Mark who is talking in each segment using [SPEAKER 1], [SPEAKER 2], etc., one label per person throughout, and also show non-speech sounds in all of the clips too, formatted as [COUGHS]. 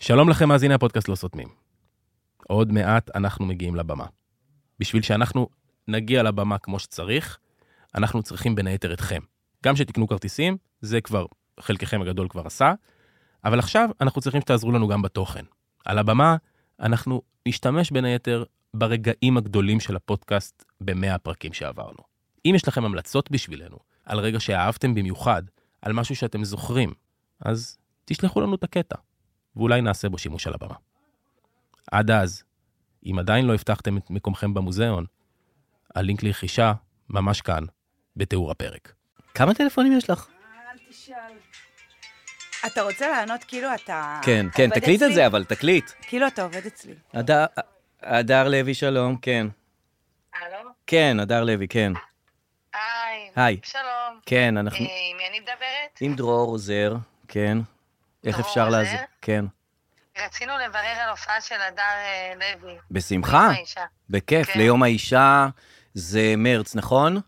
[SPEAKER 1] שלום לכם, מאזיני הפודקאסט לא סותמים. עוד מעט אנחנו מגיעים לבמה. בשביל שאנחנו נגיע לבמה כמו שצריך, אנחנו צריכים בין היתר אתכם. גם שתקנו כרטיסים, זה כבר, חלקכם הגדול כבר עשה, אבל עכשיו אנחנו צריכים שתעזרו לנו גם בתוכן. על הבמה אנחנו נשתמש בין היתר ברגעים הגדולים של הפודקאסט במאה הפרקים שעברנו. אם יש לכם המלצות בשבילנו, על רגע שאהבתם במיוחד, על משהו שאתם זוכרים, אז תשלחו לנו את הקטע, ואולי נעשה בו שימוש על הבמה. עד אז, אם עדיין לא הבטחתם את מקומכם במוזיאון, הלינק לרכישה ממש כאן, בתיאור הפרק.
[SPEAKER 2] כמה טלפונים יש לך?
[SPEAKER 3] אל תשאל. אתה רוצה לענות כאילו אתה...
[SPEAKER 2] כן, כן,
[SPEAKER 3] עובד
[SPEAKER 2] תקליט את
[SPEAKER 3] אצלי?
[SPEAKER 2] זה, אבל תקליט.
[SPEAKER 3] כאילו אתה עובד אצלי.
[SPEAKER 2] הדר- הדר לוי, שלום, כן.
[SPEAKER 4] הלו?
[SPEAKER 2] כן, הדר לוי, כן.
[SPEAKER 4] היי.
[SPEAKER 2] היי.
[SPEAKER 4] שלום.
[SPEAKER 2] כן, אנחנו...
[SPEAKER 4] אה, עם מי אני מדברת?
[SPEAKER 2] עם דרור עוזר, כן. איך
[SPEAKER 4] דרור
[SPEAKER 2] אפשר
[SPEAKER 4] עוזר?
[SPEAKER 2] לעזור? כן.
[SPEAKER 4] רצינו לברר על הופעה של הדר אה, לוי.
[SPEAKER 2] בשמחה,
[SPEAKER 4] האישה.
[SPEAKER 2] בכיף.
[SPEAKER 4] כן.
[SPEAKER 2] ליום האישה זה מרץ, נכון?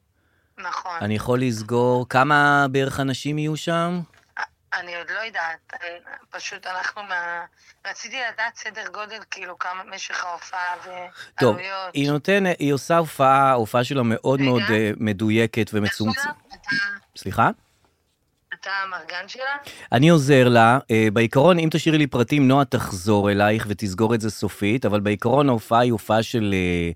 [SPEAKER 4] נכון.
[SPEAKER 2] אני יכול לסגור כמה בערך אנשים יהיו שם?
[SPEAKER 4] אני עוד לא יודעת. אני- פשוט אנחנו מה... רציתי לדעת סדר גודל, כאילו, כמה משך ההופעה
[SPEAKER 2] טוב,
[SPEAKER 4] ועלויות.
[SPEAKER 2] היא נותנת, היא עושה הופעה, ההופעה שלה מאוד
[SPEAKER 4] רגע.
[SPEAKER 2] מאוד אה, מדויקת
[SPEAKER 4] איך קוראים לה?
[SPEAKER 2] ומצומצמת.
[SPEAKER 4] אתה-
[SPEAKER 2] סליחה?
[SPEAKER 4] אתה המרגן שלה?
[SPEAKER 2] אני עוזר לה, אה, בעיקרון, אם תשאירי לי פרטים, נועה תחזור אלייך ותסגור את זה סופית, אבל בעיקרון ההופעה היא הופעה של אה,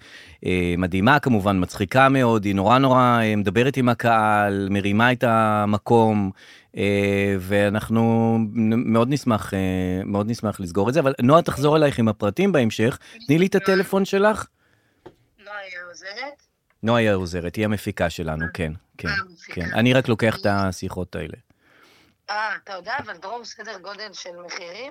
[SPEAKER 2] אה, מדהימה כמובן, מצחיקה מאוד, היא נורא נורא אה, מדברת עם הקהל, מרימה את המקום, אה, ואנחנו נ- מאוד נשמח, אה, מאוד נשמח לסגור את זה, אבל נועה תחזור אלייך עם הפרטים בהמשך, תני לי את הטלפון שלך.
[SPEAKER 4] נועה היא העוזרת?
[SPEAKER 2] נועה היא העוזרת, היא המפיקה שלנו, כן, כן, כן. אני רק לוקח את השיחות האלה.
[SPEAKER 4] אה, אתה יודע, אבל דרום סדר גודל של מחירים?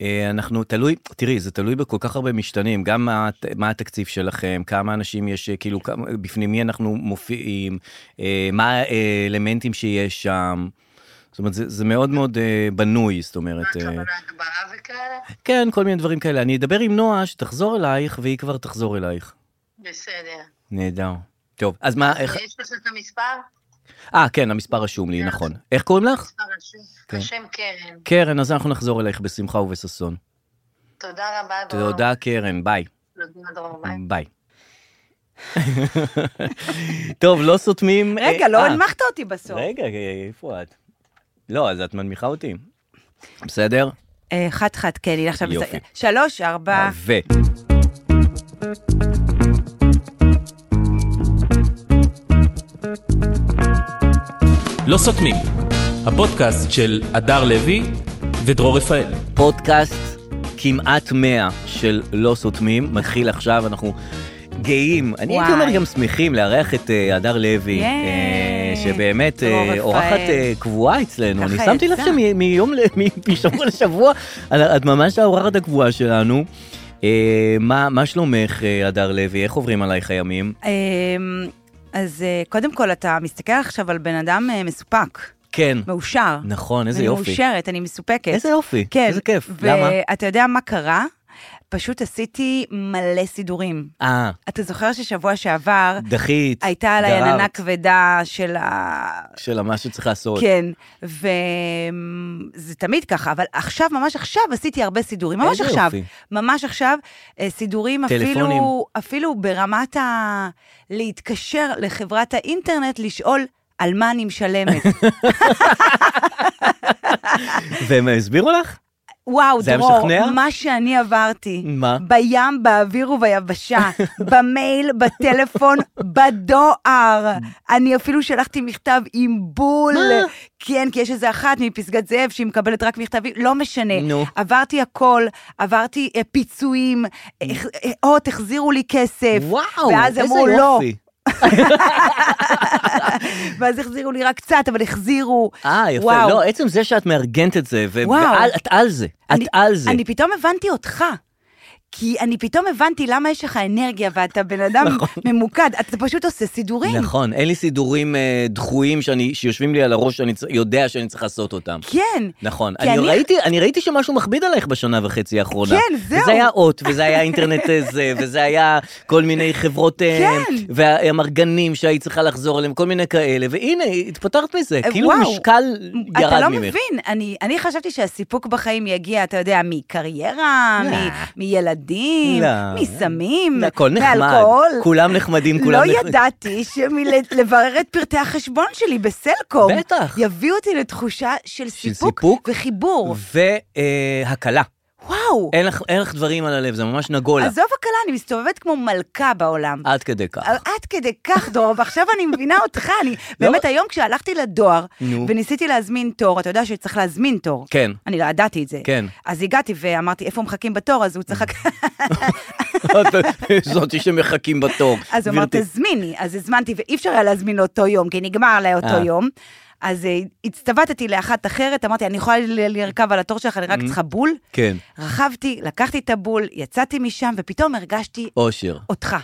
[SPEAKER 2] אה, אנחנו תלוי, תראי, זה תלוי בכל כך הרבה משתנים, גם מה, הת- מה התקציב שלכם, כמה אנשים יש, אה, כאילו, כמה, בפנים מי אנחנו מופיעים, אה, מה האלמנטים שיש שם. זאת אומרת, זה, זה מאוד מאוד אה, בנוי, זאת
[SPEAKER 4] מה
[SPEAKER 2] אומרת, אה,
[SPEAKER 4] הכוונה, הגבהה וכאלה?
[SPEAKER 2] כן, כל מיני דברים כאלה. אני אדבר עם נועה, שתחזור אלייך, והיא כבר תחזור אלייך.
[SPEAKER 4] בסדר.
[SPEAKER 2] נהדר. טוב, אז מה, איך...
[SPEAKER 4] יש לך את המספר?
[SPEAKER 2] אה, כן, המספר רשום לי, נכון. איך קוראים לך?
[SPEAKER 4] מספר השם.
[SPEAKER 2] כן.
[SPEAKER 4] אה, השם קרן.
[SPEAKER 2] קרן, אז אנחנו נחזור אלייך בשמחה ובששון.
[SPEAKER 4] תודה רבה, דרור.
[SPEAKER 2] תודה, קרן, ביי.
[SPEAKER 4] תודה, דרור. ביי.
[SPEAKER 2] ביי. טוב, לא סותמים...
[SPEAKER 3] רגע,
[SPEAKER 2] אה,
[SPEAKER 3] לא
[SPEAKER 2] אה,
[SPEAKER 3] הנמכת אותי בסוף.
[SPEAKER 2] רגע, אה, איפה את? לא, אז את מנמיכה אותי. בסדר?
[SPEAKER 3] אה, חת חת, כן, הנה עכשיו...
[SPEAKER 2] יופי.
[SPEAKER 3] שלוש, ארבע.
[SPEAKER 2] ו...
[SPEAKER 1] לא סותמים, הפודקאסט של הדר לוי ודרור רפאל.
[SPEAKER 2] פודקאסט כמעט 100 של לא סותמים, מתחיל עכשיו, אנחנו גאים, אני הייתי
[SPEAKER 3] וואי.
[SPEAKER 2] אומר גם שמחים לארח את אה, הדר לוי,
[SPEAKER 3] יאי.
[SPEAKER 2] אה, שבאמת אה,
[SPEAKER 3] דרור רפאל.
[SPEAKER 2] אורחת אה, קבועה אצלנו,
[SPEAKER 3] ככה
[SPEAKER 2] אני שמתי לב
[SPEAKER 3] יצא.
[SPEAKER 2] שמיום, ל- מ- משבוע לשבוע, את- את ממש האורחת הקבועה שלנו. אה, מה מה שלומך, אה, הדר לוי? איך עוברים עלייך הימים?
[SPEAKER 3] אמ, אז אה, קודם כל, אתה מסתכל עכשיו על בן אדם אה, מסופק,
[SPEAKER 2] כן,
[SPEAKER 3] מאושר.
[SPEAKER 2] נכון, איזה
[SPEAKER 3] אני
[SPEAKER 2] יופי.
[SPEAKER 3] מאושרת, אני מסופקת.
[SPEAKER 2] איזה יופי,
[SPEAKER 3] כן.
[SPEAKER 2] איזה כיף,
[SPEAKER 3] ו-
[SPEAKER 2] למה?
[SPEAKER 3] אתה יודע מה קרה? פשוט עשיתי מלא סידורים.
[SPEAKER 2] אה,
[SPEAKER 3] אתה זוכר ששבוע שעבר
[SPEAKER 2] דחית,
[SPEAKER 3] הייתה עליי
[SPEAKER 2] גררת.
[SPEAKER 3] עננה כבדה של ה...
[SPEAKER 2] של מה שצריך לעשות.
[SPEAKER 3] כן, וזה תמיד ככה, אבל עכשיו, ממש עכשיו, עשיתי הרבה סידורים. ממש
[SPEAKER 2] איזה
[SPEAKER 3] עכשיו,
[SPEAKER 2] יופי.
[SPEAKER 3] ממש עכשיו, אה, סידורים
[SPEAKER 2] טלפונים.
[SPEAKER 3] אפילו, אפילו ברמת ה... להתקשר לחברת האינטרנט, לשאול על מה אני
[SPEAKER 2] [LAUGHS]
[SPEAKER 3] משלמת.
[SPEAKER 2] והם הסבירו לך?
[SPEAKER 3] וואו,
[SPEAKER 2] זה היה
[SPEAKER 3] דרור,
[SPEAKER 2] משכנע?
[SPEAKER 3] מה שאני עברתי.
[SPEAKER 2] מה?
[SPEAKER 3] בים, באוויר
[SPEAKER 2] [LAUGHS]
[SPEAKER 3] וביבשה, במייל, בטלפון, בדואר. אני אפילו שלחתי מכתב עם בול.
[SPEAKER 2] מה?
[SPEAKER 3] כן, כי יש איזה אחת מפסגת זאב שהיא מקבלת רק מכתבים, לא משנה.
[SPEAKER 2] נו.
[SPEAKER 3] עברתי הכל, עברתי אה, פיצויים, אה, אה, הוט, החזירו לי כסף.
[SPEAKER 2] וואו,
[SPEAKER 3] אה, ואז
[SPEAKER 2] איזה
[SPEAKER 3] אמרו לא,
[SPEAKER 2] יופי.
[SPEAKER 3] ואז החזירו לי רק קצת, אבל החזירו.
[SPEAKER 2] אה, יפה.
[SPEAKER 3] וואו.
[SPEAKER 2] לא, עצם זה שאת מארגנת את זה, ו-
[SPEAKER 3] וואו.
[SPEAKER 2] ואת על זה, את
[SPEAKER 3] אני-
[SPEAKER 2] על זה.
[SPEAKER 3] אני פתאום הבנתי אותך. כי אני פתאום הבנתי למה יש לך אנרגיה ואתה בן אדם ממוקד, אתה פשוט עושה סידורים.
[SPEAKER 2] נכון, אין לי סידורים אה, דחויים שאני, שיושבים לי על הראש שאני צ- יודע שאני צריך לעשות אותם.
[SPEAKER 3] כן.
[SPEAKER 2] נכון,
[SPEAKER 3] כי
[SPEAKER 2] אני,
[SPEAKER 3] אני-
[SPEAKER 2] ראיתי, אני ראיתי שמשהו מכביד עלייך בשנה וחצי האחרונה.
[SPEAKER 3] כן, זהו.
[SPEAKER 2] וזה היה אות, וזה היה אינטרנט אה, זה, וזה היה כל מיני חברות... אה,
[SPEAKER 3] כן.
[SPEAKER 2] והמרגנים שהיית צריכה לחזור אליהם, כל מיני כאלה, והנה, התפטרת מזה.
[SPEAKER 3] אה,
[SPEAKER 2] כאילו
[SPEAKER 3] וואו.
[SPEAKER 2] משקל ירד
[SPEAKER 3] אתה לא
[SPEAKER 2] ממך.
[SPEAKER 3] מבין, אני, אני חשבתי שהסיפוק בחיים יגיע, אתה יודע, מקריירה,
[SPEAKER 2] לא.
[SPEAKER 3] מ, מילדים,
[SPEAKER 2] לא.
[SPEAKER 3] מסמים,
[SPEAKER 2] הכל נחמד.
[SPEAKER 3] מאלכוהול.
[SPEAKER 2] כולם נחמדים, כולם
[SPEAKER 3] לא
[SPEAKER 2] נחמדים.
[SPEAKER 3] ידעתי שמלברר את פרטי החשבון שלי בסלקום,
[SPEAKER 2] בטח.
[SPEAKER 3] יביא אותי לתחושה של סיפוק,
[SPEAKER 2] סיפוק.
[SPEAKER 3] וחיבור.
[SPEAKER 2] והקלה.
[SPEAKER 3] וואו,
[SPEAKER 2] אין לך, אין לך דברים על הלב, זה ממש נגולה.
[SPEAKER 3] עזוב הקלה, אני מסתובבת כמו מלכה בעולם.
[SPEAKER 2] עד כדי כך.
[SPEAKER 3] עד כדי כך, דור, ועכשיו אני מבינה אותך,
[SPEAKER 2] [LAUGHS]
[SPEAKER 3] אני... באמת, היום כשהלכתי לדואר,
[SPEAKER 2] לא. נו.
[SPEAKER 3] וניסיתי להזמין תור, אתה יודע שצריך להזמין תור.
[SPEAKER 2] כן. [LAUGHS]
[SPEAKER 3] אני לא ידעתי את זה.
[SPEAKER 2] כן.
[SPEAKER 3] אז הגעתי ואמרתי, איפה מחכים בתור? אז הוא
[SPEAKER 2] [LAUGHS]
[SPEAKER 3] צחק, [LAUGHS]
[SPEAKER 2] זאתי שמחכים בתור.
[SPEAKER 3] [LAUGHS] אז הוא אמר,
[SPEAKER 2] גברתי.
[SPEAKER 3] תזמיני. אז הזמנתי, ואי אפשר היה להזמין לאותו יום, כי נגמר עליי
[SPEAKER 2] אה.
[SPEAKER 3] אותו יום. אז אה, הצטוותתי לאחת אחרת, אמרתי, אני יכולה ל- לרכב על התור שלך, אני רק צריכה בול.
[SPEAKER 2] כן,
[SPEAKER 3] רכבתי, לקחתי את הבול, יצאתי משם, ופתאום הרגשתי
[SPEAKER 2] אושר. [LAUGHS]
[SPEAKER 3] אותך.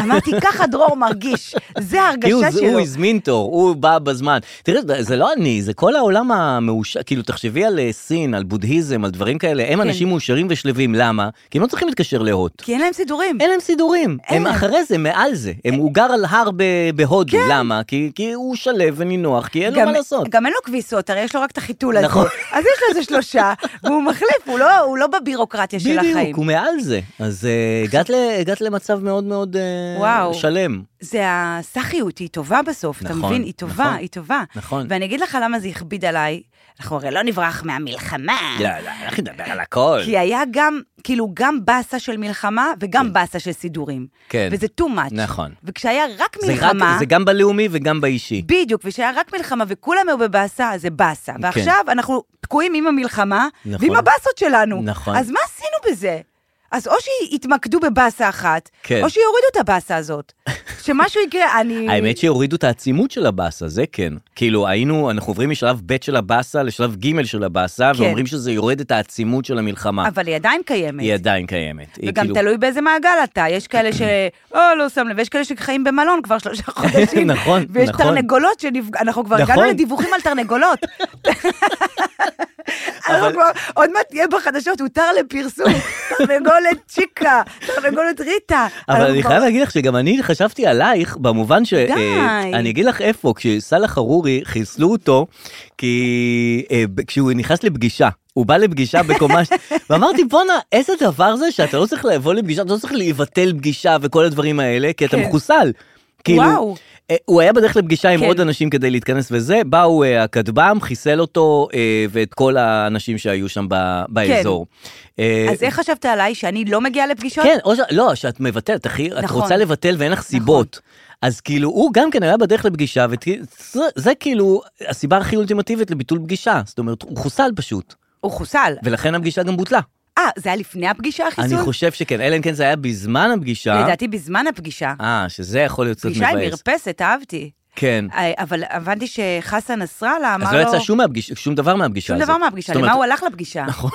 [SPEAKER 3] אמרתי, ככה דרור מרגיש, זה
[SPEAKER 2] כאילו
[SPEAKER 3] ההרגשה
[SPEAKER 2] זה- הוא
[SPEAKER 3] שלו.
[SPEAKER 2] הזמין תור, הוא בא בזמן. תראה, זה לא אני, זה כל העולם המאושר, כאילו תחשבי על אה, סין, על בודהיזם, על דברים כאלה, הם
[SPEAKER 3] כן.
[SPEAKER 2] אנשים מאושרים ושלווים, למה? כי הם לא צריכים להתקשר להוט.
[SPEAKER 3] כי אין להם סידורים.
[SPEAKER 2] אין להם סידורים,
[SPEAKER 3] אין אה,
[SPEAKER 2] הם
[SPEAKER 3] להם.
[SPEAKER 2] אחרי זה, מעל זה. הם, הוא גר על הר ב- בהודו, למה? כי, כי הוא שלו ונינוח, כי אין לו
[SPEAKER 3] גם-
[SPEAKER 2] מה לעשות.
[SPEAKER 3] גם אין לו כביסות, הרי יש לו רק את החיתול הזה.
[SPEAKER 2] נכון.
[SPEAKER 3] אז יש לו איזה שלושה, והוא מחליף, הוא לא- הוא לא בבירוקרטיה של החיים.
[SPEAKER 2] בדיוק, הוא מעל זה. אז אה, הגעת, ל, הגעת למצב מאוד מאוד אה,
[SPEAKER 3] וואו.
[SPEAKER 2] שלם.
[SPEAKER 3] זה הסחיות, היא טובה בסוף, אתה
[SPEAKER 2] נכון,
[SPEAKER 3] מבין? היא טובה,
[SPEAKER 2] נכון,
[SPEAKER 3] היא טובה.
[SPEAKER 2] נכון.
[SPEAKER 3] ואני אגיד לך למה זה הכביד עליי, אנחנו הרי לא נברח מהמלחמה.
[SPEAKER 2] לא, לא, אנחנו נדבר על הכל.
[SPEAKER 3] כי היה גם, כאילו, גם באסה של מלחמה וגם באסה של סידורים.
[SPEAKER 2] כן.
[SPEAKER 3] וזה too much.
[SPEAKER 2] נכון.
[SPEAKER 3] וכשהיה רק
[SPEAKER 2] זה, רק,
[SPEAKER 3] מלחמה...
[SPEAKER 2] זה גם בלאומי וגם באישי.
[SPEAKER 3] בדיוק, ושהיה רק מלחמה וכולם היו בבאסה, אז זה באסה. ועכשיו אנחנו תקועים עם המלחמה
[SPEAKER 2] כן. נכון.
[SPEAKER 3] ועם הבאסות שלנו.
[SPEAKER 2] נכון.
[SPEAKER 3] אז מה עשינו בזה? אז או שיתמקדו בבאסה אחת,
[SPEAKER 2] כן.
[SPEAKER 3] או שיורידו את הבאסה
[SPEAKER 2] [LAUGHS]
[SPEAKER 3] הזאת. שמשהו יקרה, אני...
[SPEAKER 2] האמת שהורידו את העצימות של הבאסה, זה כן. כאילו, היינו, אנחנו עוברים משלב ב' של הבאסה לשלב ג' של הבאסה,
[SPEAKER 3] כן.
[SPEAKER 2] ואומרים שזה יורד את העצימות של המלחמה.
[SPEAKER 3] אבל היא עדיין קיימת.
[SPEAKER 2] היא עדיין קיימת. היא
[SPEAKER 3] וגם
[SPEAKER 2] כאילו-
[SPEAKER 3] תלוי באיזה מעגל אתה, יש כאלה ש...
[SPEAKER 2] [CLEARS THROAT]
[SPEAKER 3] או, לא שם לב, ויש כאלה שחיים במלון כבר
[SPEAKER 2] [LAUGHS]
[SPEAKER 3] שלושה חודשים.
[SPEAKER 2] נכון,
[SPEAKER 3] ויש
[SPEAKER 2] נכון.
[SPEAKER 3] תרנגולות שנפג... אנחנו כבר הגענו
[SPEAKER 2] נכון.
[SPEAKER 3] לדיווחים על
[SPEAKER 2] [LAUGHS]
[SPEAKER 3] תרנגולות. אנחנו כבר, עוד מעט תהיה בחדשות, הותר
[SPEAKER 2] [LAUGHS]
[SPEAKER 3] לפרסום, תרנגולת צ'יקה, תרנגולת ריטה.
[SPEAKER 2] אבל
[SPEAKER 3] אנחנו
[SPEAKER 2] אני
[SPEAKER 3] כבר-
[SPEAKER 2] חייב להגיד לך שגם אני חשבתי עלייך, במובן ש...
[SPEAKER 3] די.
[SPEAKER 2] אה, אני אגיד לך איפה, כשסאלח חרורי חיסלו אותו, כי אה, ב- כשהוא נכנס לפגישה, הוא בא לפגישה
[SPEAKER 3] [LAUGHS]
[SPEAKER 2] בקומה, ש- ואמרתי, בואנה, איזה דבר זה שאתה לא צריך לבוא לפגישה, אתה לא צריך לבטל פגישה וכל הדברים האלה, כי אתה
[SPEAKER 3] כן.
[SPEAKER 2] מחוסל. כאילו,
[SPEAKER 3] וואו.
[SPEAKER 2] אה, הוא היה בדרך לפגישה עם
[SPEAKER 3] כן.
[SPEAKER 2] עוד אנשים כדי להתכנס וזה, באו אה, הכטב"ם, חיסל אותו אה, ואת כל האנשים שהיו שם ב- באזור. אה,
[SPEAKER 3] כן. אז איך חשבת עליי, שאני לא מגיעה לפגישות?
[SPEAKER 2] כן, או ש... לא, שאת מבטלת, אחי, את
[SPEAKER 3] נכון.
[SPEAKER 2] רוצה לבטל ואין לך סיבות. אז כאילו, הוא גם כן היה בדרך לפגישה, וזה כאילו הסיבה הכי אולטימטיבית לביטול פגישה. זאת אומרת, הוא חוסל פשוט,
[SPEAKER 3] הוא חוסל.
[SPEAKER 2] ולכן הפגישה גם בוטלה.
[SPEAKER 3] אה, זה היה לפני הפגישה,
[SPEAKER 2] אני
[SPEAKER 3] החיסול?
[SPEAKER 2] חושב שכן, אלא אם כן זה היה בזמן הפגישה.
[SPEAKER 3] לדעתי בזמן הפגישה.
[SPEAKER 2] אה, שזה יכול להיות קצת
[SPEAKER 3] פגישה עם
[SPEAKER 2] מבאס.
[SPEAKER 3] מרפסת, אהבתי.
[SPEAKER 2] כן.
[SPEAKER 3] אה, אבל הבנתי שחסן נסראללה אמר
[SPEAKER 2] אז
[SPEAKER 3] לו...
[SPEAKER 2] לא יצא שום מהפגיש- שום דבר מהפגישה
[SPEAKER 3] שום
[SPEAKER 2] הזאת.
[SPEAKER 3] דבר מהפגישה,
[SPEAKER 2] זאת אומרת,
[SPEAKER 3] למה הוא הלך לפגישה?
[SPEAKER 2] נכון.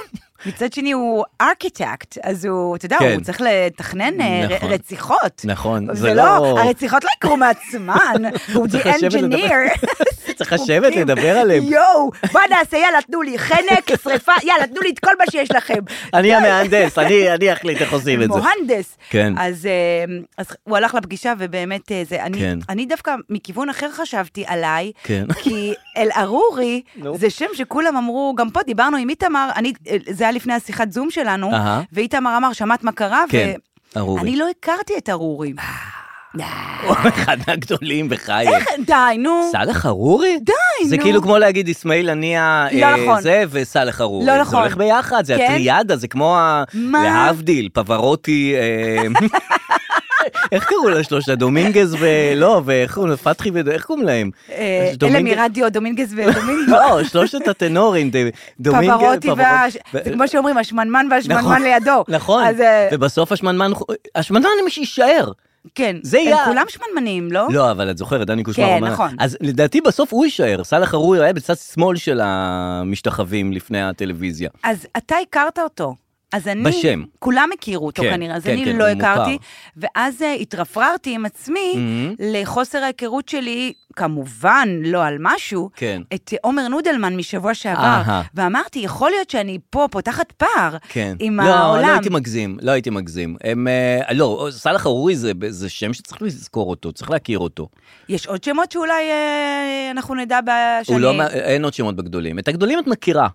[SPEAKER 3] מצד שני הוא ארכיטקט, אז הוא, אתה יודע,
[SPEAKER 2] כן.
[SPEAKER 3] הוא צריך לתכנן אה, ר-
[SPEAKER 2] נכון.
[SPEAKER 3] רציחות.
[SPEAKER 2] נכון, זה
[SPEAKER 3] זה
[SPEAKER 2] לא-
[SPEAKER 3] לא, הרציחות לא יקרו
[SPEAKER 2] [LAUGHS]
[SPEAKER 3] מעצמן, הוא the
[SPEAKER 2] צריך לשבת
[SPEAKER 3] engineer.
[SPEAKER 2] [LAUGHS] [LAUGHS] צריך לשבת, לדבר עליהם.
[SPEAKER 3] יואו, בוא נעשה, יאללה, תנו לי חנק, שריפה, יאללה, תנו לי את כל מה שיש לכם.
[SPEAKER 2] אני המהנדס, אני אני אחליט איך עושים את זה.
[SPEAKER 3] מוהנדס.
[SPEAKER 2] כן.
[SPEAKER 3] אז, אה, אז הוא הלך לפגישה, ובאמת, אה, זה, אני,
[SPEAKER 2] כן.
[SPEAKER 3] אני דווקא מכיוון אחר חשבתי עליי,
[SPEAKER 2] כן.
[SPEAKER 3] [LAUGHS] כי אל-ערורי
[SPEAKER 2] נו.
[SPEAKER 3] זה שם שכולם אמרו, גם פה דיברנו עם איתמר, אני, אה, זה היה לפני השיחת זום שלנו,
[SPEAKER 2] אהה.
[SPEAKER 3] ואיתמר אמר, שמעת מה קרה?
[SPEAKER 2] כן, ארורי. אה.
[SPEAKER 3] ואני לא הכרתי את ארורי. אה.
[SPEAKER 2] הוא אחד מהגדולים בחייך.
[SPEAKER 3] די, נו.
[SPEAKER 2] סאלח ארורי?
[SPEAKER 3] די, נו.
[SPEAKER 2] זה כאילו כמו להגיד אסמאעיל הנייה
[SPEAKER 3] לא
[SPEAKER 2] אה,
[SPEAKER 3] נכון.
[SPEAKER 2] זה וסאלח ארורי.
[SPEAKER 3] לא
[SPEAKER 2] זה
[SPEAKER 3] נכון.
[SPEAKER 2] הולך ביחד, זה
[SPEAKER 3] כן?
[SPEAKER 2] הטריאדה, זה כמו ה...
[SPEAKER 3] מה?
[SPEAKER 2] להבדיל, פברוטי... אה, [LAUGHS] איך קראו לשלושה? דומינגז ולא, לא, ואיך קוראים לפתחי ו... איך קוראים להם?
[SPEAKER 3] אה, אלה
[SPEAKER 2] דומינגז-
[SPEAKER 3] מרדיו, דומינגז
[SPEAKER 2] [LAUGHS]
[SPEAKER 3] ודומינגו.
[SPEAKER 2] לא, שלושת הטנורים, ד- דומינגז...
[SPEAKER 3] פברוטי
[SPEAKER 2] פברוט-
[SPEAKER 3] וה...
[SPEAKER 2] ו-
[SPEAKER 3] זה כמו שאומרים, השמנמן והשמנמן
[SPEAKER 2] נכון,
[SPEAKER 3] לידו.
[SPEAKER 2] נכון,
[SPEAKER 3] אז אה,
[SPEAKER 2] ובסוף השמנמן, השמנמן מי שיישאר.
[SPEAKER 3] כן.
[SPEAKER 2] זה יהיה-
[SPEAKER 3] הם כולם שמנמנים, לא?
[SPEAKER 2] לא, אבל את זוכרת, דני קושמר
[SPEAKER 3] כן,
[SPEAKER 2] אמר...
[SPEAKER 3] נכון.
[SPEAKER 2] אז לדעתי בסוף הוא יישאר, סאלח ארורי היה בצד שמאל של המשתחווים לפני הטלוויזיה.
[SPEAKER 3] אז אתה הכרת אותו. אז אני,
[SPEAKER 2] בשם.
[SPEAKER 3] כולם הכירו אותו
[SPEAKER 2] כן,
[SPEAKER 3] כנראה, אז
[SPEAKER 2] כן,
[SPEAKER 3] אני
[SPEAKER 2] כן,
[SPEAKER 3] לא
[SPEAKER 2] הוא מוכר.
[SPEAKER 3] הכרתי, ואז אה, התרפררתי עם עצמי
[SPEAKER 2] מהמם.
[SPEAKER 3] לחוסר ההיכרות שלי, כמובן לא על משהו,
[SPEAKER 2] כן.
[SPEAKER 3] את אה, עומר נודלמן משבוע שעבר,
[SPEAKER 2] אהה.
[SPEAKER 3] ואמרתי, יכול להיות שאני פה פותחת פער
[SPEAKER 2] כן.
[SPEAKER 3] עם
[SPEAKER 2] לא, לא
[SPEAKER 3] העולם.
[SPEAKER 2] הייתי מגזים, לא הייתי מגזים. הם, אה, לא, סאלח ארורי זה, זה שם שצריך לזכור אותו, צריך להכיר אותו.
[SPEAKER 3] יש עוד שמות שאולי אה, אנחנו נדע ב- שאני...
[SPEAKER 2] הוא לא, מה- אין עוד שמות בגדולים. את הגדולים את מכירה.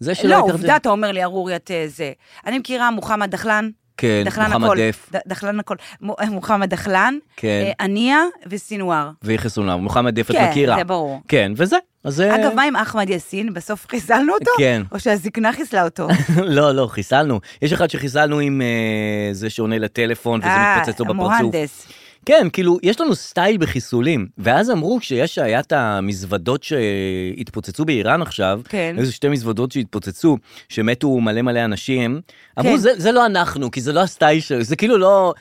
[SPEAKER 2] זה שלא
[SPEAKER 3] לא,
[SPEAKER 2] הכרתי-
[SPEAKER 3] עובדה, אתה אומר לי, ארורי, את אה, זה. אני מכירה מוחמד דחלן,
[SPEAKER 2] כן,
[SPEAKER 3] דחלן
[SPEAKER 2] מוחמד
[SPEAKER 3] הכל.
[SPEAKER 2] דף,
[SPEAKER 3] ד- דחלן הכל. מ- אה, מוחמד דחלן,
[SPEAKER 2] כן,
[SPEAKER 3] אה, עניה וסינואר.
[SPEAKER 2] ויחס אונאב, מוחמד דף את
[SPEAKER 3] כן,
[SPEAKER 2] מכירה.
[SPEAKER 3] זה ברור.
[SPEAKER 2] כן, וזה. אז זה...
[SPEAKER 3] אגב, מה עם אחמד יאסין? בסוף חיסלנו אותו?
[SPEAKER 2] כן. [LAUGHS]
[SPEAKER 3] או שהזקנה חיסלה אותו?
[SPEAKER 2] לא, לא, חיסלנו. יש אחד שחיסלנו עם אה, זה שעונה לטלפון וזה
[SPEAKER 3] אה,
[SPEAKER 2] מתפוצץ לו בפרצוף.
[SPEAKER 3] המוהנדס.
[SPEAKER 2] כן, כאילו, יש לנו סטייל בחיסולים. ואז אמרו, כשיש, היה את המזוודות שהתפוצצו באיראן עכשיו,
[SPEAKER 3] כן.
[SPEAKER 2] איזה שתי מזוודות שהתפוצצו, שמתו מלא מלא אנשים, אמרו,
[SPEAKER 3] כן.
[SPEAKER 2] זה, זה לא אנחנו, כי זה לא הסטייל שלנו, זה כאילו לא...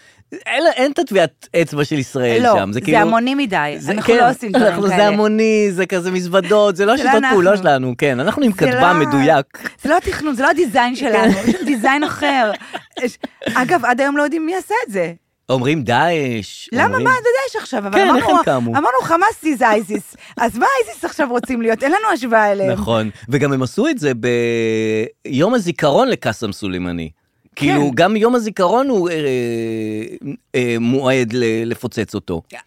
[SPEAKER 2] אין, אין את הטביעת אצבע של ישראל
[SPEAKER 3] לא,
[SPEAKER 2] שם.
[SPEAKER 3] זה
[SPEAKER 2] כאילו...
[SPEAKER 3] המוני מדי.
[SPEAKER 2] זה-
[SPEAKER 3] אנחנו
[SPEAKER 2] כן,
[SPEAKER 3] לא עושים דברים
[SPEAKER 2] אנחנו- זה
[SPEAKER 3] כאלה.
[SPEAKER 2] המוני, זה כזה מזוודות, זה לא
[SPEAKER 3] זה לא
[SPEAKER 2] שיטות פעולה
[SPEAKER 3] אנחנו.
[SPEAKER 2] שלנו, כן, אנחנו עם
[SPEAKER 3] זה לא-
[SPEAKER 2] כתבה מדויק.
[SPEAKER 3] זה לא התכנון, זה לא
[SPEAKER 2] כן.
[SPEAKER 3] הדיזיין שלנו, יש שם דיזיין אחר. יש- אגב, עד היום לא יודעים מי עשה את זה.
[SPEAKER 2] אומרים דאעש.
[SPEAKER 3] למה,
[SPEAKER 2] אומרים-
[SPEAKER 3] מה, אתה יודע, יש עכשיו, אבל
[SPEAKER 2] כן, איך
[SPEAKER 3] אמרנו,
[SPEAKER 2] הם קמו?
[SPEAKER 3] אמרנו חמאס זה אייסיס, אז מה אייסיס עכשיו רוצים להיות? אין לנו השוואה אליהם.
[SPEAKER 2] נכון, וגם הם עשו את זה ביום הזיכרון לקאסם סולימני. כאילו,
[SPEAKER 3] כן.
[SPEAKER 2] גם יום הזיכרון הוא אה, אה, מועד ל- לפוצץ אותו.
[SPEAKER 3] כן.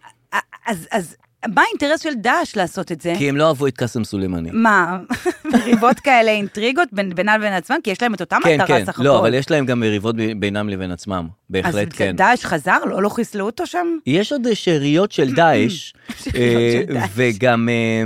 [SPEAKER 3] אז- אז מה האינטרס של דאעש לעשות את זה?
[SPEAKER 2] כי הם לא אהבו את קאסם סולימני.
[SPEAKER 3] מה, [LAUGHS] מריבות כאלה, אינטריגות בין- בינם לבין עצמם? כי יש להם את אותה
[SPEAKER 2] כן,
[SPEAKER 3] מטרה
[SPEAKER 2] כן,
[SPEAKER 3] סך
[SPEAKER 2] לא,
[SPEAKER 3] הכל.
[SPEAKER 2] אבל יש להם גם מריבות ב- בינם לבין עצמם, בהחלט
[SPEAKER 3] אז
[SPEAKER 2] כן.
[SPEAKER 3] דאעש חזר? לא לא חיסלו אותו שם?
[SPEAKER 2] יש עוד אה, שאריות של דאעש,
[SPEAKER 3] [CLEARS THROAT] שאריות של
[SPEAKER 2] אה,
[SPEAKER 3] דאעש.
[SPEAKER 2] וגם אה,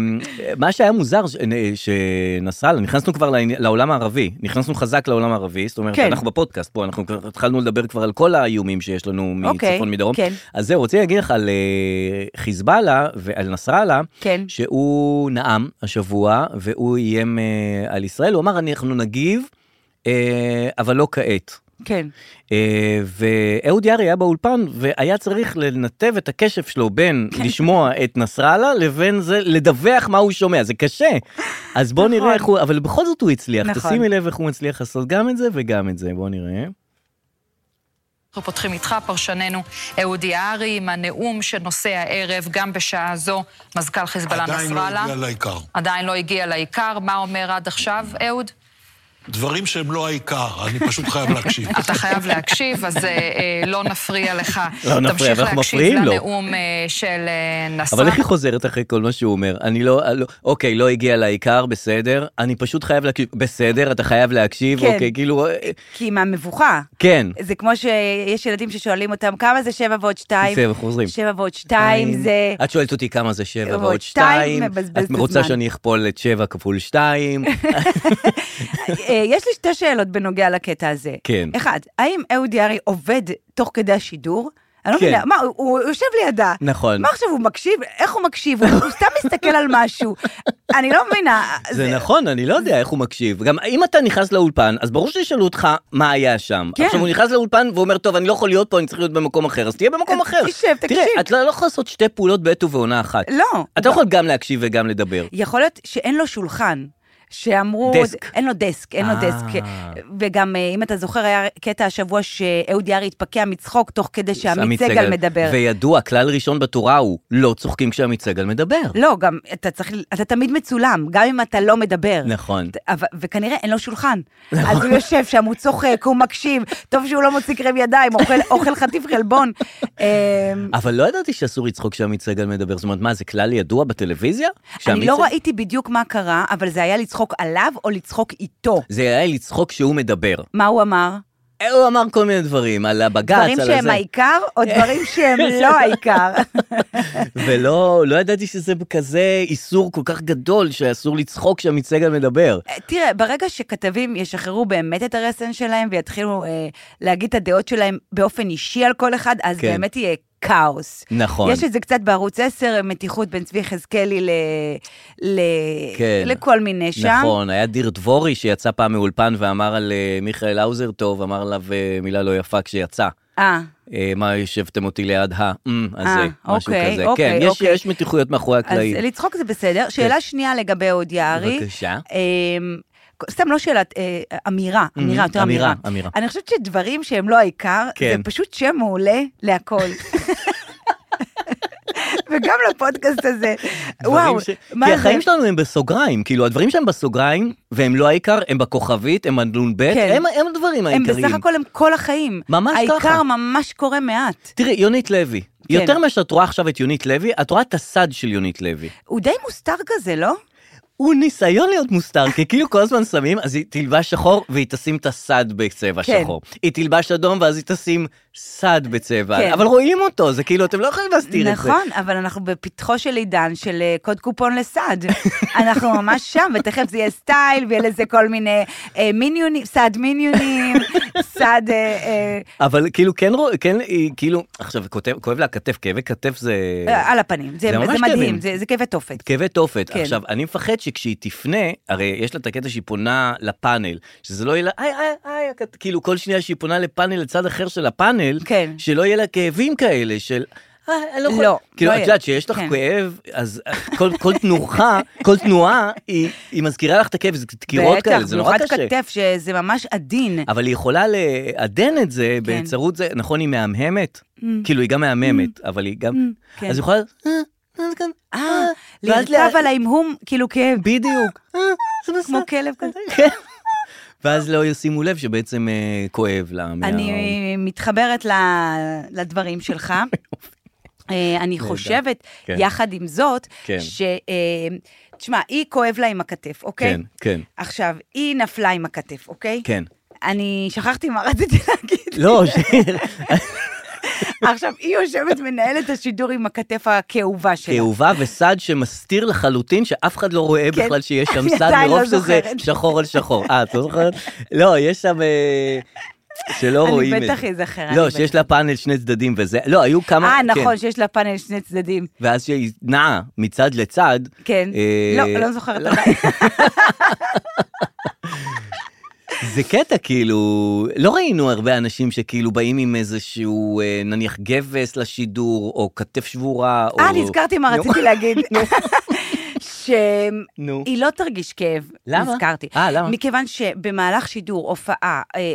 [SPEAKER 2] מה שהיה מוזר, ש- אה, שנסראללה, נכנסנו כבר לעני- לעולם הערבי, נכנסנו חזק לעולם הערבי, זאת אומרת,
[SPEAKER 3] כן.
[SPEAKER 2] אנחנו בפודקאסט פה, אנחנו כבר התחלנו לדבר כבר על כל האיומים שיש לנו
[SPEAKER 3] אוקיי,
[SPEAKER 2] מצפון מדרום.
[SPEAKER 3] כן.
[SPEAKER 2] אז זהו, רציתי להגיד לך על אה, חיזבאללה ועל נסראללה,
[SPEAKER 3] כן.
[SPEAKER 2] שהוא נאם השבוע, והוא איים אה, על ישראל, הוא אמר, אנחנו נגיב, אה, אבל לא כעת.
[SPEAKER 3] כן.
[SPEAKER 2] אה, ואהוד יארי היה באולפן והיה צריך לנתב את הקשב שלו בין
[SPEAKER 3] כן.
[SPEAKER 2] לשמוע את נסראללה לבין זה לדווח מה הוא שומע זה קשה אז בוא
[SPEAKER 3] נכון.
[SPEAKER 2] נראה איך הוא אבל בכל זאת הוא הצליח
[SPEAKER 3] נכון.
[SPEAKER 2] תשימי לב איך הוא הצליח לעשות גם את זה וגם את זה בוא נראה.
[SPEAKER 5] אנחנו פותחים איתך, פרשננו אהוד יערי, עם הנאום שנושא הערב, גם בשעה זו, מזכ"ל חיזבאללה
[SPEAKER 6] עדיין לא
[SPEAKER 5] נסראללה.
[SPEAKER 6] הגיע לעיקר.
[SPEAKER 5] עדיין לא הגיע לעיקר. מה אומר עד עכשיו, אהוד?
[SPEAKER 6] דברים שהם לא העיקר, אני פשוט חייב להקשיב.
[SPEAKER 3] [LAUGHS]
[SPEAKER 5] אתה חייב להקשיב, אז אה, אה, לא נפריע לך.
[SPEAKER 2] לא נפריע,
[SPEAKER 5] תמשיך
[SPEAKER 2] אבל אנחנו מפריעים
[SPEAKER 5] להקשיב
[SPEAKER 2] לו.
[SPEAKER 5] לנאום אה, של אה,
[SPEAKER 2] אבל
[SPEAKER 5] נסראללה.
[SPEAKER 2] איך היא חוזרת אחרי כל מה שהוא אומר אני לא, לא אוקיי לא הגיע לעיקר בסדר אני פשוט חייב להקשיב בסדר אתה חייב להקשיב
[SPEAKER 3] כן.
[SPEAKER 2] אוקיי כאילו אה,
[SPEAKER 3] כי מהמבוכה.
[SPEAKER 2] כן.
[SPEAKER 3] זה כמו שיש ילדים ששואלים אותם, כמה זה שבע ועוד שתיים?
[SPEAKER 2] בסדר, חוזרים.
[SPEAKER 3] שבע ועוד שתיים
[SPEAKER 2] [LAUGHS]
[SPEAKER 3] זה...
[SPEAKER 2] את שואלת אותי כמה זה שבע
[SPEAKER 3] ועוד
[SPEAKER 2] ועוד
[SPEAKER 3] שתיים,
[SPEAKER 2] שתיים,
[SPEAKER 3] מבזבז
[SPEAKER 2] את
[SPEAKER 3] את
[SPEAKER 2] רוצה
[SPEAKER 3] הזמן.
[SPEAKER 2] שאני אכפול את שבע כפול
[SPEAKER 3] [LAUGHS]
[SPEAKER 2] שתיים,
[SPEAKER 3] אה, יש לי שתי שאלות בנוגע לקטע הזה.
[SPEAKER 2] כן.
[SPEAKER 3] אחד, האם אהוד יערי עובד תוך כדי השידור? אני לא
[SPEAKER 2] כן.
[SPEAKER 3] מבינה, מה, הוא- הוא יושב לידה.
[SPEAKER 2] נכון.
[SPEAKER 3] מה עכשיו, הוא מקשיב? איך הוא מקשיב? הוא [LAUGHS] הוא סתם מסתכל על משהו. אני לא מבינה.
[SPEAKER 2] זה נכון, אני לא יודע איך הוא מקשיב. גם אם אתה נכנס לאולפן, אז ברור שישאלו אותך מה היה שם.
[SPEAKER 3] כן.
[SPEAKER 2] עכשיו הוא נכנס לאולפן ואומר, טוב, אני לא יכול להיות פה, אני צריך להיות במקום אחר, אז תהיה במקום
[SPEAKER 3] אז
[SPEAKER 2] אחר.
[SPEAKER 3] תשב, תקשיב.
[SPEAKER 2] תראה, אתה לא יכול לעשות שתי פעולות בעת ובעונה אחת.
[SPEAKER 3] לא.
[SPEAKER 2] אתה יכול גם להקשיב וגם לדבר.
[SPEAKER 3] יכול להיות שאין לו שולחן. שאמרו,
[SPEAKER 2] דסק.
[SPEAKER 3] אין לו דסק, אין לו
[SPEAKER 2] אה.
[SPEAKER 3] דסק. וגם, אה, אם אתה זוכר, היה קטע השבוע שאהוד יערי התפקע מצחוק תוך כדי שעמית
[SPEAKER 2] עמית
[SPEAKER 3] סגל מדבר.
[SPEAKER 2] וידוע, כלל ראשון בתורה הוא, לא צוחקים כשעמית סגל מדבר.
[SPEAKER 3] לא, גם אתה צריך, אתה תמיד מצולם, גם אם אתה לא מדבר.
[SPEAKER 2] נכון.
[SPEAKER 3] ת- אבל- וכנראה אין לו שולחן. אז הוא יושב שם, הוא צוחק, הוא מקשיב, טוב שהוא לא מוציא קרם ידיים, אוכל- אוכל חטיף
[SPEAKER 2] [LAUGHS]
[SPEAKER 3] חלבון. אמ,
[SPEAKER 2] אבל לא ידעתי שאסור לצחוק כשעמית סגל מדבר. זאת אומרת, מה, זה כלל ידוע בטלוויזיה?
[SPEAKER 3] אני
[SPEAKER 2] שעמית
[SPEAKER 3] לא
[SPEAKER 2] סגל-
[SPEAKER 3] ראיתי בדיוק מה קרה, אבל זה היה לצחוק עליו או לצחוק איתו.
[SPEAKER 2] זה היה לצחוק כשהוא מדבר.
[SPEAKER 3] מה הוא אמר?
[SPEAKER 2] הוא אמר כל מיני דברים, על הבג"ץ, על
[SPEAKER 3] דברים
[SPEAKER 2] הזה.
[SPEAKER 3] שהם העיקר,
[SPEAKER 2] [LAUGHS]
[SPEAKER 3] או דברים שהם לא העיקר.
[SPEAKER 2] ולא, לא ידעתי שזה כזה איסור כל כך גדול שאסור לצחוק כשעמית סגל מדבר.
[SPEAKER 3] תראה, ברגע שכתבים ישחררו באמת את הרסן שלהם ויתחילו אה, להגיד את הדעות שלהם באופן אישי על כל אחד, אז
[SPEAKER 2] כן.
[SPEAKER 3] באמת יהיה כאוס.
[SPEAKER 2] נכון.
[SPEAKER 3] יש את זה קצת בערוץ 10, מתיחות בין צבי יחזקאלי ל... ל...
[SPEAKER 2] כן.
[SPEAKER 3] לכל מיני שם.
[SPEAKER 2] נכון, היה דיר דבורי שיצא פעם מאולפן ואמר על אה, מיכאל האוזר טוב, אמר עליו אה, מילה לא יפה כשיצא.
[SPEAKER 3] אה,
[SPEAKER 2] אה, מה, ישבתם אותי ליד ה... אמ, הזה,
[SPEAKER 3] אה,
[SPEAKER 2] משהו
[SPEAKER 3] אוקיי,
[SPEAKER 2] כזה.
[SPEAKER 3] אוקיי,
[SPEAKER 2] כן, יש-
[SPEAKER 3] אוקיי.
[SPEAKER 2] יש מתיחויות מאחורי
[SPEAKER 3] אז
[SPEAKER 2] הקלעים.
[SPEAKER 3] לצחוק זה בסדר. שאלה שנייה לגבי אהוד יערי.
[SPEAKER 2] בבקשה.
[SPEAKER 3] אמ, סתם לא שאלת, אה, אמירה, אמירה, יותר
[SPEAKER 2] Mm-hmm, אמירה,
[SPEAKER 3] אמירה.
[SPEAKER 2] אמירה.
[SPEAKER 3] אני חושבת שדברים שהם לא העיקר, זה
[SPEAKER 2] כן.
[SPEAKER 3] פשוט שם מעולה
[SPEAKER 2] [LAUGHS]
[SPEAKER 3] להכל. וגם לפודקאסט הזה. וואו,
[SPEAKER 2] דברים ש-
[SPEAKER 3] מה
[SPEAKER 2] כי
[SPEAKER 3] זה?
[SPEAKER 2] החיים שלנו הם בסוגריים, כאילו הדברים שהם בסוגריים, והם לא העיקר, הם בכוכבית, הם הנ"ב,
[SPEAKER 3] כן.
[SPEAKER 2] הם הם
[SPEAKER 3] הם
[SPEAKER 2] הדברים העיקריים.
[SPEAKER 3] בסך הכל הם כל החיים.
[SPEAKER 2] ממש ככה.
[SPEAKER 3] העיקר ממש קורה מעט.
[SPEAKER 2] תראי, יונית לוי,
[SPEAKER 3] כן.
[SPEAKER 2] יותר ממה שאת רואה עכשיו את יונית לוי, את רואה את הסד של יונית לוי.
[SPEAKER 3] הוא די מוסתר כזה, לא?
[SPEAKER 2] הוא ניסיון להיות מוסתר, כי כאילו כל הזמן שמים, אז היא תלבש שחור והיא תשים את הסד בצבע
[SPEAKER 3] כן.
[SPEAKER 2] שחור. היא תלבש אדום ואז היא תשים סד בצבע,
[SPEAKER 3] כן.
[SPEAKER 2] אבל רואים אותו, זה כאילו, אתם לא יכולים להסתיר את זה.
[SPEAKER 3] נכון, אבל אנחנו בפתחו של עידן של אה, קוד קופון לסעד.
[SPEAKER 2] [LAUGHS]
[SPEAKER 3] אנחנו ממש שם, ותכף זה יהיה סטייל, ויהיה לזה כל מיני אה, מיניונים, סעד מיניונים, סעד... אה, אה,
[SPEAKER 2] אבל כאילו כן, רוא- כן, היא כאילו, עכשיו כותב, כואב לה הכתף, כאבי כתף זה...
[SPEAKER 3] אה, על הפנים, זה,
[SPEAKER 2] כן. זה
[SPEAKER 3] זה,
[SPEAKER 2] ממש כאבים.
[SPEAKER 3] מדהים, זה, זה כאבי תופת.
[SPEAKER 2] כאבי תופת. כן.
[SPEAKER 3] כן.
[SPEAKER 2] עכשיו, אני מפחד שכשהיא תפנה, הרי יש לה את הקטע שהיא פונה לפאנל, שזה לא יהיה לה, איי, איי, איי, הכת- כאילו כל שנייה שהיא פונה לפאנל לצד אחר של הפאנל,
[SPEAKER 3] כן.
[SPEAKER 2] שלא יהיה לה כאבים כאלה של... "אה, אני לא, יכול-"
[SPEAKER 3] לא,
[SPEAKER 2] כאילו,
[SPEAKER 3] לא
[SPEAKER 2] את
[SPEAKER 3] יהיה.
[SPEAKER 2] יודעת שיש לך
[SPEAKER 3] כן.
[SPEAKER 2] כאב, אז אה, כל, כל תנוחה, כל תנועה, היא, היא מזכירה לך את הכאב, זה דקירות כאלה, זה נורא קשה.
[SPEAKER 3] במיוחד כתף, שזה ממש עדין.
[SPEAKER 2] אבל היא יכולה לעדן את זה
[SPEAKER 3] כן.
[SPEAKER 2] באמצעות זה, נכון, היא מהמהמת? כאילו, היא גם מהממת, אבל היא גם...
[SPEAKER 3] Mm. כן.
[SPEAKER 2] אז היא יכולה... "אה, אה, זה כאן,
[SPEAKER 3] אה,
[SPEAKER 2] אה, ואז
[SPEAKER 3] לרכב על ההמהום, כאילו כאב,
[SPEAKER 2] בדיוק, אה, זה בסדר.
[SPEAKER 3] כמו כלב כזה.
[SPEAKER 2] כן. ואז לא ישימו לב שבעצם אה, כואב לה. מה-
[SPEAKER 3] אני מתחברת ל- לדברים
[SPEAKER 2] [LAUGHS]
[SPEAKER 3] שלך. אה, אני חושבת,
[SPEAKER 2] כן.
[SPEAKER 3] יחד עם זאת,
[SPEAKER 2] כן.
[SPEAKER 3] ש... אה, תשמע, היא כואב לה עם הכתף, אוקיי?
[SPEAKER 2] כן, כן,
[SPEAKER 3] עכשיו, היא נפלה עם הכתף, אוקיי? [LAUGHS]
[SPEAKER 2] כן.
[SPEAKER 3] אני שכחתי מה רציתי [LAUGHS] להגיד.
[SPEAKER 2] לא,
[SPEAKER 3] [LAUGHS] כן.
[SPEAKER 2] שיר,
[SPEAKER 3] עכשיו, היא יושבת מנהלת השידור עם הכתף הכאובה שלה.
[SPEAKER 2] כאובה וסד שמסתיר לחלוטין, שאף אחד לא רואה
[SPEAKER 3] כן.
[SPEAKER 2] בכלל שיש שם
[SPEAKER 3] [LAUGHS] אני
[SPEAKER 2] סד,
[SPEAKER 3] עדיין לא
[SPEAKER 2] מרוב שזה
[SPEAKER 3] זוכרת.
[SPEAKER 2] שחור על שחור. אה, את
[SPEAKER 3] [LAUGHS]
[SPEAKER 2] לא זוכרת? לא, יש שם... אה, שלא
[SPEAKER 3] אני
[SPEAKER 2] לא רואים את זה.
[SPEAKER 3] בטח אזכר, אני
[SPEAKER 2] לא,
[SPEAKER 3] בטח.
[SPEAKER 2] שיש לה פאנל שני צדדים וזה, לא, היו כמה...
[SPEAKER 3] אה,
[SPEAKER 2] כן.
[SPEAKER 3] נכון, שיש לה פאנל שני צדדים.
[SPEAKER 2] ואז שהיא נעה מצד לצד.
[SPEAKER 3] כן.
[SPEAKER 2] אה,
[SPEAKER 3] לא, לא זוכרת עדיין.
[SPEAKER 2] זה קטע, כאילו, לא ראינו הרבה אנשים שכאילו באים עם איזשהו, אה, נניח, גבס לשידור, או כתף שבורה, או...
[SPEAKER 3] אה, נזכרתי מה
[SPEAKER 2] נו,
[SPEAKER 3] רציתי להגיד. [LAUGHS] ש...
[SPEAKER 2] נו.
[SPEAKER 3] היא לא תרגיש כאב,
[SPEAKER 2] למה?
[SPEAKER 3] נזכרתי.
[SPEAKER 2] אה, למה?
[SPEAKER 3] מכיוון שבמהלך שידור, הופעה, אה, אה,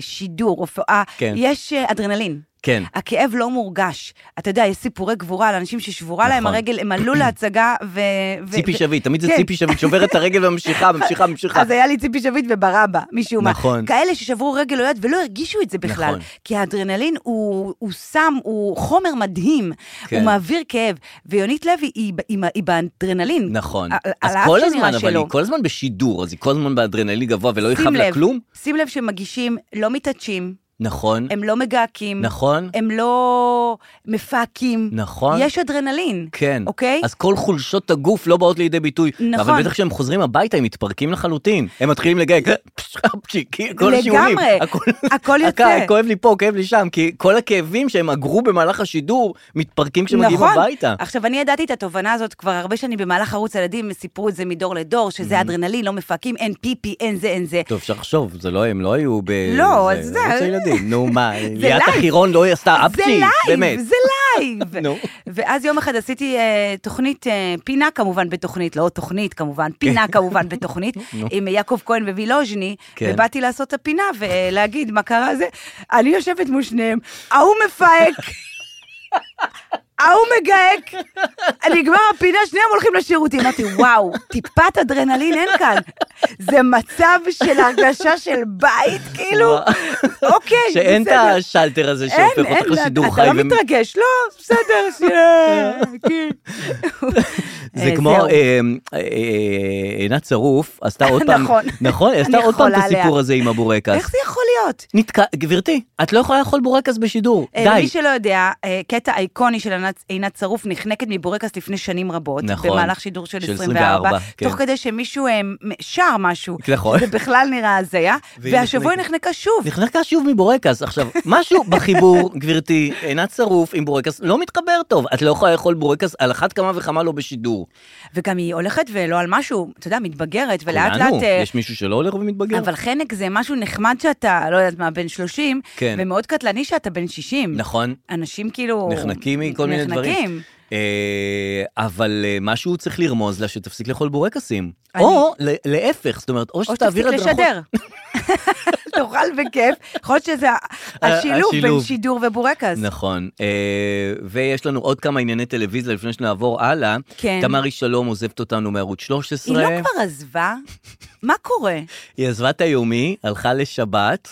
[SPEAKER 3] שידור, הופעה,
[SPEAKER 2] כן.
[SPEAKER 3] יש אה, אדרנלין.
[SPEAKER 2] כן.
[SPEAKER 3] הכאב לא מורגש. אתה יודע, יש סיפורי גבורה על אנשים ששבורה להם
[SPEAKER 2] נכון.
[SPEAKER 3] הרגל, הם עלו להצגה ו... ו-
[SPEAKER 2] ציפי
[SPEAKER 3] ו-
[SPEAKER 2] שביט, תמיד זה
[SPEAKER 3] כן.
[SPEAKER 2] ציפי שביט, שוברת את
[SPEAKER 3] [LAUGHS]
[SPEAKER 2] הרגל וממשיכה, ממשיכה, ממשיכה.
[SPEAKER 3] אז כן. היה לי ציפי שביט וברבא, משום מה.
[SPEAKER 2] נכון.
[SPEAKER 3] כאלה ששברו רגל או יד ולא הרגישו את זה בכלל.
[SPEAKER 2] נכון.
[SPEAKER 3] כי האדרנלין הוא, הוא סם, הוא חומר מדהים.
[SPEAKER 2] כן.
[SPEAKER 3] הוא מעביר כאב. ויונית לוי היא, ב- היא, ב- היא באדרנלין.
[SPEAKER 2] נכון.
[SPEAKER 3] על- על
[SPEAKER 2] אז
[SPEAKER 3] האף
[SPEAKER 2] כל
[SPEAKER 3] שנראה
[SPEAKER 2] הזמן, אבל
[SPEAKER 3] שלו.
[SPEAKER 2] היא כל הזמן בשידור, אז היא כל הזמן באדרנלין גבוה ולא
[SPEAKER 3] שים
[SPEAKER 2] יכאב לה
[SPEAKER 3] לב,
[SPEAKER 2] כלום.
[SPEAKER 3] שים לב שמגישים לא מתעטשים,
[SPEAKER 2] נכון,
[SPEAKER 3] הם לא מגהקים,
[SPEAKER 2] נכון,
[SPEAKER 3] הם לא מפהקים.
[SPEAKER 2] נכון.
[SPEAKER 3] יש אדרנלין.
[SPEAKER 2] כן.
[SPEAKER 3] אוקיי?
[SPEAKER 2] אז כל חולשות הגוף לא באות לידי ביטוי.
[SPEAKER 3] נכון.
[SPEAKER 2] אבל בטח כשהם חוזרים הביתה, הם מתפרקים לחלוטין. הם מתחילים "אה, לגייק, כל
[SPEAKER 3] לגמרי.
[SPEAKER 2] השיעולים. הכל-
[SPEAKER 3] הכל יוצא.
[SPEAKER 2] הכ- כואב לי פה, כואב לי שם, כי כל הכאבים שהם אגרו במהלך השידור, מתפרקים כשמגיעים
[SPEAKER 3] נכון.
[SPEAKER 2] הביתה.
[SPEAKER 3] עכשיו, אני ידעתי את התובנה הזאת כבר הרבה שנים במהלך ערוץ הילדים, הם סיפרו את זה מדור לדור, שזה אדרנלין, לא מפהקים, אין פיפי, אין זה, אין זה.
[SPEAKER 2] טוב, אפשר לחשוב, זה לא, הם לא היו ב...
[SPEAKER 3] לא, אז זה-
[SPEAKER 2] ערוץ הילדים, נו
[SPEAKER 3] [LAUGHS]
[SPEAKER 2] מה, ליאת
[SPEAKER 3] לייב.
[SPEAKER 2] החירון לא עשתה
[SPEAKER 3] זה
[SPEAKER 2] אפצ'י, באמת.
[SPEAKER 3] לייב, זה לייב.
[SPEAKER 2] נו.
[SPEAKER 3] ואז יום אחד עשיתי אה, תוכנית, אה, פינה כמובן בתוכנית, לא תוכנית כמובן, פינה כמובן בתוכנית, עם יעקב כהן ווילוז'ני,
[SPEAKER 2] כן.
[SPEAKER 3] ובאתי לעשות את הפינה ולהגיד מה קרה זה. אני יושבת מול שניהם, ההוא מפהק. ההוא מגהק, נגמר הפינה, שניהם הולכים לשירותים. אמרתי, וואו, טיפת אדרנלין אין כאן. זה מצב של הרגשה של בית, כאילו, אוקיי, בסדר.
[SPEAKER 2] שאין את השלטר הזה שהופך
[SPEAKER 3] אין,
[SPEAKER 2] אותך
[SPEAKER 3] אין,
[SPEAKER 2] לשידור חי.
[SPEAKER 3] אתה לא
[SPEAKER 2] ו-
[SPEAKER 3] מתרגש, לא, בסדר, [LAUGHS] שנייה,
[SPEAKER 2] [LAUGHS]
[SPEAKER 3] כן.
[SPEAKER 2] זה
[SPEAKER 3] אה,
[SPEAKER 2] כמו
[SPEAKER 3] זהו.
[SPEAKER 2] אה, אה, אה, עינת שרוף, עשתה
[SPEAKER 3] [LAUGHS]
[SPEAKER 2] עוד פעם,
[SPEAKER 3] נכון.
[SPEAKER 2] נכון, היא עשתה
[SPEAKER 3] אני
[SPEAKER 2] עוד פעם את
[SPEAKER 3] חולה עליה.
[SPEAKER 2] הסיפור הזה עם הבורקס.
[SPEAKER 3] איך זה יכול להיות?
[SPEAKER 2] נתק... גברתי, את לא יכולה לאכול בורקס בשידור,
[SPEAKER 3] אה,
[SPEAKER 2] די.
[SPEAKER 3] למי שלא יודע, אה, קטע אייקוני של ענת- עינת שרוף נחנקת מבורקס לפני שנים רבות,
[SPEAKER 2] נכון.
[SPEAKER 3] במהלך שידור של
[SPEAKER 2] של
[SPEAKER 3] 24,
[SPEAKER 2] 24, כן.
[SPEAKER 3] תוך כדי שמישהו אה, מ- שר משהו,
[SPEAKER 2] נכון.
[SPEAKER 3] זה בכלל נראה הזיה,
[SPEAKER 2] והיא
[SPEAKER 3] והשבוע היא
[SPEAKER 2] נחנקת.
[SPEAKER 3] נחנקה שוב.
[SPEAKER 2] נחנקה שוב מבורקס. עכשיו, משהו בחיבור, [LAUGHS] גברתי, עינת שרוף עם בורקס, לא מתחבר טוב. את לא יכולה לאכול בורקס, על אחת כמה וכמה לא בשידור.
[SPEAKER 3] וגם היא הולכת ולא על משהו, אתה יודע, מתבגרת, ולאט
[SPEAKER 2] כולנו,
[SPEAKER 3] לאט... אה,
[SPEAKER 2] יש מישהו שלא הולך ומתבגר?
[SPEAKER 3] אבל חנק זה משהו נחמד שאתה, לא יודעת מה, בן 30,
[SPEAKER 2] כן.
[SPEAKER 3] ומאוד קטלני שאתה בן 60.
[SPEAKER 2] נכון.
[SPEAKER 3] אנשים כאילו...
[SPEAKER 2] נחנקים מכל מיני דברים.
[SPEAKER 3] נחנקים.
[SPEAKER 2] אה, אבל אה, משהו צריך לרמוז לה שתפסיק לאכול בורקסים.
[SPEAKER 3] אני-
[SPEAKER 2] או ל- להפך, זאת אומרת, או
[SPEAKER 3] או
[SPEAKER 2] שתעביר
[SPEAKER 3] שתפסיק
[SPEAKER 2] הדרכות...
[SPEAKER 3] לשדר. [LAUGHS] תאכל בכיף, יכול להיות שזה השילוב בין
[SPEAKER 2] אה, השילוב.
[SPEAKER 3] שידור ובורקס.
[SPEAKER 2] נכון, אה, ויש לנו עוד כמה ענייני טלוויזיה לפני שנעבור הלאה.
[SPEAKER 3] כן.
[SPEAKER 2] תמרי שלום עוזבת אותנו מערוץ 13.
[SPEAKER 3] היא לא כבר עזבה? מה קורה?
[SPEAKER 2] היא עזבה את היומי, הלכה לשבת.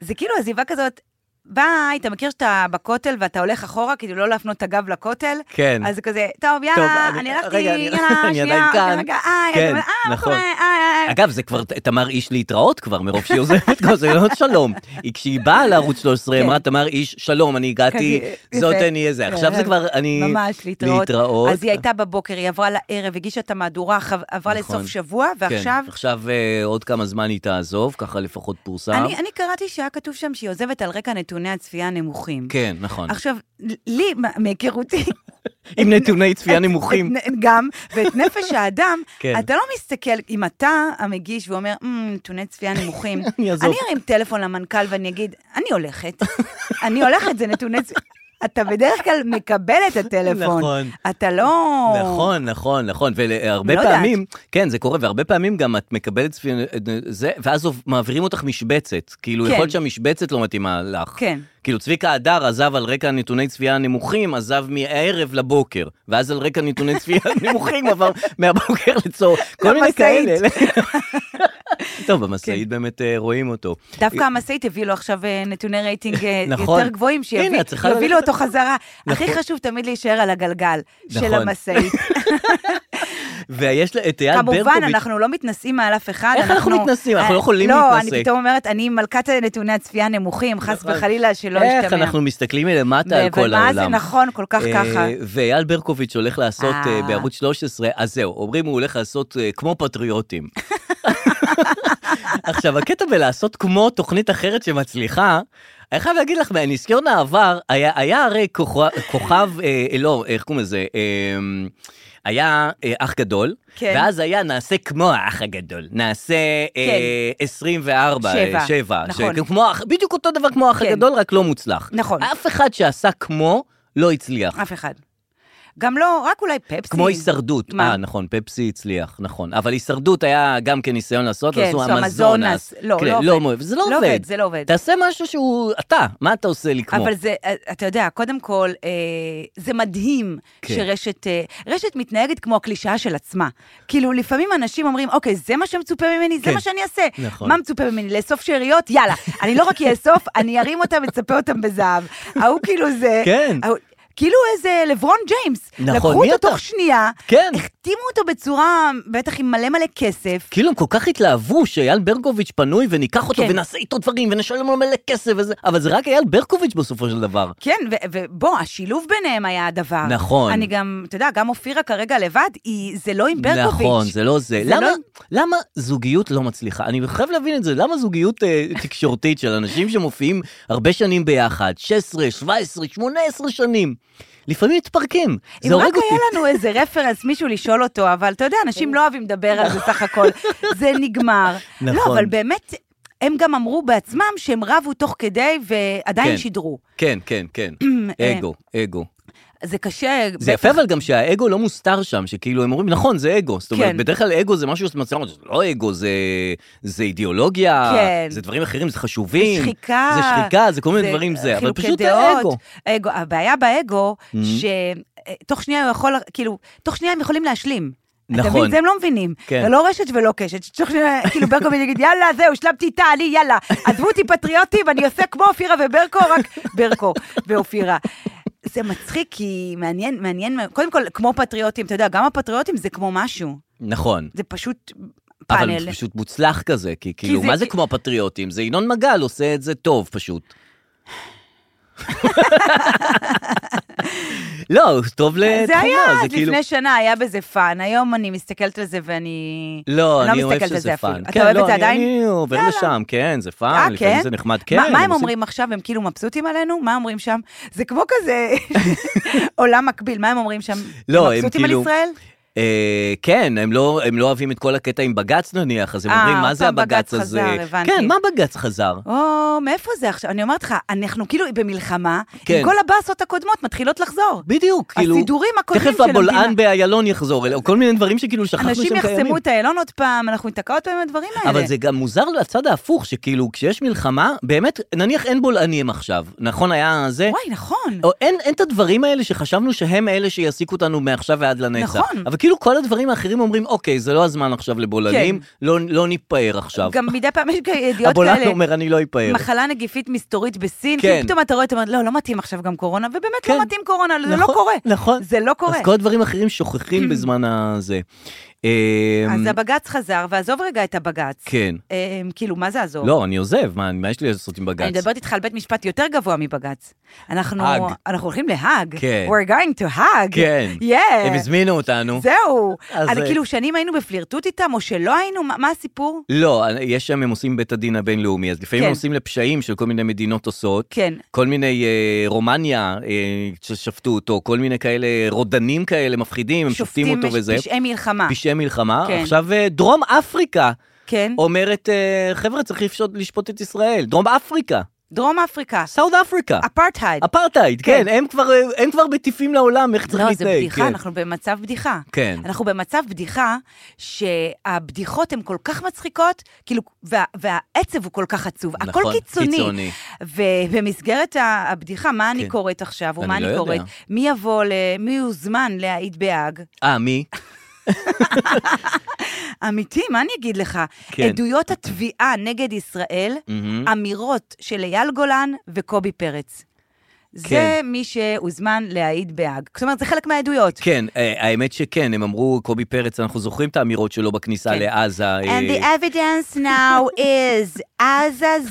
[SPEAKER 3] זה כאילו עזיבה כזאת, ביי, אתה מכיר שאתה בכותל ואתה הולך אחורה כדי לא להפנות את הגב לכותל?
[SPEAKER 2] כן.
[SPEAKER 3] אז זה כזה, טוב, יאללה,
[SPEAKER 2] אני-
[SPEAKER 3] אני הלכתי,
[SPEAKER 2] רגע, אני-
[SPEAKER 3] יאללה,
[SPEAKER 2] [LAUGHS] אני
[SPEAKER 3] שנייה,
[SPEAKER 2] עדיין כאן."
[SPEAKER 3] רגע, איי,
[SPEAKER 2] כן,
[SPEAKER 3] אתה אומר, אה, מה
[SPEAKER 2] נכון.
[SPEAKER 3] קורה, איי, איי.
[SPEAKER 2] אגב, זה כבר ת- תמר איש להתראות כבר, מרוב שהיא עוזבת כבר, זה לא שלום. היא כשהיא באה לערוץ 13, היא
[SPEAKER 3] כן.
[SPEAKER 2] אמרה, תמר איש, שלום, אני הגעתי,
[SPEAKER 3] כזה,
[SPEAKER 2] זאת
[SPEAKER 3] יפה. כן,
[SPEAKER 2] אני אהיה זה. עכשיו זה כבר, אני...
[SPEAKER 3] ממש, להתראות.
[SPEAKER 2] להתראות.
[SPEAKER 3] אז היא הייתה בבוקר, היא עברה לערב, הגישה את המהדורה, חב- עברה
[SPEAKER 2] נכון.
[SPEAKER 3] לסוף שבוע, ועכשיו...
[SPEAKER 2] כן, עכשיו אה, עוד כמה זמן היא תעזוב, ככה לפחות פורסם.
[SPEAKER 3] אני אני קראתי שהיה כתוב שם שהיא עוזבת על רקע נתוני הצפייה הנמוכים.
[SPEAKER 2] כן, נכון.
[SPEAKER 3] עכשיו, לי, מה- מהיכרותי,
[SPEAKER 2] עם נתוני צפייה נמוכים.
[SPEAKER 3] את- גם, ואת נפש האדם,
[SPEAKER 2] [LAUGHS] כן.
[SPEAKER 3] אתה לא מסתכל, אם אתה המגיש ואומר, "מ, נתוני צפייה
[SPEAKER 2] [LAUGHS]
[SPEAKER 3] נמוכים,
[SPEAKER 2] אני אעזוב.
[SPEAKER 3] אני ארים טלפון למנכ"ל ואני אגיד, אני הולכת, אני הולכת, זה נתוני צפייה. אתה בדרך כלל מקבל את הטלפון.
[SPEAKER 2] נכון.
[SPEAKER 3] אתה לא...
[SPEAKER 2] נכון, נכון, נכון, והרבה
[SPEAKER 3] לא
[SPEAKER 2] פעמים, כן, זה קורה, והרבה פעמים גם את מקבלת צפי... זה, ואז עוב- מעבירים אותך משבצת. כאילו,
[SPEAKER 3] כן.
[SPEAKER 2] יכול להיות שהמשבצת לא מתאימה לך.
[SPEAKER 3] כן.
[SPEAKER 2] כאילו, צביקה הדר עזב על רקע נתוני צפייה הנמוכים, עזב מהערב לבוקר, ואז על רקע נתוני
[SPEAKER 3] [LAUGHS]
[SPEAKER 2] צפייה הנמוכים עבר מהבוקר לצור, כל מיני
[SPEAKER 3] למשאית.
[SPEAKER 2] כאלה.
[SPEAKER 3] [LAUGHS]
[SPEAKER 2] טוב,
[SPEAKER 3] כן.
[SPEAKER 2] במשאית באמת אה, רואים אותו.
[SPEAKER 3] דווקא המשאית הביא לו עכשיו אה, נתוני רייטינג אה,
[SPEAKER 2] [LAUGHS] נכון.
[SPEAKER 3] יותר גבוהים,
[SPEAKER 2] הנה, את צריכה
[SPEAKER 3] שיביא לו
[SPEAKER 2] ללכת-
[SPEAKER 3] אותו חזרה. הכי
[SPEAKER 2] נכון.
[SPEAKER 3] חשוב תמיד להישאר על הגלגל של
[SPEAKER 2] נכון. [LAUGHS]
[SPEAKER 3] המשאית.
[SPEAKER 2] ויש לה את אייל ברקוביץ'.
[SPEAKER 3] כמובן, אנחנו לא מתנשאים מעל אף אחד.
[SPEAKER 2] איך אנחנו מתנשאים? אנחנו לא
[SPEAKER 3] אה,
[SPEAKER 2] יכולים
[SPEAKER 3] לא,
[SPEAKER 2] להתנשא. נכון.
[SPEAKER 3] אני פתאום אומרת, אני מלכת נתוני הצפייה הנמוכים, חס וחלילה, שלא ישתמע.
[SPEAKER 2] איך אנחנו מסתכלים מלמטה על
[SPEAKER 3] לא ו-
[SPEAKER 2] כל העולם.
[SPEAKER 3] ומה זה נכון כל כך
[SPEAKER 2] אה,
[SPEAKER 3] ככה?
[SPEAKER 2] ואייל ברקוביץ' הולך לעשות
[SPEAKER 3] אה.
[SPEAKER 2] אה, בערוץ 13, אז זהו, אומרים הוא הולך לעשות אה, כמו
[SPEAKER 3] [LAUGHS]
[SPEAKER 2] פטריוטים. עכשיו, הקטע בלעשות כמו תוכנית אחרת שמצליחה, אני חייב להגיד לך, מניסיון העבר, היה, היה הרי כוכב, כוכב אה, לא, איך קוראים לזה? אה, היה אה, אח גדול,
[SPEAKER 3] כן.
[SPEAKER 2] ואז היה נעשה כמו האח הגדול, נעשה אה, 24,
[SPEAKER 3] כן. שבע,
[SPEAKER 2] 7,
[SPEAKER 3] נכון.
[SPEAKER 2] כמו, האח- בדיוק אותו דבר כמו האח
[SPEAKER 3] כן.
[SPEAKER 2] הגדול, רק לא מוצלח.
[SPEAKER 3] נכון.
[SPEAKER 2] אף אחד שעשה כמו לא הצליח.
[SPEAKER 3] אף אחד. גם לא, רק אולי פפסי.
[SPEAKER 2] כמו הישרדות.
[SPEAKER 3] מה?
[SPEAKER 2] אה, נכון, פפסי הצליח, נכון. אבל הישרדות היה גם כן ניסיון לעשות,
[SPEAKER 3] כן,
[SPEAKER 2] עשו
[SPEAKER 3] עשו
[SPEAKER 2] המזונס.
[SPEAKER 3] המזונס. לא,
[SPEAKER 2] כן,
[SPEAKER 3] לא עובד.
[SPEAKER 2] זה לא
[SPEAKER 3] לא
[SPEAKER 2] עובד.
[SPEAKER 3] עובד, זה לא עובד.
[SPEAKER 2] תעשה משהו שהוא אתה, מה אתה עושה לי כמו?
[SPEAKER 3] אבל זה, אה, אתה יודע, קודם כל, אה, זה מדהים כן.
[SPEAKER 2] כן.
[SPEAKER 3] שרשת אה, רשת מתנהגת כמו הקלישאה של עצמה. כאילו, לפעמים אנשים אומרים, אוקיי, זה מה שמצופה ממני,
[SPEAKER 2] כן.
[SPEAKER 3] זה מה שאני אעשה.
[SPEAKER 2] נכון.
[SPEAKER 3] מה מצופה ממני? לאסוף שאריות? יאללה. [LAUGHS] אני לא רק אאסוף, אני ארים אותם, אצפה אותם בזהב. ההוא כאילו זה...
[SPEAKER 2] כן.
[SPEAKER 3] ההוא, כאילו איזה לברון ג'יימס.
[SPEAKER 2] נכון,
[SPEAKER 3] לקחו
[SPEAKER 2] מי
[SPEAKER 3] אותו
[SPEAKER 2] אתה?
[SPEAKER 3] תוך שנייה,
[SPEAKER 2] כן.
[SPEAKER 3] החתימו אותו בצורה, בטח עם מלא מלא כסף.
[SPEAKER 2] כאילו הם כל כך התלהבו שאייל ברקוביץ' פנוי וניקח אותו
[SPEAKER 3] כן.
[SPEAKER 2] ונעשה איתו דברים ונשלם לו מלא כסף וזה, אבל זה רק אייל ברקוביץ' בסופו של דבר.
[SPEAKER 3] כן, ו- ובוא, השילוב ביניהם היה הדבר.
[SPEAKER 2] נכון.
[SPEAKER 3] אני גם, אתה יודע, גם אופירה כרגע לבד, היא, זה לא עם ברקוביץ'.
[SPEAKER 2] נכון, זה לא זה.
[SPEAKER 3] זה
[SPEAKER 2] למה,
[SPEAKER 3] לא-
[SPEAKER 2] למה זוגיות לא מצליחה? אני חייב להבין את זה. למה זוגיות אה, תקשורתית של אנשים שמופיעים הרבה שנים ביחד, 16, 17, 18 שנים, לפעמים מתפרקים. זה
[SPEAKER 3] אם רק
[SPEAKER 2] הורג אותי.
[SPEAKER 3] היה לנו איזה רפרנס, מישהו לשאול אותו, אבל אתה יודע, אנשים לא אוהבים לדבר על זה סך
[SPEAKER 2] [LAUGHS]
[SPEAKER 3] הכל. זה נגמר.
[SPEAKER 2] נכון.
[SPEAKER 3] לא, אבל באמת, הם גם אמרו בעצמם שהם רבו תוך כדי
[SPEAKER 2] כן.
[SPEAKER 3] ועדיין שידרו.
[SPEAKER 2] כן, כן, כן.
[SPEAKER 3] [CLEARS THROAT] אה,
[SPEAKER 2] אגו, אגו.
[SPEAKER 3] זה קשה.
[SPEAKER 2] זה
[SPEAKER 3] בטח.
[SPEAKER 2] יפה אבל גם שהאגו לא מוסתר שם, שכאילו הם אומרים, נכון, זה אגו. זאת אומרת,
[SPEAKER 3] כן.
[SPEAKER 2] בדרך כלל אגו זה משהו שמצלם, זה לא אגו, זה- זה אידיאולוגיה,
[SPEAKER 3] כן.
[SPEAKER 2] זה דברים אחרים, זה
[SPEAKER 3] זה
[SPEAKER 2] חשובים.
[SPEAKER 3] שחיקה.
[SPEAKER 2] זה שחיקה, זה כל מיני דברים זה, אבל
[SPEAKER 3] חילוקי
[SPEAKER 2] פשוט Mm-hmm.
[SPEAKER 3] דעות.
[SPEAKER 2] זה אגו.
[SPEAKER 3] אגו. הבעיה באגו, שתוך שנייה הוא יכול, כאילו, תוך שנייה הם יכולים להשלים. אתה
[SPEAKER 2] נכון.
[SPEAKER 3] מבין? זה הם לא מבינים.
[SPEAKER 2] כן.
[SPEAKER 3] זה לא רשת ולא קשת. שתוך שנייה, כאילו ברקוביץ' יגיד, יאללה, זהו, השלמתי איתה, אני, יאללה, עזבו אותי פטריוטים, אני עושה כמו אופירה וברקו, רק ברקו ואופירה. זה מצחיק, כי מעניין, מעניין, קודם כל, כמו פטריוטים, אתה יודע, גם הפטריוטים זה כמו משהו.
[SPEAKER 2] נכון.
[SPEAKER 3] זה פשוט פאנל.
[SPEAKER 2] אבל פשוט מוצלח כזה, כי כאילו,
[SPEAKER 3] זה-
[SPEAKER 2] מה זה
[SPEAKER 3] כי-
[SPEAKER 2] כמו הפטריוטים? זה ינון מגל עושה את זה טוב פשוט.
[SPEAKER 3] [LAUGHS]
[SPEAKER 2] לא, טוב לתחומו,
[SPEAKER 3] זה היה
[SPEAKER 2] זה
[SPEAKER 3] אז
[SPEAKER 2] כאילו...
[SPEAKER 3] לפני שנה, היה בזה פאן. היום אני מסתכלת על זה ואני...
[SPEAKER 2] לא, אני
[SPEAKER 3] לא
[SPEAKER 2] אוהב
[SPEAKER 3] מסתכלת על
[SPEAKER 2] שזה
[SPEAKER 3] זה אפילו.
[SPEAKER 2] פאן.
[SPEAKER 3] אתה
[SPEAKER 2] כן,
[SPEAKER 3] אוהב
[SPEAKER 2] לא,
[SPEAKER 3] את זה
[SPEAKER 2] אני-
[SPEAKER 3] עדיין?
[SPEAKER 2] אני עובר
[SPEAKER 3] יאללה.
[SPEAKER 2] לשם, כן, זה
[SPEAKER 3] אה,
[SPEAKER 2] פאן, לפעמים
[SPEAKER 3] כן?
[SPEAKER 2] זה נחמד. כן,
[SPEAKER 3] מה- מה הם
[SPEAKER 2] עושים-
[SPEAKER 3] אומרים עכשיו? הם כאילו מבסוטים עלינו? מה אומרים שם? זה כמו כזה [LAUGHS] עולם מקביל, מה הם אומרים שם?
[SPEAKER 2] לא, הם
[SPEAKER 3] מבסוטים על
[SPEAKER 2] כאילו-
[SPEAKER 3] ישראל?
[SPEAKER 2] אה, כן, הם לא, הם לא אוהבים את כל הקטע עם בג"ץ נניח, אז הם
[SPEAKER 3] אה,
[SPEAKER 2] אומרים, מה
[SPEAKER 3] עוד
[SPEAKER 2] זה
[SPEAKER 3] פעם בג"ץ
[SPEAKER 2] הבג"ץ
[SPEAKER 3] חזר,
[SPEAKER 2] הזה?
[SPEAKER 3] הבנתי.
[SPEAKER 2] כן, מה בג"ץ חזר?
[SPEAKER 3] או, מאיפה זה עכשיו? אני אומרת לך, אנחנו כאילו במלחמה,
[SPEAKER 2] כן.
[SPEAKER 3] עם כל הבאסות הקודמות מתחילות לחזור.
[SPEAKER 2] בדיוק, כאילו...
[SPEAKER 3] הסידורים הקודמים
[SPEAKER 2] תכף
[SPEAKER 3] של המדינה.
[SPEAKER 2] הבולען באיילון יחזור, אלה- או כל מיני דברים שכאילו שכחנו שהם
[SPEAKER 3] אנשים
[SPEAKER 2] קיימים.
[SPEAKER 3] יחסמו את איילון עוד פעם, אנחנו ניתקע עוד פעם עם הדברים האלה.
[SPEAKER 2] אבל זה גם מוזר לצד ההפוך, שכאילו כשיש מלחמה, באמת, נניח אין בולענים עכשיו, נכון היה זה?
[SPEAKER 3] וואי, נכון.
[SPEAKER 2] או אין, אין את הדברים האלה שחשבנו שהם אלה שיעסיקו אותנו מעכשיו ועד לנצח.
[SPEAKER 3] נכון.
[SPEAKER 2] אבל כאילו כל הדברים האחרים אומרים, אוקיי, זה לא הזמן עכשיו לבולענים,
[SPEAKER 3] כן.
[SPEAKER 2] לא, לא ניפאר עכשיו.
[SPEAKER 3] גם מדי פעם יש כאלה ידיעות
[SPEAKER 2] הבולען
[SPEAKER 3] כאלה.
[SPEAKER 2] אומר, אני לא איפאר.
[SPEAKER 3] מחלה נגיפית מסתורית בסין,
[SPEAKER 2] כן.
[SPEAKER 3] כן. פתאום אתה רואה, אתה אומר, לא, לא מתאים עכשיו גם קורונה, ובאמת
[SPEAKER 2] כן.
[SPEAKER 3] לא מתאים קורונה, זה לא
[SPEAKER 2] נכון,
[SPEAKER 3] קורה.
[SPEAKER 2] נכון.
[SPEAKER 3] זה לא קורה.
[SPEAKER 2] אז כל הדברים האחרים
[SPEAKER 3] [CLEARS THROAT]
[SPEAKER 2] שוכחים בזמן הזה. אמ,
[SPEAKER 3] אז הבג"ץ חזר, ועזוב רגע את הבג"ץ.
[SPEAKER 2] כן.
[SPEAKER 3] אה, כאילו, מה זה עזוב?
[SPEAKER 2] לא, אני עוזב, מה, מה יש לי לעשות עם
[SPEAKER 3] אני
[SPEAKER 2] בג"ץ?
[SPEAKER 3] מדברת איתך על בית משפט יותר גבוה מבג"ץ. אנחנו,
[SPEAKER 2] האג.
[SPEAKER 3] אנחנו הולכים להאג.
[SPEAKER 2] כן.
[SPEAKER 3] We're going to האג.
[SPEAKER 2] כן.
[SPEAKER 3] Yeah.
[SPEAKER 2] הם הזמינו אותנו.
[SPEAKER 3] זהו.
[SPEAKER 2] אז,
[SPEAKER 3] אני
[SPEAKER 2] אה,
[SPEAKER 3] כאילו, שנים היינו בפלירטוט איתם, או שלא היינו, מה, מה הסיפור?
[SPEAKER 2] לא, יש שם, הם עושים בית הדין הבינלאומי, אז לפעמים
[SPEAKER 3] כן.
[SPEAKER 2] הם עושים לפשעים של כל מיני מדינות עושות.
[SPEAKER 3] כן.
[SPEAKER 2] כל מיני אה, רומניה אה, ששפטו אותו, כל מיני כאלה רודנים כאלה מפחידים, הם שופטים אותו
[SPEAKER 3] מש-
[SPEAKER 2] וזה.
[SPEAKER 3] פשעי מלחמה.
[SPEAKER 2] פשעי מלחמה.
[SPEAKER 3] כן.
[SPEAKER 2] עכשיו אה, דרום אפריקה
[SPEAKER 3] כן.
[SPEAKER 2] אומרת, אה, חבר'ה, צריך לפשוט- לשפוט את ישראל. דרום אפריקה,
[SPEAKER 3] דרום אפריקה.
[SPEAKER 2] סאוד אפריקה.
[SPEAKER 3] אפרטהייד.
[SPEAKER 2] אפרטהייד,
[SPEAKER 3] כן.
[SPEAKER 2] כן, הם כבר, אה, הם כבר מטיפים לעולם איך צריך
[SPEAKER 3] לא,
[SPEAKER 2] להתנהג.
[SPEAKER 3] זה בדיחה, נכון.
[SPEAKER 2] כן.
[SPEAKER 3] אנחנו במצב בדיחה.
[SPEAKER 2] כן.
[SPEAKER 3] אנחנו במצב בדיחה שהבדיחות הן כל כך מצחיקות, כאילו, וה, והעצב הוא כל כך עצוב.
[SPEAKER 2] נכון,
[SPEAKER 3] הכל קיצוני.
[SPEAKER 2] קיצוני.
[SPEAKER 3] ובמסגרת ה- הבדיחה, מה אני
[SPEAKER 2] כן.
[SPEAKER 3] קוראת עכשיו, או
[SPEAKER 2] אני
[SPEAKER 3] מה
[SPEAKER 2] לא
[SPEAKER 3] אני
[SPEAKER 2] יודע.
[SPEAKER 3] קוראת? מי יבוא, ל... מי יוזמן להעיד בהאג?
[SPEAKER 2] אה, מי?
[SPEAKER 3] אמיתי, מה אני אגיד לך?
[SPEAKER 2] כן.
[SPEAKER 3] עדויות התביעה נגד ישראל,
[SPEAKER 2] מהמם.
[SPEAKER 3] אמירות של אייל גולן וקובי פרץ. זה מי שהוזמן להעיד בהאג. זאת אומרת, זה חלק מהעדויות.
[SPEAKER 2] כן, אה, האמת שכן, הם אמרו, קובי פרץ, אנחנו זוכרים את האמירות שלו בכניסה
[SPEAKER 3] כן.
[SPEAKER 2] לעזה. אה,
[SPEAKER 3] And the evidence now is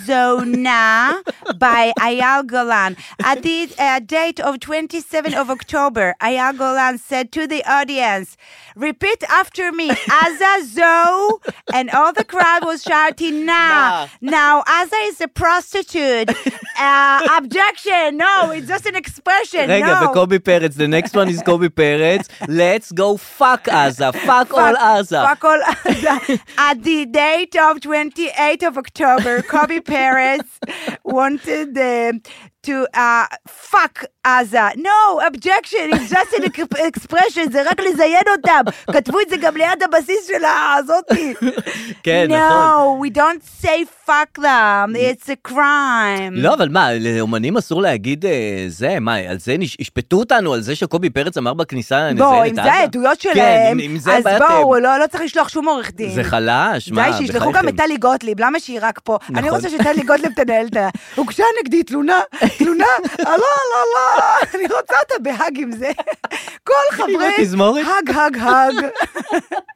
[SPEAKER 3] Azazona by Ayal Golan. At the uh, date of 27 of October, Ayal Golan said to the audience, repeat after me, Azazo, and all the crowd was shouting, nah. Now, Aza is a prostitute. Uh, objection, no, it's just an expression,
[SPEAKER 2] רגע,
[SPEAKER 3] no.
[SPEAKER 2] וקובי פרץ, the next one is קובי פרץ, let's go fuck עזה, fuck all עזה.
[SPEAKER 3] Fuck all
[SPEAKER 2] [LAUGHS]
[SPEAKER 3] Gaza. At the date of 28 of October, Kobe Perez wanted uh, to uh, fuck Gaza. No, objection, it's just an ex- [LAUGHS] expression, זה רק לזיין אותם. כתבו את זה גם ליד הבסיס של הזאתי.
[SPEAKER 2] [LAUGHS] כן,
[SPEAKER 3] No,
[SPEAKER 2] נכון.
[SPEAKER 3] we don't say fuck them, it's a crime.
[SPEAKER 2] לא, אבל מה, לאומנים אסור להגיד אה, זה, מה, על זה נש- ישפטו אותנו, על זה שקובי פרץ אמר בכניסה,
[SPEAKER 3] בוא,
[SPEAKER 2] נזיין
[SPEAKER 3] אם
[SPEAKER 2] את
[SPEAKER 3] זה
[SPEAKER 2] עזה?
[SPEAKER 3] העדויות
[SPEAKER 2] כן,
[SPEAKER 3] שלהם,
[SPEAKER 2] אם- אם זה
[SPEAKER 3] אז
[SPEAKER 2] בעתם.
[SPEAKER 3] בואו, לא לא צריך לשלוח שום עורך דין.
[SPEAKER 2] זה חלש, מה,
[SPEAKER 3] די, שישלחו גם
[SPEAKER 2] בחייכם.
[SPEAKER 3] את טלי גוטליב, למה שהיא רק פה? אני
[SPEAKER 2] נכון.
[SPEAKER 3] רוצה שטלי גוטליב תנהל את ה... הוגשה נגדי תלונה, תלונה, אה, לא, לא, לא, אני רוצה אותה בהאג עם זה.
[SPEAKER 2] [LAUGHS]
[SPEAKER 3] כל חברי...
[SPEAKER 2] התזמורת?
[SPEAKER 3] האג, האג, האג.
[SPEAKER 2] [LAUGHS]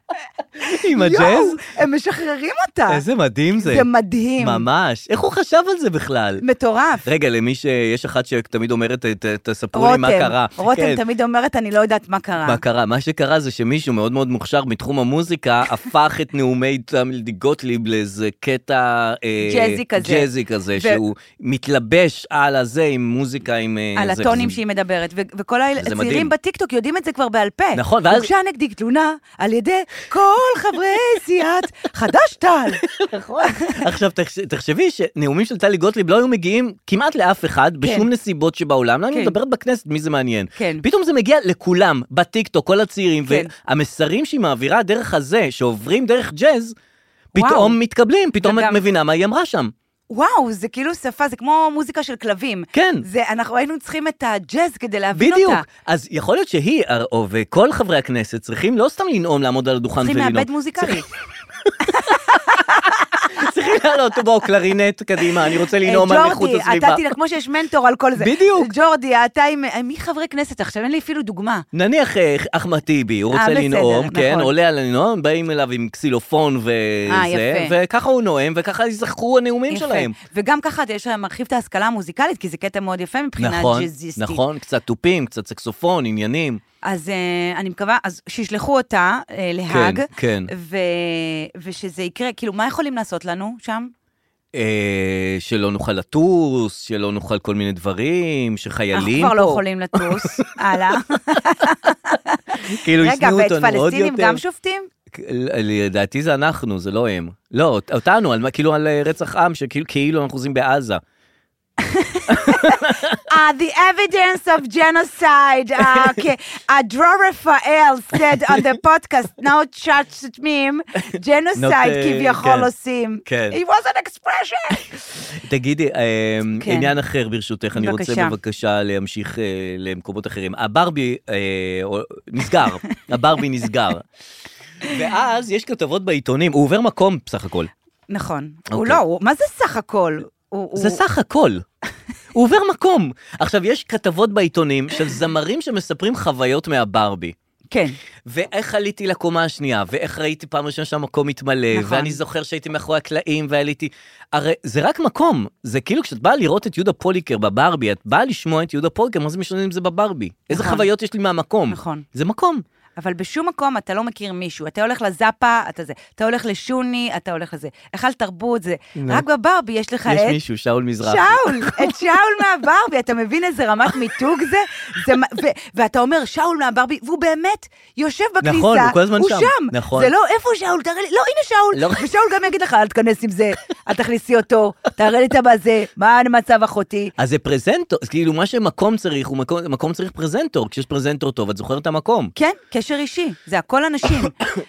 [SPEAKER 2] עם
[SPEAKER 3] יואו,
[SPEAKER 2] הג'אז?
[SPEAKER 3] הם משחררים אותה.
[SPEAKER 2] איזה מדהים זה.
[SPEAKER 3] זה מדהים.
[SPEAKER 2] ממש. איך הוא חשב על זה בכלל?
[SPEAKER 3] מטורף.
[SPEAKER 2] רגע, למי שיש אחת שתמיד אומרת, "ת- תספרו לי מה קרה.
[SPEAKER 3] רותם
[SPEAKER 2] כן.
[SPEAKER 3] תמיד אומרת, אני לא יודעת מה קרה.
[SPEAKER 2] מה קרה? מה שקרה זה שמישהו מאוד מאוד מוכשר מתחום
[SPEAKER 3] [LAUGHS]
[SPEAKER 2] המוזיקה הפך את נאומי תמלדי גוטליב לאיזה קטע... אה,
[SPEAKER 3] ג'אזי כזה.
[SPEAKER 2] ג'אזי כזה,
[SPEAKER 3] ו-
[SPEAKER 2] שהוא מתלבש על הזה עם מוזיקה, עם... אה,
[SPEAKER 3] על
[SPEAKER 2] זה-
[SPEAKER 3] הטונים
[SPEAKER 2] זה-
[SPEAKER 3] שהיא מדברת, ו- וכל הילד-
[SPEAKER 2] מדהים.
[SPEAKER 3] הצעירים בטיקטוק יודעים את זה כבר בעל פה.
[SPEAKER 2] נכון, ואז-
[SPEAKER 3] הוגשה נגדי תלונה על ידי כל
[SPEAKER 2] [LAUGHS]
[SPEAKER 3] חברי סיעת חד"ש-תע"ל.
[SPEAKER 2] נכון. עכשיו, תחש- תחשבי שנאומים של טלי גוטליב לא היו מגיעים כמעט לאף אחד בשום נסיבות שבעולם. לא, אני
[SPEAKER 3] כן.
[SPEAKER 2] מדברת בכנסת, מי זה מעניין.
[SPEAKER 3] כן.
[SPEAKER 2] פתאום זה מגיע לכולם, בטיקטוק, כל הצעירים,
[SPEAKER 3] כן.
[SPEAKER 2] והמסרים שהיא מעבירה דרך הזה, שעוברים דרך ג'אז,
[SPEAKER 3] וואו.
[SPEAKER 2] פתאום מתקבלים, פתאום את
[SPEAKER 3] וגם-
[SPEAKER 2] מבינה מה היא אמרה שם.
[SPEAKER 3] וואו, זה כאילו שפה, זה כמו מוזיקה של כלבים.
[SPEAKER 2] כן.
[SPEAKER 3] זה, אנחנו היינו צריכים את הג'אז כדי להבין
[SPEAKER 2] בדיוק.
[SPEAKER 3] אותה.
[SPEAKER 2] אז יכול להיות שהיא, אה, או וכל חברי הכנסת, צריכים לא סתם לנאום, לעמוד על הדוכן
[SPEAKER 3] צריכים
[SPEAKER 2] ולנאום.
[SPEAKER 3] לאבד
[SPEAKER 2] [LAUGHS]
[SPEAKER 3] מוזיקלי.
[SPEAKER 2] צריכים לעלות בו קלרינט, קדימה, אני רוצה
[SPEAKER 3] אה,
[SPEAKER 2] לנאום על איכות
[SPEAKER 3] ג'ורדי,
[SPEAKER 2] הסביבה.
[SPEAKER 3] אתה תלך, כמו שיש מנטור על כל זה.
[SPEAKER 2] בדיוק.
[SPEAKER 3] ג'ורדי, אתה עם... אה, מי חברי כנסת עכשיו? אין לי אפילו דוגמה.
[SPEAKER 2] נניח אה, אחמד טיבי, הוא
[SPEAKER 3] אה,
[SPEAKER 2] רוצה
[SPEAKER 3] בסדר,
[SPEAKER 2] לנאום, כן,
[SPEAKER 3] נכון.
[SPEAKER 2] עולה על הנאום, באים אליו עם קסילופון
[SPEAKER 3] אה,
[SPEAKER 2] וזה,
[SPEAKER 3] יפה.
[SPEAKER 2] וככה הוא נואם, וככה ייזכרו הנאומים
[SPEAKER 3] יפה.
[SPEAKER 2] שלהם.
[SPEAKER 3] וגם ככה, יש להם מרחיב את ההשכלה המוזיקלית, כי זה קטע מאוד יפה מבחינה
[SPEAKER 2] נכון,
[SPEAKER 3] ג'אזיסטית.
[SPEAKER 2] נכון, קצת תופים, קצת סקסופון, עניינים.
[SPEAKER 3] אז אה, אני מקווה, אז שישלחו אותה אה, להאג.
[SPEAKER 2] כן.
[SPEAKER 3] ו- ושזה יקרה, כאילו, מה יכולים לעשות לנו שם?
[SPEAKER 2] אה, שלא נוכל לטוס, שלא נוכל
[SPEAKER 3] לא
[SPEAKER 2] כל מיני דברים, שחיילים פה. [LAUGHS]
[SPEAKER 3] אנחנו כבר לא יכולים לטוס, הלאה.
[SPEAKER 2] כאילו,
[SPEAKER 3] רגע,
[SPEAKER 2] השניאו
[SPEAKER 3] ואת
[SPEAKER 2] אותנו עוד
[SPEAKER 3] פלסטינים
[SPEAKER 2] יותר.
[SPEAKER 3] גם שופטים?
[SPEAKER 2] לדעתי זה אנחנו, זה לא הם. לא, אות- אותנו, על, מה- כאילו על אה, רצח עם, שכאילו כאילו אנחנו עושים בעזה.
[SPEAKER 3] Uh, the evidence of genocide.
[SPEAKER 2] [LAUGHS]
[SPEAKER 3] Uh, okay. Uh, Dro Raphael said on the
[SPEAKER 2] [LAUGHS]
[SPEAKER 3] podcast, no judge at meme, genocide
[SPEAKER 2] Not, uh,
[SPEAKER 3] כביכול
[SPEAKER 2] כן.
[SPEAKER 3] עושים.
[SPEAKER 2] כן.
[SPEAKER 3] It was an expression.
[SPEAKER 2] תגידי, אה,
[SPEAKER 3] כן.
[SPEAKER 2] עניין אחר ברשותך, אני רוצה
[SPEAKER 3] בבקשה.
[SPEAKER 2] בבקשה להמשיך אה, למקומות אחרים. הברבי אה, או- נסגר,
[SPEAKER 3] [LAUGHS]
[SPEAKER 2] הברבי נסגר. ואז יש כתבות בעיתונים, הוא עובר מקום בסך הכל.
[SPEAKER 3] נכון. הוא
[SPEAKER 2] אוקיי.
[SPEAKER 3] לא, הוא- מה זה סך הכל? הוא-
[SPEAKER 2] זה
[SPEAKER 3] הוא-
[SPEAKER 2] סך הכל. הוא עובר מקום. עכשיו, יש כתבות בעיתונים של זמרים שמספרים חוויות מהברבי.
[SPEAKER 3] כן.
[SPEAKER 2] ואיך עליתי לקומה השנייה, ואיך ראיתי פעם ראשונה שהמקום מתמלא,
[SPEAKER 3] נכון.
[SPEAKER 2] ואני זוכר שהייתי מאחורי הקלעים ועליתי... הרי זה רק מקום, זה כאילו כשאת באה לראות את יהודה פוליקר בברבי, את באה לשמוע את יהודה פוליקר, מה זה משנה אם זה בברבי? איזה
[SPEAKER 3] נכון.
[SPEAKER 2] חוויות יש לי מהמקום?
[SPEAKER 3] נכון.
[SPEAKER 2] זה מקום.
[SPEAKER 3] אבל בשום מקום אתה לא מכיר מישהו. אתה הולך לזאפה, אתה זה. אתה הולך לשוני, אתה הולך לזה. היכל תרבות, זה. רק בברבי יש לך
[SPEAKER 2] יש
[SPEAKER 3] את...
[SPEAKER 2] מישהו, שאול מזרחי.
[SPEAKER 3] שאול, את שאול מהברבי, אתה מבין איזה רמת מיתוג זה? זה מ- ו- ואתה אומר, שאול מהברבי, והוא באמת יושב בכניסה,
[SPEAKER 2] נכון, הוא כל הזמן
[SPEAKER 3] הוא
[SPEAKER 2] שם. נכון.
[SPEAKER 3] זה לא, איפה שאול, תראה לי, לא, הנה
[SPEAKER 2] לא.
[SPEAKER 3] שאול, ושאול גם יגיד לך, אל תיכנס עם זה, אל תכניסי אותו, תראה לי את הבזה, מה המצב אחותי?
[SPEAKER 2] אז זה פרזנטור, אז כאילו מה שמקום צריך, הוא מקום, מקום צריך פרזנטור, כשיש פרזנטור טוב, את זוכרת את המקום.
[SPEAKER 3] כן, קשר אישי, זה הכל אנשים.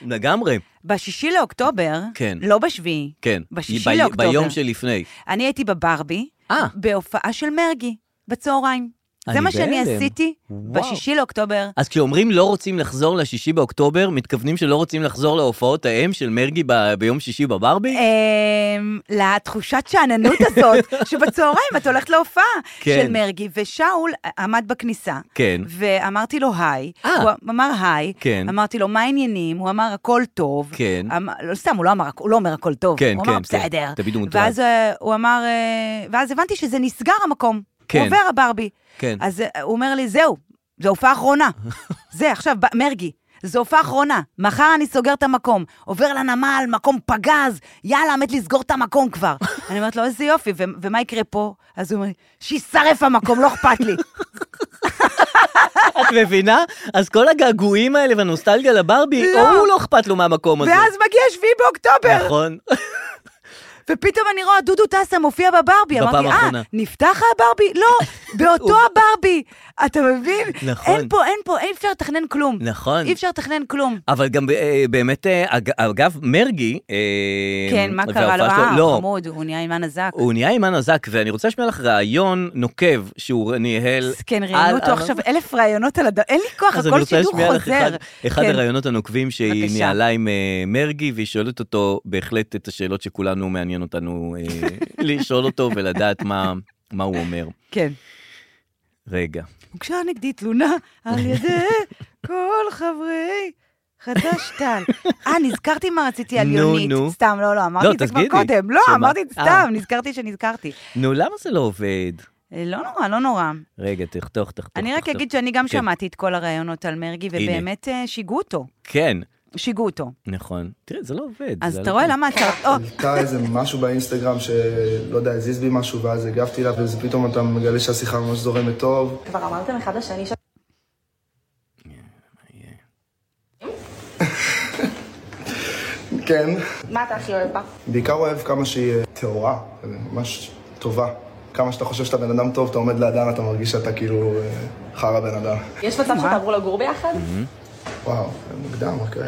[SPEAKER 2] לגמרי,
[SPEAKER 3] בשישי לאוקטובר,
[SPEAKER 2] כן.
[SPEAKER 3] לא בשביעי,
[SPEAKER 2] כן.
[SPEAKER 3] בשישי
[SPEAKER 2] ב-
[SPEAKER 3] לאוקטובר,
[SPEAKER 2] ביום שלפני.
[SPEAKER 3] אני הייתי בברבי,
[SPEAKER 2] אה.
[SPEAKER 3] בהופעה של מרגי, בצהריים.
[SPEAKER 2] אני
[SPEAKER 3] זה מה שאני
[SPEAKER 2] בהלם.
[SPEAKER 3] עשיתי
[SPEAKER 2] וואו.
[SPEAKER 3] בשישי לאוקטובר.
[SPEAKER 2] אז כשאומרים לא רוצים לחזור לשישי באוקטובר, מתכוונים שלא רוצים לחזור להופעות האם של מרגי ב- ביום שישי בברבי?
[SPEAKER 3] אמ, לתחושת שאננות
[SPEAKER 2] [LAUGHS]
[SPEAKER 3] הזאת, שבצהריים את הולכת להופעה
[SPEAKER 2] כן.
[SPEAKER 3] של מרגי, ושאול עמד בכניסה.
[SPEAKER 2] כן.
[SPEAKER 3] ואמרתי לו היי,
[SPEAKER 2] אה.
[SPEAKER 3] הוא אמר היי,
[SPEAKER 2] כן.
[SPEAKER 3] אמרתי לו מה העניינים, הוא אמר הכל טוב,
[SPEAKER 2] כן.
[SPEAKER 3] אמר, לא סתם, הוא לא אמר, הוא לא אומר הכל טוב,
[SPEAKER 2] כן,
[SPEAKER 3] הוא
[SPEAKER 2] כן,
[SPEAKER 3] אמר
[SPEAKER 2] כן.
[SPEAKER 3] בסדר,
[SPEAKER 2] תמיד הוא מוטרד.
[SPEAKER 3] ואז אה, הוא אמר, אה, ואז הבנתי שזה נסגר המקום,
[SPEAKER 2] כן.
[SPEAKER 3] הוא עובר הברבי,
[SPEAKER 2] כן.
[SPEAKER 3] אז אה, הוא אומר לי זהו, זו הופעה
[SPEAKER 2] [LAUGHS]
[SPEAKER 3] אחרונה, זה עכשיו ב- מרגי. זו הופעה אחרונה, מחר אני סוגר את המקום, עובר לנמל, מקום פגז, יאללה, מת לסגור את המקום
[SPEAKER 2] [LAUGHS]
[SPEAKER 3] כבר. אני אומרת לו, איזה יופי, ו- ומה יקרה פה? אז הוא אומר לי, שיישרף המקום, לא אכפת
[SPEAKER 2] [LAUGHS]
[SPEAKER 3] לי.
[SPEAKER 2] את מבינה? אז כל הגעגועים האלה והנוסטלגיה לברבי,
[SPEAKER 3] לא.
[SPEAKER 2] או הוא לא אכפת לו מהמקום הזה.
[SPEAKER 3] ואז מגיע 7 באוקטובר,
[SPEAKER 2] נכון. [LAUGHS]
[SPEAKER 3] ופתאום אני רואה דודו טסה מופיע בברבי.
[SPEAKER 2] בפעם
[SPEAKER 3] אמרתי, אה,
[SPEAKER 2] האחרונה."
[SPEAKER 3] נפתח הברבי?
[SPEAKER 2] [LAUGHS]
[SPEAKER 3] לא, באותו הברבי. אתה מבין?
[SPEAKER 2] נכון.
[SPEAKER 3] אין פה, אין פה, אי אפשר לתכנן כלום.
[SPEAKER 2] נכון.
[SPEAKER 3] אי אפשר לתכנן כלום.
[SPEAKER 2] אבל גם אה, באמת, אה, אג- אגב, מרגי... אה,
[SPEAKER 3] כן, מה קרה
[SPEAKER 2] וההופעה
[SPEAKER 3] לו?
[SPEAKER 2] שלו-
[SPEAKER 3] אה,
[SPEAKER 2] לא,
[SPEAKER 3] הוא חמוד, הוא נהיה עם הנזק.
[SPEAKER 2] הוא נהיה עם הנזק, ואני רוצה לשמיע לך ראיון נוקב שהוא ניהל...
[SPEAKER 3] כן,
[SPEAKER 2] על-
[SPEAKER 3] ראיינו אותו
[SPEAKER 2] על-
[SPEAKER 3] עכשיו אלף ראיונות על הדבר, אין לי כוח,
[SPEAKER 2] אז אני
[SPEAKER 3] אה, הכל
[SPEAKER 2] רוצה
[SPEAKER 3] שידור
[SPEAKER 2] להשמיע לך
[SPEAKER 3] חוזר.
[SPEAKER 2] אחד, אחד
[SPEAKER 3] כן.
[SPEAKER 2] הראיונות הנוקבים שהיא
[SPEAKER 3] בבקשה.
[SPEAKER 2] ניהלה עם אה, מרגי, והיא שואלת אותו בהחלט את השאלות שכולנו מעניין אותנו אה, [LAUGHS] לשאול אותו ולדעת מה, מה הוא אומר.
[SPEAKER 3] כן.
[SPEAKER 2] רגע.
[SPEAKER 3] הוגשה נגדי תלונה על
[SPEAKER 2] [LAUGHS]
[SPEAKER 3] ידי כל חברי חד"ש-תע"ל. אה, נזכרתי מה רציתי על
[SPEAKER 2] נו,
[SPEAKER 3] יונית.
[SPEAKER 2] נו.
[SPEAKER 3] סתם, לא, לא, אמרתי
[SPEAKER 2] לא,
[SPEAKER 3] את זה כבר
[SPEAKER 2] תגידי.
[SPEAKER 3] קודם. לא,
[SPEAKER 2] שמה?
[SPEAKER 3] אמרתי את זה
[SPEAKER 2] אה.
[SPEAKER 3] סתם, נזכרתי שנזכרתי.
[SPEAKER 2] נו, למה זה לא עובד?
[SPEAKER 3] אה, לא נורא, לא נורא.
[SPEAKER 2] רגע, תחתוך, תחתוך.
[SPEAKER 3] אני רק
[SPEAKER 2] תחתוך.
[SPEAKER 3] אגיד שאני גם
[SPEAKER 2] כן.
[SPEAKER 3] שמעתי את כל הראיונות על מרגי, ובאמת אה, שיגעו אותו.
[SPEAKER 2] כן,
[SPEAKER 3] שיגעו אותו.
[SPEAKER 2] נכון. תראה, זה לא עובד.
[SPEAKER 3] אז
[SPEAKER 2] זה
[SPEAKER 3] אתה
[SPEAKER 2] לא
[SPEAKER 3] רואה
[SPEAKER 2] עובד.
[SPEAKER 3] למה אתה... או,
[SPEAKER 7] הייתה איזה משהו באינסטגרם שלא יודע, הזיז בי משהו ואז הגבתי לה ואז פתאום אתה מגלה שהשיחה ממש זורמת טוב.
[SPEAKER 8] כבר אמרתם אחד לשני ש...
[SPEAKER 7] כן,
[SPEAKER 8] מה אתה הכי אוהב בה?
[SPEAKER 7] בעיקר אוהב כמה שהיא אה, טהורה, כזה, ממש טובה. כמה שאתה חושב שאתה בן אדם טוב, אתה עומד לאדם, אתה מרגיש שאתה כאילו אה, חרא בן אדם.
[SPEAKER 8] יש מצב שתעברו לגור ביחד?
[SPEAKER 2] Mm.
[SPEAKER 7] וואו, מוקדם, רק אה,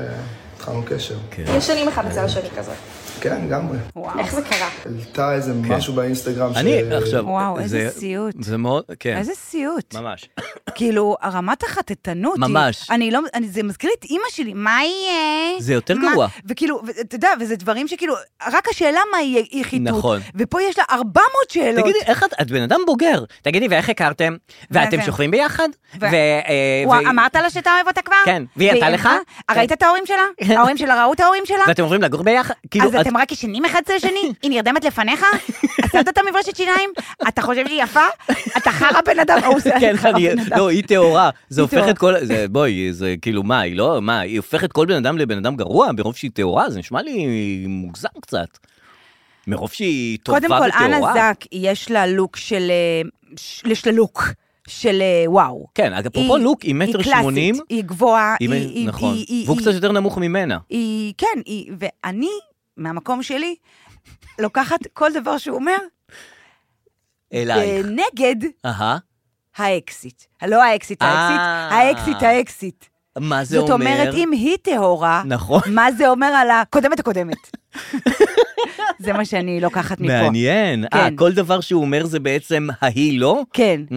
[SPEAKER 7] התחלנו קשר.
[SPEAKER 8] ישנים אחד אצל השני כזה.
[SPEAKER 7] כן, לגמרי.
[SPEAKER 8] איך זה קרה?
[SPEAKER 7] העלתה איזה משהו באינסטגרם ש...
[SPEAKER 2] כן. אני עכשיו...
[SPEAKER 3] וואו, איזה
[SPEAKER 2] זה-
[SPEAKER 3] סיוט.
[SPEAKER 2] זה מאוד, כן.
[SPEAKER 3] איזה סיוט. [LAUGHS]
[SPEAKER 2] ממש.
[SPEAKER 3] כאילו, הרמת החטטנות היא...
[SPEAKER 2] ממש.
[SPEAKER 3] אני לא... אני, זה מזכיר לי את אימא שלי, מה יהיה?
[SPEAKER 2] זה יותר
[SPEAKER 3] מה-
[SPEAKER 2] גרוע.
[SPEAKER 3] וכאילו, ו- אתה יודע, וזה דברים שכאילו, רק השאלה מה יהיה היא חיטוט.
[SPEAKER 2] נכון.
[SPEAKER 3] ופה יש לה 400 שאלות.
[SPEAKER 2] תגידי, איך את, את בן אדם בוגר. תגידי, ואיך הכרתם? ואתם
[SPEAKER 3] ו-
[SPEAKER 2] שוכבים ביחד?
[SPEAKER 3] ו-
[SPEAKER 2] אה,
[SPEAKER 3] וואו,
[SPEAKER 2] והיא-
[SPEAKER 3] אמרת לה שאתה אוהב אותה כבר?
[SPEAKER 2] כן, והיא ענתה
[SPEAKER 3] אמרה? "אה,
[SPEAKER 2] לך? כן.
[SPEAKER 3] ראית את ההורים שלה?
[SPEAKER 2] [LAUGHS]
[SPEAKER 3] ההורים שלה ראו את ההורים שלה?
[SPEAKER 2] ואתם עוברים לגור ביחד? כאילו,
[SPEAKER 3] אז
[SPEAKER 2] את-
[SPEAKER 3] אתם רק ישנים אחד אצל השני? היא נרדמת לפניך? עשית את המברשת שיניים? אתה חושב שהיא יפה? אתה חרא בן אדם? או, זה
[SPEAKER 2] [LAUGHS] כן,
[SPEAKER 3] חרא
[SPEAKER 2] אני,
[SPEAKER 3] בן אדם.
[SPEAKER 2] לא, היא טהורה. זה
[SPEAKER 3] היא
[SPEAKER 2] הופך את כל, זה, בואי, זה כאילו, מה, היא לא, מה, היא הופכת כל בן אדם לבן אדם גרוע מרוב שהיא טהורה? זה נשמע לי מוגזם קצת. מרוב שהיא טובה
[SPEAKER 3] קודם
[SPEAKER 2] וטהורה.
[SPEAKER 3] כל, אנה זק, יש לה לוק של... אה, ש- יש לה לוק של אה, וואו.
[SPEAKER 2] כן, אפרופו
[SPEAKER 3] היא-
[SPEAKER 2] לוק, היא מטר שמונים.
[SPEAKER 3] היא קלאסית, היא גבוהה, היא... היא-
[SPEAKER 2] נכון.
[SPEAKER 3] היא- היא-
[SPEAKER 2] והוא
[SPEAKER 3] היא-
[SPEAKER 2] קצת יותר נמוך ממנה.
[SPEAKER 3] היא, כן, היא, ואני, מהמקום שלי, לוקחת כל דבר שהוא אומר, אה,
[SPEAKER 2] אלייך.
[SPEAKER 3] נגד
[SPEAKER 2] אהה.
[SPEAKER 3] האקסיט. לא האקסיט,
[SPEAKER 2] אה.
[SPEAKER 3] האקסיט, האקסיט, האקסיט.
[SPEAKER 2] מה זה
[SPEAKER 3] זאת
[SPEAKER 2] אומר?
[SPEAKER 3] אומרת, אם היא טהורה,
[SPEAKER 2] נכון.
[SPEAKER 3] מה זה אומר על הקודמת הקודמת? [LAUGHS] זה מה שאני לוקחת מפה.
[SPEAKER 2] מעניין. אה,
[SPEAKER 3] כן.
[SPEAKER 2] כל דבר שהוא אומר זה בעצם ההיא לא?
[SPEAKER 3] כן.
[SPEAKER 2] Mm.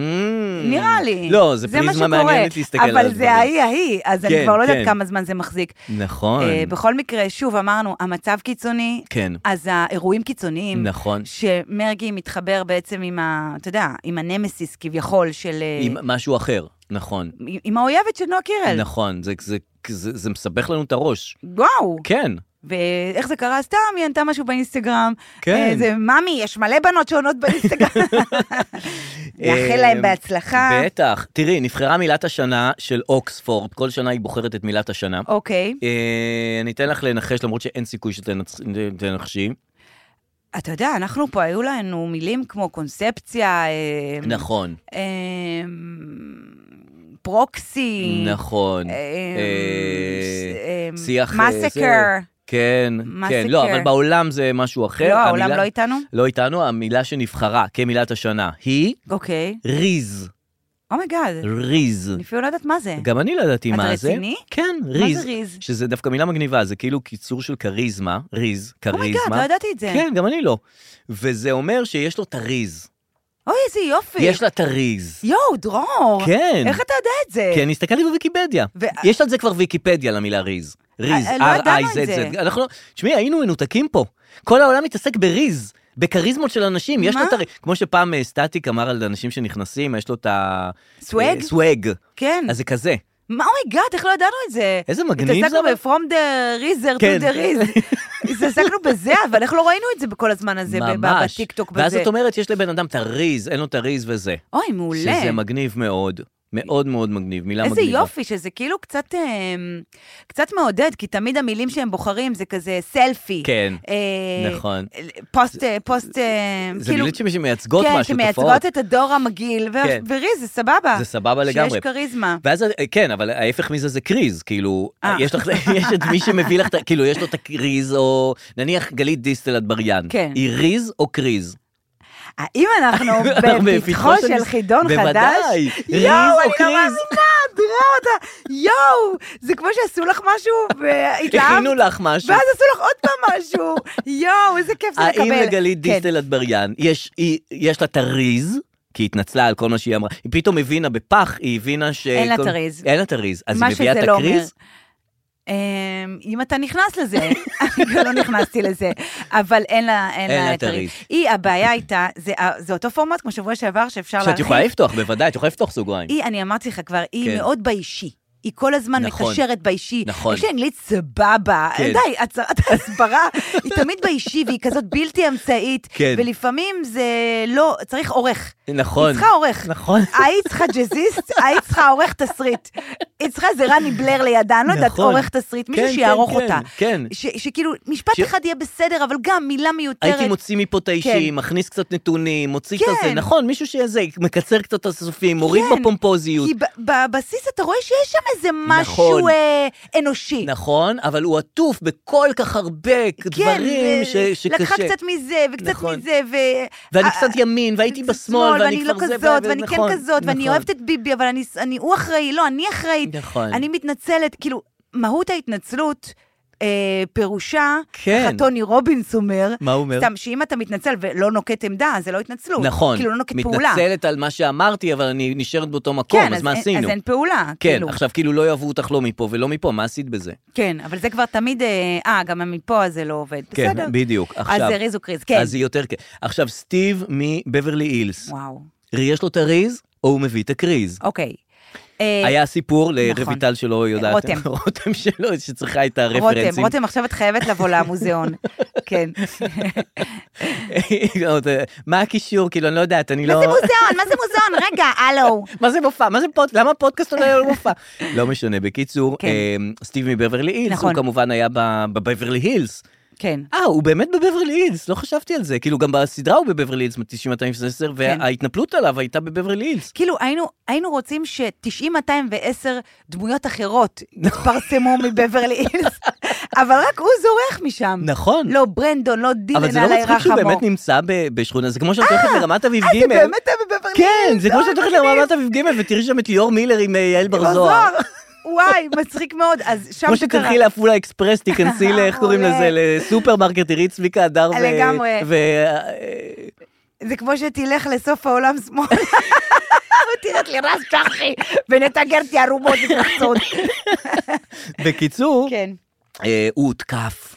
[SPEAKER 3] נראה לי.
[SPEAKER 2] לא, זה
[SPEAKER 3] מה
[SPEAKER 2] פריזמה
[SPEAKER 3] שקורה.
[SPEAKER 2] מעניינת להסתכל על
[SPEAKER 3] אבל
[SPEAKER 2] הדברים.
[SPEAKER 3] זה ההיא ההיא, אז
[SPEAKER 2] כן,
[SPEAKER 3] אני כבר לא
[SPEAKER 2] כן.
[SPEAKER 3] יודעת כמה זמן זה מחזיק.
[SPEAKER 2] נכון.
[SPEAKER 3] אה, בכל מקרה, שוב, אמרנו, המצב קיצוני,
[SPEAKER 2] כן.
[SPEAKER 3] אז האירועים קיצוניים,
[SPEAKER 2] נכון.
[SPEAKER 3] שמרגי מתחבר בעצם עם ה... אתה יודע, עם הנמסיס כביכול של... אה,
[SPEAKER 2] עם משהו אחר. נכון.
[SPEAKER 3] עם- עם האויבת של נועה קירל.
[SPEAKER 2] נכון. זה- זה- זה זה מסבך לנו את הראש.
[SPEAKER 3] וואו.
[SPEAKER 2] כן.
[SPEAKER 3] ואיך זה קרה? סתם, היא ענתה משהו באינסטגרם.
[SPEAKER 2] כן.
[SPEAKER 3] אה, זה, ממי, יש מלא בנות שעונות
[SPEAKER 2] [LAUGHS]
[SPEAKER 3] באינסטגרם. נאחל
[SPEAKER 2] אה,
[SPEAKER 3] להם בהצלחה.
[SPEAKER 2] בטח. תראי, נבחרה מילת השנה של אוקספורד, כל שנה היא בוחרת את מילת השנה.
[SPEAKER 3] אוקיי.
[SPEAKER 2] אה, אני אתן לך לנחש, למרות שאין סיכוי שתנחשי.
[SPEAKER 3] אתה יודע, אנחנו פה, היו לנו מילים כמו קונספציה, אה,
[SPEAKER 2] נכון,
[SPEAKER 3] אה, פרוקסי,
[SPEAKER 2] נכון.
[SPEAKER 3] אה,
[SPEAKER 2] אה,
[SPEAKER 3] אה,
[SPEAKER 2] שיח... אה,
[SPEAKER 3] massacre.
[SPEAKER 2] זה- כן, כן.
[SPEAKER 3] Massacre.
[SPEAKER 2] לא, אבל בעולם זה משהו אחר.
[SPEAKER 3] לא, העולם
[SPEAKER 2] המילה-
[SPEAKER 3] לא איתנו?
[SPEAKER 2] לא איתנו, המילה שנבחרה כמילת השנה היא
[SPEAKER 3] אוקיי.
[SPEAKER 2] ריז.
[SPEAKER 3] אומייגאד,
[SPEAKER 2] ריז.
[SPEAKER 3] אני אפילו לא יודעת מה זה.
[SPEAKER 2] גם אני לא ידעתי
[SPEAKER 3] אתה
[SPEAKER 2] מה זה.
[SPEAKER 3] אה, רציני?
[SPEAKER 2] כן,
[SPEAKER 3] זה
[SPEAKER 2] ריז.
[SPEAKER 3] ריז?
[SPEAKER 2] שזה דווקא מילה מגניבה, זה כאילו קיצור של כריזמה, ריז, כריזמה.
[SPEAKER 3] אומייגאד, לא ידעתי את זה.
[SPEAKER 2] כן, גם אני לא. וזה אומר שיש לו את הריז.
[SPEAKER 3] אוי, איזה יופי.
[SPEAKER 2] יש לה את הריז.
[SPEAKER 3] יואו, דרור.
[SPEAKER 2] כן.
[SPEAKER 3] איך אתה יודע את זה?
[SPEAKER 2] כי אני הסתכלתי בוויקיפדיה.
[SPEAKER 3] ו-
[SPEAKER 2] יש על זה כבר ויקיפדיה למילה ריז. ריז,
[SPEAKER 3] אה, לא ידענו את
[SPEAKER 2] R-I-Z-Z.
[SPEAKER 3] זה.
[SPEAKER 2] אנחנו, לא- תשמעי, היינו מנותקים פה. כל העולם מתעסק בריז, בכריזמות של אנשים. יש לו
[SPEAKER 3] מה?
[SPEAKER 2] את הר... כמו שפעם אה, סטטיק אמר על אנשים שנכנסים, יש לו את ה...
[SPEAKER 3] סוואג?
[SPEAKER 2] אה, סוואג.
[SPEAKER 3] כן.
[SPEAKER 2] אז זה כזה.
[SPEAKER 3] מה, אומייגאד, איך לא ידענו את זה?
[SPEAKER 2] איזה מגניב זה,
[SPEAKER 3] התעסקנו
[SPEAKER 2] אבל.
[SPEAKER 3] ב-From the Reaser
[SPEAKER 2] כן.
[SPEAKER 3] to the
[SPEAKER 2] [LAUGHS]
[SPEAKER 3] Reaser. התעסקנו בזה, אבל איך לא ראינו את זה בכל הזמן הזה, ב- ב-
[SPEAKER 2] ממש.
[SPEAKER 3] בטיקטוק
[SPEAKER 2] ואז
[SPEAKER 3] בזה?
[SPEAKER 2] את אומרת, יש לבן אדם את הריז, אין לו את הריז וזה.
[SPEAKER 3] אוי, מעולה.
[SPEAKER 2] שזה מגניב מאוד. מאוד מאוד מגניב, מילה
[SPEAKER 3] איזה
[SPEAKER 2] מגניבה.
[SPEAKER 3] יופי, שזה כאילו קצת, אה, קצת מעודד, כי תמיד המילים שהם בוחרים זה כזה סלפי.
[SPEAKER 2] כן,
[SPEAKER 3] אה,
[SPEAKER 2] נכון.
[SPEAKER 3] פוסט, אה, פוסט, אה,
[SPEAKER 2] זה
[SPEAKER 3] כאילו...
[SPEAKER 2] מילים שמייצגות
[SPEAKER 3] כן,
[SPEAKER 2] משהו, תופעות.
[SPEAKER 3] שמייצגות את הדור המגעיל, ו-
[SPEAKER 2] כן.
[SPEAKER 3] ורי, זה סבבה.
[SPEAKER 2] זה סבבה לגמרי.
[SPEAKER 3] שיש כריזמה.
[SPEAKER 2] ואז, כן, אבל ההפך מזה זה קריז, כאילו,
[SPEAKER 3] אה.
[SPEAKER 2] יש לך, [LAUGHS] יש את מי שמביא לך, את ה- כאילו, יש לו את הקריז, או נניח גלית דיסטל אטבריאן.
[SPEAKER 3] כן.
[SPEAKER 2] היא ריז או קריז?
[SPEAKER 3] האם אנחנו
[SPEAKER 2] [LAUGHS] אנחנו
[SPEAKER 3] בפתחו של
[SPEAKER 2] הנס-
[SPEAKER 3] חידון חדש?
[SPEAKER 2] בוודאי, ריז
[SPEAKER 3] יואו,
[SPEAKER 2] או
[SPEAKER 3] אני לא
[SPEAKER 2] קריז?
[SPEAKER 3] מאמינה, דרור, אתה... יואו, זה כמו שעשו לך משהו והתאהבת,
[SPEAKER 2] הכינו לך משהו.
[SPEAKER 3] ואז עשו לך עוד פעם
[SPEAKER 2] [LAUGHS]
[SPEAKER 3] משהו. יואו, איזה כיף זה לקבל.
[SPEAKER 2] האם לגלית
[SPEAKER 3] כן.
[SPEAKER 2] דיסטל אטבריאן יש- היא- יש לה את הריז? כי היא התנצלה על כל מה שהיא אמרה. היא פתאום הבינה בפח, היא הבינה ש...
[SPEAKER 3] אין לה את
[SPEAKER 2] כל-
[SPEAKER 3] הריז.
[SPEAKER 2] אין לה את הריז. אז
[SPEAKER 3] מה
[SPEAKER 2] היא מביאה
[SPEAKER 3] שזה
[SPEAKER 2] את
[SPEAKER 3] לא אומר.
[SPEAKER 2] הקריז?
[SPEAKER 3] אמ, אם אתה נכנס לזה,
[SPEAKER 2] [LAUGHS]
[SPEAKER 3] אני כבר לא נכנסתי לזה, אבל אין לה, אין לה את הריז. היא, הבעיה הייתה, זה, ה- זה אותו פורמט כמו שבוע שעבר שאפשר
[SPEAKER 2] שאת
[SPEAKER 3] להרחיב.
[SPEAKER 2] יכולה לפתוח, בוודאי, את יכולה לפתוח סוגריים.
[SPEAKER 3] היא, אני אמרתי לך כבר, היא
[SPEAKER 2] כן.
[SPEAKER 3] מאוד באישי. היא כל הזמן
[SPEAKER 2] נכון.
[SPEAKER 3] מקשרת באישי.
[SPEAKER 2] נכון.
[SPEAKER 3] יש לה אנגלית סבבה.
[SPEAKER 2] כן.
[SPEAKER 3] די, הצהרת [LAUGHS] הסברה. היא תמיד באישי, והיא כזאת בלתי אמצעית.
[SPEAKER 2] כן.
[SPEAKER 3] ולפעמים זה לא, צריך עורך.
[SPEAKER 2] נכון.
[SPEAKER 3] היא צריכה אה, עורך.
[SPEAKER 2] נכון.
[SPEAKER 3] היית צריכה ג'אזיסט, היית צריכה עורך תסריט. היא צריכה איזה רני בלר לידה, אני לא יודעת,
[SPEAKER 2] נכון.
[SPEAKER 3] עורך תסריט, מישהו
[SPEAKER 2] כן,
[SPEAKER 3] שיערוך
[SPEAKER 2] כן,
[SPEAKER 3] אותה.
[SPEAKER 2] כן.
[SPEAKER 3] ש- שכאילו, משפט
[SPEAKER 2] ש-
[SPEAKER 3] אחד יהיה בסדר, אבל גם מילה מיותרת.
[SPEAKER 2] הייתי מוציא מפה את האישי,
[SPEAKER 3] כן.
[SPEAKER 2] מכניס קצת נתונים, מוציא את
[SPEAKER 3] כן.
[SPEAKER 2] הזה, נכון, מישהו שזה, מקצר קצת את הסופים, מוריד
[SPEAKER 3] כן,
[SPEAKER 2] בפומפוזיות.
[SPEAKER 3] כי ב- בבסיס אתה רואה שיש שם איזה משהו
[SPEAKER 2] נכון.
[SPEAKER 3] אה, אנושי.
[SPEAKER 2] נכון, אבל הוא עטוף בכל כך הרבה דברים
[SPEAKER 3] כן, ו-
[SPEAKER 2] ש- שקשה.
[SPEAKER 3] לקחה קצת מזה, וקצת
[SPEAKER 2] נכון.
[SPEAKER 3] מזה, ו...
[SPEAKER 2] ואני
[SPEAKER 3] אה,
[SPEAKER 2] קצת ימין, והייתי
[SPEAKER 3] קצת
[SPEAKER 2] בשמאל,
[SPEAKER 3] ואני
[SPEAKER 2] ואני כבר
[SPEAKER 3] לא
[SPEAKER 2] זה,
[SPEAKER 3] כזאת,
[SPEAKER 2] ו-
[SPEAKER 3] ואני כן
[SPEAKER 2] נכון,
[SPEAKER 3] כזאת, ואני
[SPEAKER 2] נכון.
[SPEAKER 3] אוהבת את ביבי, אבל אני, אני, הוא אחראי, לא, אני אחראית.
[SPEAKER 2] נכון.
[SPEAKER 3] אני מתנצלת, כאילו, מהות ההתנצלות... אה, פירושה,
[SPEAKER 2] כן.
[SPEAKER 3] איך הטוני רובינס אומר,
[SPEAKER 2] מה הוא אומר?
[SPEAKER 3] סתם שאם אתה מתנצל ולא נוקט עמדה, אז זה לא התנצלות.
[SPEAKER 2] נכון,
[SPEAKER 3] כאילו לא נוקט פעולה.
[SPEAKER 2] מתנצלת על מה שאמרתי, אבל אני נשארת באותו מקום, אז מה
[SPEAKER 3] אין-
[SPEAKER 2] עשינו?
[SPEAKER 3] כן, אז אין פעולה,
[SPEAKER 2] כן,
[SPEAKER 3] כאילו.
[SPEAKER 2] עכשיו כאילו לא יאהבו אותך לא מפה ולא מפה, מה עשית בזה?
[SPEAKER 3] כן, אבל זה כבר תמיד, אה, אה, גם מפה אז זה לא עובד.
[SPEAKER 2] כן,
[SPEAKER 3] בסדר.
[SPEAKER 2] בדיוק.
[SPEAKER 3] אז
[SPEAKER 2] עכשיו,
[SPEAKER 3] זה ריז וקריז, כן.
[SPEAKER 2] אז היא יותר כן. עכשיו, סטיב מבברלי הילס,
[SPEAKER 3] וואו,
[SPEAKER 2] יש לו את הריז, או הוא מביא את הקריז?
[SPEAKER 3] אוקיי. אה,
[SPEAKER 2] היה סיפור
[SPEAKER 3] נכון.
[SPEAKER 2] לרויטל שלא יודעת.
[SPEAKER 3] רותם.
[SPEAKER 2] [LAUGHS] רותם שלא, שצריכה את הרפרנסים.
[SPEAKER 3] רותם,
[SPEAKER 2] [LAUGHS]
[SPEAKER 3] רותם, עכשיו את חייבת לבוא למוזיאון. כן.
[SPEAKER 2] מה הקישור? כאילו, אני לא יודעת, אני
[SPEAKER 3] מה
[SPEAKER 2] לא...
[SPEAKER 3] זה מוזיאון? מה זה מוזיאון? רגע,
[SPEAKER 2] [LAUGHS]
[SPEAKER 3] הלו.
[SPEAKER 2] מה זה מופע? מה זה פודקאסט? למה הפודקאסט עולה על מופע? לא משנה. בקיצור,
[SPEAKER 3] כן.
[SPEAKER 2] אה, סטיב מבברלי הילס, הוא
[SPEAKER 3] נכון.
[SPEAKER 2] כמובן היה ב- בבברלי הילס.
[SPEAKER 3] כן.
[SPEAKER 2] אה, הוא באמת בבברלי הילס, לא חשבתי על זה. כאילו, גם בסדרה הוא בבברלי הילס, 90-210, וההתנפלות עליו הייתה בבברלי הילס.
[SPEAKER 3] כאילו, היינו, היינו רוצים ש-90-210 דמויות אחרות יתפרסמו מבברלי הילס, אבל רק הוא זורח משם.
[SPEAKER 2] נכון.
[SPEAKER 3] לא ברנדון, לא דילן,
[SPEAKER 2] אבל זה לא
[SPEAKER 3] עלי
[SPEAKER 2] מצחיק שהוא
[SPEAKER 3] רחמו.
[SPEAKER 2] באמת נמצא ב- בשכונה, זה כמו שאת הולכת לרמת אביב ג',
[SPEAKER 3] אה, זה באמת היה בבברלי הילס.
[SPEAKER 2] כן, זה כמו
[SPEAKER 3] אוי,
[SPEAKER 2] שאת הולכת
[SPEAKER 3] מגניב.
[SPEAKER 2] לרמת אביב ג' ותראי שם את ליאור מילר עם אה, יעל בר זוהר.
[SPEAKER 3] בזוהר. לא וואי, מצחיק מאוד. אז שם
[SPEAKER 2] כמו
[SPEAKER 3] זה קרה.
[SPEAKER 2] שתלכי לעפולה אקספרס, [LAUGHS] תיכנסי ל... איך קוראים
[SPEAKER 3] מעולה.
[SPEAKER 2] לזה? לסופרמרקט, תראי את צביקה הדר ו...
[SPEAKER 3] לגמרי.
[SPEAKER 2] ו... אה,
[SPEAKER 3] זה כמו שתלך לסוף העולם שמאלה. [LAUGHS] ותראה לי רז צ'חי, ונתגר תיארומות
[SPEAKER 2] [LAUGHS]
[SPEAKER 3] וקרצות.
[SPEAKER 2] בקיצור,
[SPEAKER 3] כן.
[SPEAKER 2] אה, הוא הותקף.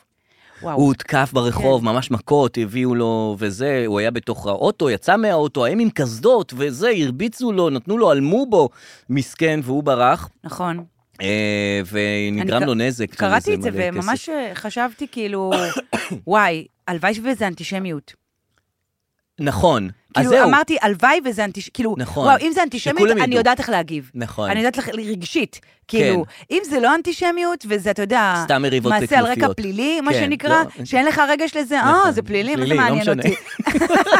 [SPEAKER 2] הוא
[SPEAKER 3] וואו.
[SPEAKER 2] הותקף
[SPEAKER 3] כן.
[SPEAKER 2] ברחוב, ממש מכות, הביאו לו וזה, הוא היה בתוך האוטו, יצא מהאוטו, הם עם קסדות וזה, הרביצו לו, נתנו לו, עלמו בו, מסכן, והוא ברח,
[SPEAKER 3] נכון.
[SPEAKER 2] אה, ונגרם
[SPEAKER 3] אני
[SPEAKER 2] לו
[SPEAKER 3] ק-
[SPEAKER 2] נזק.
[SPEAKER 3] קראתי
[SPEAKER 2] וזה
[SPEAKER 3] את זה
[SPEAKER 2] מלא כסף.
[SPEAKER 3] וממש אה, חשבתי כאילו, [COUGHS] וואי, הלוואי וזה אנטישמיות.
[SPEAKER 2] נכון, אז
[SPEAKER 3] כאילו,
[SPEAKER 2] זהו.
[SPEAKER 3] אמרתי, הלוואי וזה אנטישמיות, כאילו,
[SPEAKER 2] נכון.
[SPEAKER 3] וואו, אם זה אנטישמיות,
[SPEAKER 2] שכולם
[SPEAKER 3] אני
[SPEAKER 2] ידעו.
[SPEAKER 3] יודעת איך להגיב.
[SPEAKER 2] נכון. כן.
[SPEAKER 3] אני יודעת לך רגשית, כאילו, אם זה לא אנטישמיות, וזה, אתה יודע,
[SPEAKER 2] סתם מריבות
[SPEAKER 3] מעשה על רקע
[SPEAKER 2] כנופיות.
[SPEAKER 3] פלילי, מה
[SPEAKER 2] כן,
[SPEAKER 3] שנקרא,
[SPEAKER 2] לא.
[SPEAKER 3] שאין לך רגש לזה, אה,
[SPEAKER 2] נכון.
[SPEAKER 3] זה פלילי, מה זה
[SPEAKER 2] פלילי, לא
[SPEAKER 3] מעניין
[SPEAKER 2] משנה. [LAUGHS]
[SPEAKER 3] אותי?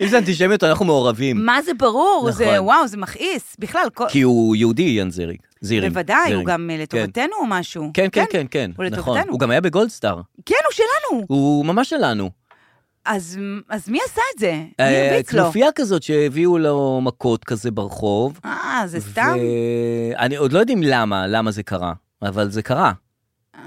[SPEAKER 2] אם זה אנטישמיות, אנחנו מעורבים.
[SPEAKER 3] מה זה ברור, זה
[SPEAKER 2] נכון.
[SPEAKER 3] וואו, זה מכעיס, בכלל, כל-
[SPEAKER 2] כי הוא יהודי, יאן זיריג. זירינג.
[SPEAKER 3] בוודאי, הוא
[SPEAKER 2] זירינג.
[SPEAKER 3] גם אה, לטובתנו או משהו.
[SPEAKER 2] כן, כן, כן, כן,
[SPEAKER 3] הוא
[SPEAKER 2] נכון.
[SPEAKER 3] לטובתנו.
[SPEAKER 2] הוא גם היה בגולדסטאר.
[SPEAKER 3] כן, הוא שלנו.
[SPEAKER 2] הוא ממש שלנו.
[SPEAKER 3] אז אז מי עשה את זה? מי
[SPEAKER 2] אה,
[SPEAKER 3] הרביץ לו?
[SPEAKER 2] כנופיה כזאת שהביאו לו מכות כזה ברחוב.
[SPEAKER 3] אה, זה סתם?
[SPEAKER 2] אני עוד לא יודעים למה, למה זה קרה, אבל זה קרה.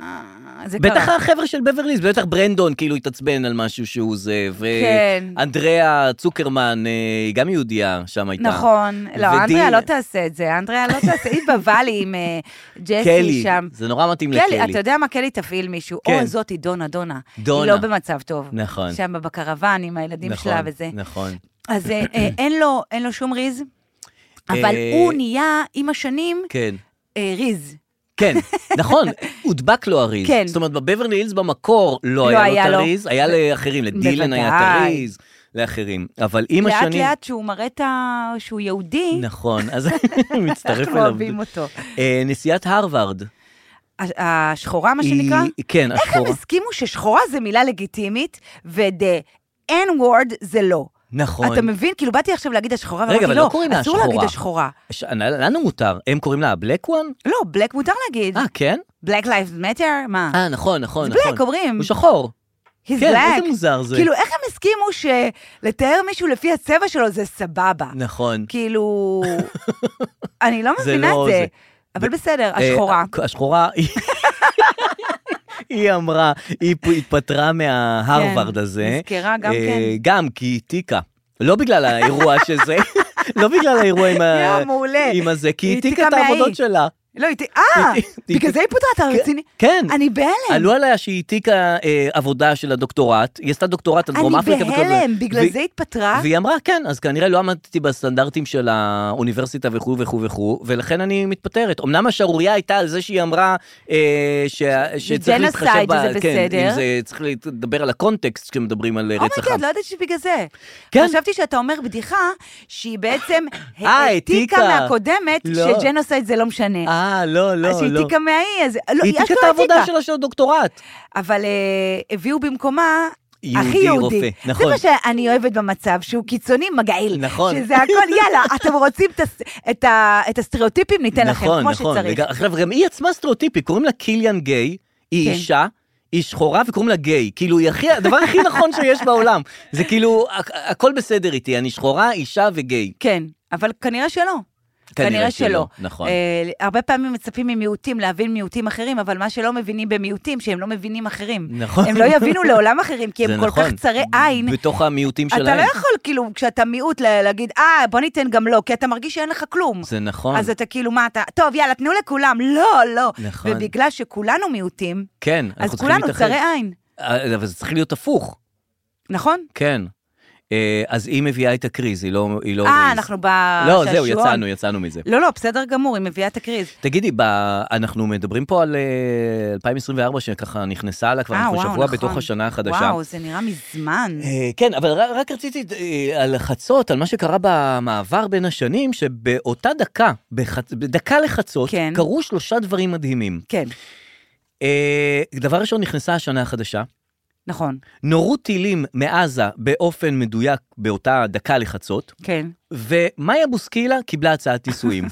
[SPEAKER 3] אה, זה קרה.
[SPEAKER 2] בטח החבר'ה של בברליז, בטח ברנדון כאילו התעצבן על משהו שהוא זה,
[SPEAKER 3] כן.
[SPEAKER 2] ואנדריאה צוקרמן, אה, היא גם יהודייה שם הייתה.
[SPEAKER 3] נכון. לא,
[SPEAKER 2] ודי-
[SPEAKER 3] אנדריה לא תעשה את זה. אנדריה לא תעשה, היא בוואלי עם אה, ג'סי
[SPEAKER 2] קלי,
[SPEAKER 3] שם.
[SPEAKER 2] זה נורא מתאים
[SPEAKER 3] קלי, אתה
[SPEAKER 2] לקלי.
[SPEAKER 3] יודע מה? קלי תפעיל מישהו.
[SPEAKER 2] כן.
[SPEAKER 3] או, זאתי דונה, דונה.
[SPEAKER 2] דונה.
[SPEAKER 3] היא לא במצב טוב.
[SPEAKER 2] נכון.
[SPEAKER 3] שם בקרוון עם הילדים
[SPEAKER 2] נכון,
[SPEAKER 3] שלה וזה.
[SPEAKER 2] נכון.
[SPEAKER 3] אז אה,
[SPEAKER 2] [COUGHS]
[SPEAKER 3] אה, אין לו- אין לו שום ריז, אבל
[SPEAKER 2] אה,
[SPEAKER 3] הוא נהיה עם השנים
[SPEAKER 2] כן.
[SPEAKER 3] אה, ריז.
[SPEAKER 2] כן, נכון, הודבק לו הריז.
[SPEAKER 3] כן.
[SPEAKER 2] זאת אומרת, בבברלי הילס במקור לא היה לו את הריז, היה לאחרים, לדילן היה את
[SPEAKER 3] בוודאי.
[SPEAKER 2] הריז, לאחרים. אבל עם
[SPEAKER 3] לאט
[SPEAKER 2] השנים...
[SPEAKER 3] לאט שהוא מראה את ה... שהוא יהודי,
[SPEAKER 2] נכון,
[SPEAKER 3] [LAUGHS]
[SPEAKER 2] אז מצטרף
[SPEAKER 3] אנחנו
[SPEAKER 2] אליו.
[SPEAKER 3] אוהבים אותו.
[SPEAKER 2] אה, נשיאת הרווארד.
[SPEAKER 3] ה- השחורה, מה שנקרא?
[SPEAKER 2] היא- כן,
[SPEAKER 3] איך הם
[SPEAKER 2] השחורה.
[SPEAKER 3] הסכימו ששחורה זה מילה לגיטימית, ו-the n-word זה לא.
[SPEAKER 2] נכון.
[SPEAKER 3] אתה מבין? כאילו, באתי עכשיו להגיד השחורה,
[SPEAKER 2] רגע, אבל לא קוראים לה
[SPEAKER 3] אסור
[SPEAKER 2] השחורה."
[SPEAKER 3] להגיד השחורה.
[SPEAKER 2] ש- לנו מותר, הם קוראים לה הבלק וואן?
[SPEAKER 3] לא, בלק מותר להגיד.
[SPEAKER 2] אה, כן?
[SPEAKER 3] Black Lives Matter, מה?
[SPEAKER 2] אה, נכון, נכון,
[SPEAKER 3] זה
[SPEAKER 2] נכון.
[SPEAKER 3] black, אומרים.
[SPEAKER 2] הוא שחור.
[SPEAKER 3] He's
[SPEAKER 2] כן,
[SPEAKER 3] black.
[SPEAKER 2] איזה מוזר זה.
[SPEAKER 3] כאילו, איך הם הסכימו שלתאר מישהו לפי הצבע שלו זה סבבה?
[SPEAKER 2] נכון.
[SPEAKER 3] כאילו, אני לא
[SPEAKER 2] [LAUGHS] זה
[SPEAKER 3] מבינה
[SPEAKER 2] לא
[SPEAKER 3] את זה.
[SPEAKER 2] זה.
[SPEAKER 3] אבל בסדר,
[SPEAKER 2] אה,
[SPEAKER 3] השחורה.
[SPEAKER 2] השחורה,
[SPEAKER 3] [LAUGHS]
[SPEAKER 2] היא- היא אמרה, היא פ- התפטרה מההרווארד
[SPEAKER 3] כן,
[SPEAKER 2] אה, הזה.
[SPEAKER 3] נזכרה גם
[SPEAKER 2] אה,
[SPEAKER 3] כן.
[SPEAKER 2] גם, כי היא תיקה. לא
[SPEAKER 3] [LAUGHS]
[SPEAKER 2] בגלל האירוע שזה, לא בגלל האירוע עם ה-
[SPEAKER 3] יואו, מעולה.
[SPEAKER 2] עם הזה, כי
[SPEAKER 3] היא
[SPEAKER 2] היא תיקה
[SPEAKER 3] תיקה
[SPEAKER 2] את העבודות
[SPEAKER 3] מהאי.
[SPEAKER 2] שלה.
[SPEAKER 3] לא, היא... ת- אה,
[SPEAKER 2] היא- היא-
[SPEAKER 3] בגלל זה היא פוטרה, אתה רציני?
[SPEAKER 2] כן.
[SPEAKER 3] אני בהלם.
[SPEAKER 2] עלו עליה שהיא העתיקה אה, עבודה של הדוקטורט, היא עשתה דוקטורט על דרום
[SPEAKER 3] אני
[SPEAKER 2] אפריקה. וכל זה.
[SPEAKER 3] בהלם, בגלל
[SPEAKER 2] והיא-
[SPEAKER 3] זה התפטרה?
[SPEAKER 2] והיא אמרה, כן, אז כנראה לא עמדתי בסטנדרטים של האוניברסיטה וכו' וכו' וכו', ולכן אני מתפטרת. אמנם השערורייה הייתה על זה שהיא אמרה אה, ש... שצריך להתחשב...
[SPEAKER 3] ג'נוסייד,
[SPEAKER 2] ב-
[SPEAKER 3] וזה
[SPEAKER 2] כן,
[SPEAKER 3] בסדר.
[SPEAKER 2] אם זה צריך לדבר על הקונטקסט כשמדברים על אה, רצח
[SPEAKER 3] אומייגד,
[SPEAKER 2] עם.
[SPEAKER 3] לא ידעתי שבגלל זה.
[SPEAKER 2] כן.
[SPEAKER 3] חשבתי שאתה אומר בדיחה שהיא בעצם
[SPEAKER 2] העתיקה.
[SPEAKER 3] העתיקה מהקודמת,
[SPEAKER 2] אה, לא.
[SPEAKER 3] שג'נוסייד זה לא משנה.
[SPEAKER 2] אה, לא, לא,
[SPEAKER 3] אז
[SPEAKER 2] לא.
[SPEAKER 3] שהיא העתיקה מהאי, אז... לא,
[SPEAKER 2] היא העתיקה את
[SPEAKER 3] אשכרה
[SPEAKER 2] העבודה
[SPEAKER 3] העתיקה.
[SPEAKER 2] שלה של הדוקטורט.
[SPEAKER 3] אבל אה, הביאו במקומה...
[SPEAKER 2] יהודי,
[SPEAKER 3] הכי יהודי.
[SPEAKER 2] רופא,
[SPEAKER 3] זה
[SPEAKER 2] נכון.
[SPEAKER 3] מה שאני אוהבת במצב, שהוא קיצוני מגעיל.
[SPEAKER 2] נכון.
[SPEAKER 3] שזה הכל, יאללה, אתם רוצים את הס- את ה- את הסטריאוטיפים, ניתן לכם,
[SPEAKER 2] נכון,
[SPEAKER 3] כמו
[SPEAKER 2] נכון.
[SPEAKER 3] שצריך.
[SPEAKER 2] וגם- עכשיו, גם היא עצמה סטריאוטיפית, קוראים לה קיליאן גיי, היא
[SPEAKER 3] כן.
[SPEAKER 2] אישה. היא שחורה וקוראים לה גיי, כאילו היא הכי, הדבר
[SPEAKER 3] [LAUGHS]
[SPEAKER 2] הכי נכון שיש בעולם. זה כאילו, הכ- הכל בסדר איתי, אני שחורה, אישה וגיי.
[SPEAKER 3] כן, אבל כנראה שלא.
[SPEAKER 2] כנראה שלא, נכון.
[SPEAKER 3] אה, הרבה פעמים מצפים ממיעוטים להבין מיעוטים אחרים, אבל מה שלא מבינים במיעוטים, שהם לא מבינים אחרים.
[SPEAKER 2] נכון.
[SPEAKER 3] הם לא יבינו לעולם אחרים, כי
[SPEAKER 2] זה
[SPEAKER 3] הם כל
[SPEAKER 2] נכון.
[SPEAKER 3] כך צרי עין.
[SPEAKER 2] בתוך המיעוטים שלהם.
[SPEAKER 3] אתה לא יכול, כאילו, כשאתה מיעוט, לה- להגיד, אה, בוא ניתן גם לו, כי אתה מרגיש שאין לך כלום.
[SPEAKER 2] זה נכון.
[SPEAKER 3] אז אתה כאילו, מה אתה, טוב, יאללה, תנו לכולם. לא, לא.
[SPEAKER 2] נכון.
[SPEAKER 3] ובגלל שכולנו מיעוטים,
[SPEAKER 2] כן,
[SPEAKER 3] אז
[SPEAKER 2] אנחנו צריכים
[SPEAKER 3] כולנו
[SPEAKER 2] להתאחד.
[SPEAKER 3] צרי עין,
[SPEAKER 2] אה, אבל זה צריך להיות הפוך,
[SPEAKER 3] נכון?
[SPEAKER 2] כן. אה, אז היא מביאה את הקריז, היא לא... היא לא
[SPEAKER 3] אה,
[SPEAKER 2] ריז.
[SPEAKER 3] אנחנו בשעשועון.
[SPEAKER 2] לא, זהו, יצאנו, יצאנו מזה.
[SPEAKER 3] לא, לא, בסדר גמור, היא מביאה את הקריז.
[SPEAKER 2] תגידי, ב... אנחנו מדברים פה על אה, 2024, שככה נכנסה לה כבר,
[SPEAKER 3] אה,
[SPEAKER 2] אנחנו
[SPEAKER 3] וואו,
[SPEAKER 2] שבוע
[SPEAKER 3] נכון.
[SPEAKER 2] בתוך השנה החדשה.
[SPEAKER 3] וואו, זה נראה מזמן.
[SPEAKER 2] אה, כן, אבל ר- רק רציתי אה, על חצות, על מה שקרה במעבר בין השנים, שבאותה דקה, בח... בדקה לחצות,
[SPEAKER 3] כן.
[SPEAKER 2] קרו שלושה דברים מדהימים.
[SPEAKER 3] כן.
[SPEAKER 2] אה, דבר ראשון, נכנסה השנה החדשה.
[SPEAKER 3] נכון,
[SPEAKER 2] נורו טילים מעזה באופן מדויק באותה דקה לחצות,
[SPEAKER 3] כן.
[SPEAKER 2] ומאיה בוסקילה קיבלה
[SPEAKER 3] [LAUGHS]
[SPEAKER 2] הצעת נישואים.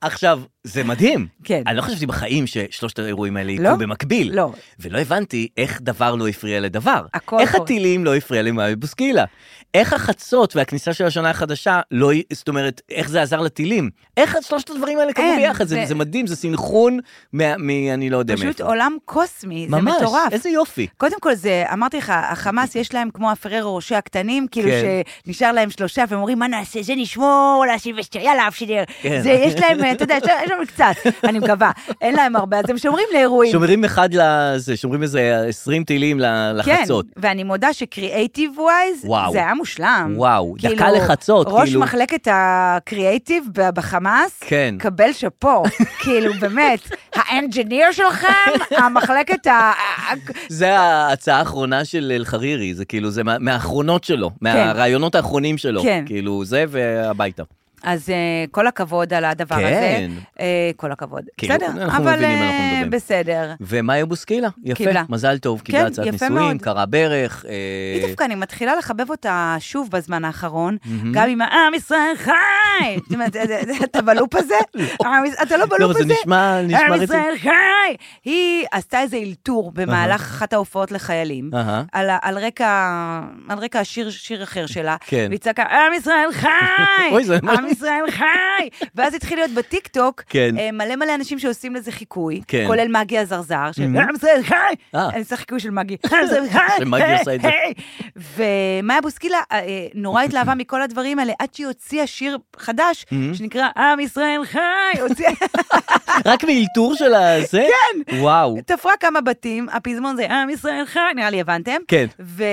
[SPEAKER 2] עכשיו, זה מדהים.
[SPEAKER 3] כן.
[SPEAKER 2] אני לא חשבתי בחיים ששלושת האירועים האלה
[SPEAKER 3] לא?
[SPEAKER 2] יקרו במקביל.
[SPEAKER 3] לא.
[SPEAKER 2] ולא הבנתי איך דבר לא הפריע לדבר.
[SPEAKER 3] הכל
[SPEAKER 2] איך
[SPEAKER 3] קורה.
[SPEAKER 2] הטילים לא הפריע למאיה בוסקילה? איך החצות והכניסה של השנה החדשה לא... י- זאת אומרת, איך זה עזר לטילים? איך שלושת הדברים האלה קרו
[SPEAKER 3] אין,
[SPEAKER 2] ביחד? זה
[SPEAKER 3] זה-
[SPEAKER 2] זה מדהים, זה סינכרון מה- מ... אני לא יודע מאיפה.
[SPEAKER 3] פשוט עולם קוסמי, זה
[SPEAKER 2] ממש,
[SPEAKER 3] מטורף.
[SPEAKER 2] איזה יופי.
[SPEAKER 3] קודם כל זה, אמרתי לך, החמאס יש להם כמו הפררו ראשי הקטנים, כאילו
[SPEAKER 2] כן.
[SPEAKER 3] שנשאר להם שלושה, והם אומרים, מה נעשה, זה נשמור, להשיב ושתו, יאללה, אף שדר.
[SPEAKER 2] כן.
[SPEAKER 3] זה, יש להם, אה, אתה יודע, יש להם- יש להם קצת, אני מקווה. אין להם הרבה, אז הם שומרים לאירועים.
[SPEAKER 2] שומרים אחד לזה, שומרים איזה 20 טילים ל- לחצות.
[SPEAKER 3] כן, ואני מודה שקריאייטיב ווייז,
[SPEAKER 2] וואו.
[SPEAKER 3] זה היה מושלם.
[SPEAKER 2] וואו, דקה לחצות,
[SPEAKER 3] ראש
[SPEAKER 2] כאילו.
[SPEAKER 3] מחלקת הקריאייטיב ב- בחמאס,
[SPEAKER 2] כן.
[SPEAKER 3] קבל
[SPEAKER 2] [LAUGHS]
[SPEAKER 3] שאפו, כאילו, באמת, האנג'יניר שלכם, המחלקת ה...
[SPEAKER 2] זה ההצעה האחרונה של אל-חרירי, זה כאילו, זה מה- מהאחרונות שלו, מהרעיונות האחרונים שלו.
[SPEAKER 3] כן.
[SPEAKER 2] כאילו, זה והביתה.
[SPEAKER 3] אז אה, כל הכבוד על הדבר
[SPEAKER 2] כן.
[SPEAKER 3] הזה. אה, כל הכבוד.
[SPEAKER 2] כאילו,
[SPEAKER 3] בסדר,
[SPEAKER 2] אנחנו
[SPEAKER 3] אבל
[SPEAKER 2] מבינים מה
[SPEAKER 3] אה,
[SPEAKER 2] אנחנו מדברים.
[SPEAKER 3] בסדר.
[SPEAKER 2] ומאיה בוסקילה, יפה,
[SPEAKER 3] קיבלה.
[SPEAKER 2] מזל טוב, קיבלה
[SPEAKER 3] כן,
[SPEAKER 2] הצעת
[SPEAKER 3] יפה
[SPEAKER 2] נישואים,
[SPEAKER 3] מאוד.
[SPEAKER 2] קרה ברך. אה,
[SPEAKER 3] היא דווקא, אני מתחילה לחבב אותה שוב בזמן האחרון, גם עם העם ישראל
[SPEAKER 2] [LAUGHS]
[SPEAKER 3] חי! זאת אומרת, אה, אתה בלופ הזה? עם ישראל- אתה לא אה,
[SPEAKER 2] לא,
[SPEAKER 3] בלופ
[SPEAKER 2] זה
[SPEAKER 3] הזה?
[SPEAKER 2] נשמע, נשמע
[SPEAKER 3] עם
[SPEAKER 2] רציני.
[SPEAKER 3] ישראל חי! היא עשתה איזה אלתור במהלך אחת ההופעות לחיילים,
[SPEAKER 2] אהה.
[SPEAKER 3] על ה- על רקע על רקע השיר- שיר אחר שלה,
[SPEAKER 2] כן.
[SPEAKER 3] והיא צעקה, עם ישראל חי!
[SPEAKER 2] אוי, זה ממש-
[SPEAKER 3] עם ישראל חי! ואז התחיל להיות בטיקטוק,
[SPEAKER 2] כן.
[SPEAKER 3] אה, מלא מלא אנשים שעושים לזה חיקוי,
[SPEAKER 2] כן. Mm-hmm.
[SPEAKER 3] כולל מגי הזרזר, של עם ישראל חי!
[SPEAKER 2] אה.
[SPEAKER 3] אני עושה חיקוי של מגי, עם ישראל חי!
[SPEAKER 2] [LAUGHS] שמגי
[SPEAKER 3] היי,
[SPEAKER 2] עושה את זה.
[SPEAKER 3] היי. ומאיה בוסקילה אה, אה,
[SPEAKER 2] [LAUGHS]
[SPEAKER 3] נורא התלהבה מכל הדברים האלה, עד שהיא הוציאה שיר חדש,
[SPEAKER 2] Mm-hmm.
[SPEAKER 3] שנקרא עם ישראל חי! הוציאה... [LAUGHS]
[SPEAKER 2] רק מאלתור של הזה? כן. וואו.
[SPEAKER 3] תפרה כמה בתים, הפזמון זה עם ישראל חי, נראה לי הבנתם.
[SPEAKER 2] כן.
[SPEAKER 3] ו...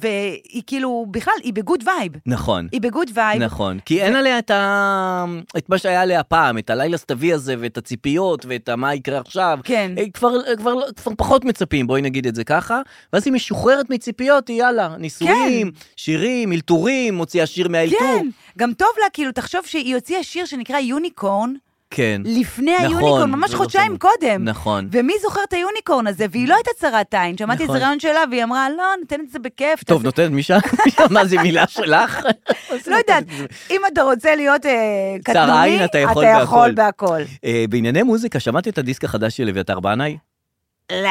[SPEAKER 3] והיא כאילו, בכלל, היא בגוד וייב.
[SPEAKER 2] נכון.
[SPEAKER 3] היא בגוד וייב.
[SPEAKER 2] נכון, כי אין עליה את, ה... את מה שהיה עליה פעם, את הלילה סתווי הזה, ואת הציפיות, ואת ה- מה יקרה עכשיו.
[SPEAKER 3] כן.
[SPEAKER 2] אה, כבר, כבר, לא- כבר פחות מצפים, בואי נגיד את זה ככה. ואז היא משוחררת מציפיות, היא יאללה, נישואים, שירים, אלתורים, מוציאה שיר מהאלתור.
[SPEAKER 3] כן, גם טוב לה, כאילו, תחשוב שהיא הוציאה שיר שנקרא יוניקורן,
[SPEAKER 2] כן.
[SPEAKER 3] לפני
[SPEAKER 2] נכון,
[SPEAKER 3] היוניקורן, ממש
[SPEAKER 2] זה
[SPEAKER 3] חודשיים
[SPEAKER 2] נכון.
[SPEAKER 3] קודם.
[SPEAKER 2] נכון.
[SPEAKER 3] ומי זוכר את היוניקורן הזה? והיא לא הייתה צרת עין, שמעתי
[SPEAKER 2] נכון.
[SPEAKER 3] איזה רעיון שלה, והיא אמרה, לא, נותנת את זה בכיף.
[SPEAKER 2] טוב,
[SPEAKER 3] תעשה-
[SPEAKER 2] נותנת [LAUGHS] משם, מה זה מילה שלך?
[SPEAKER 3] לא יודעת, אם אתה רוצה להיות אה,
[SPEAKER 2] צר עין,
[SPEAKER 3] קטנוני,
[SPEAKER 2] אתה יכול
[SPEAKER 3] אתה יכול
[SPEAKER 2] בהכל.
[SPEAKER 3] בהכל.
[SPEAKER 2] [LAUGHS] אה, בענייני מוזיקה, שמעתי את הדיסק החדש של אביתר בנאי?
[SPEAKER 3] לא.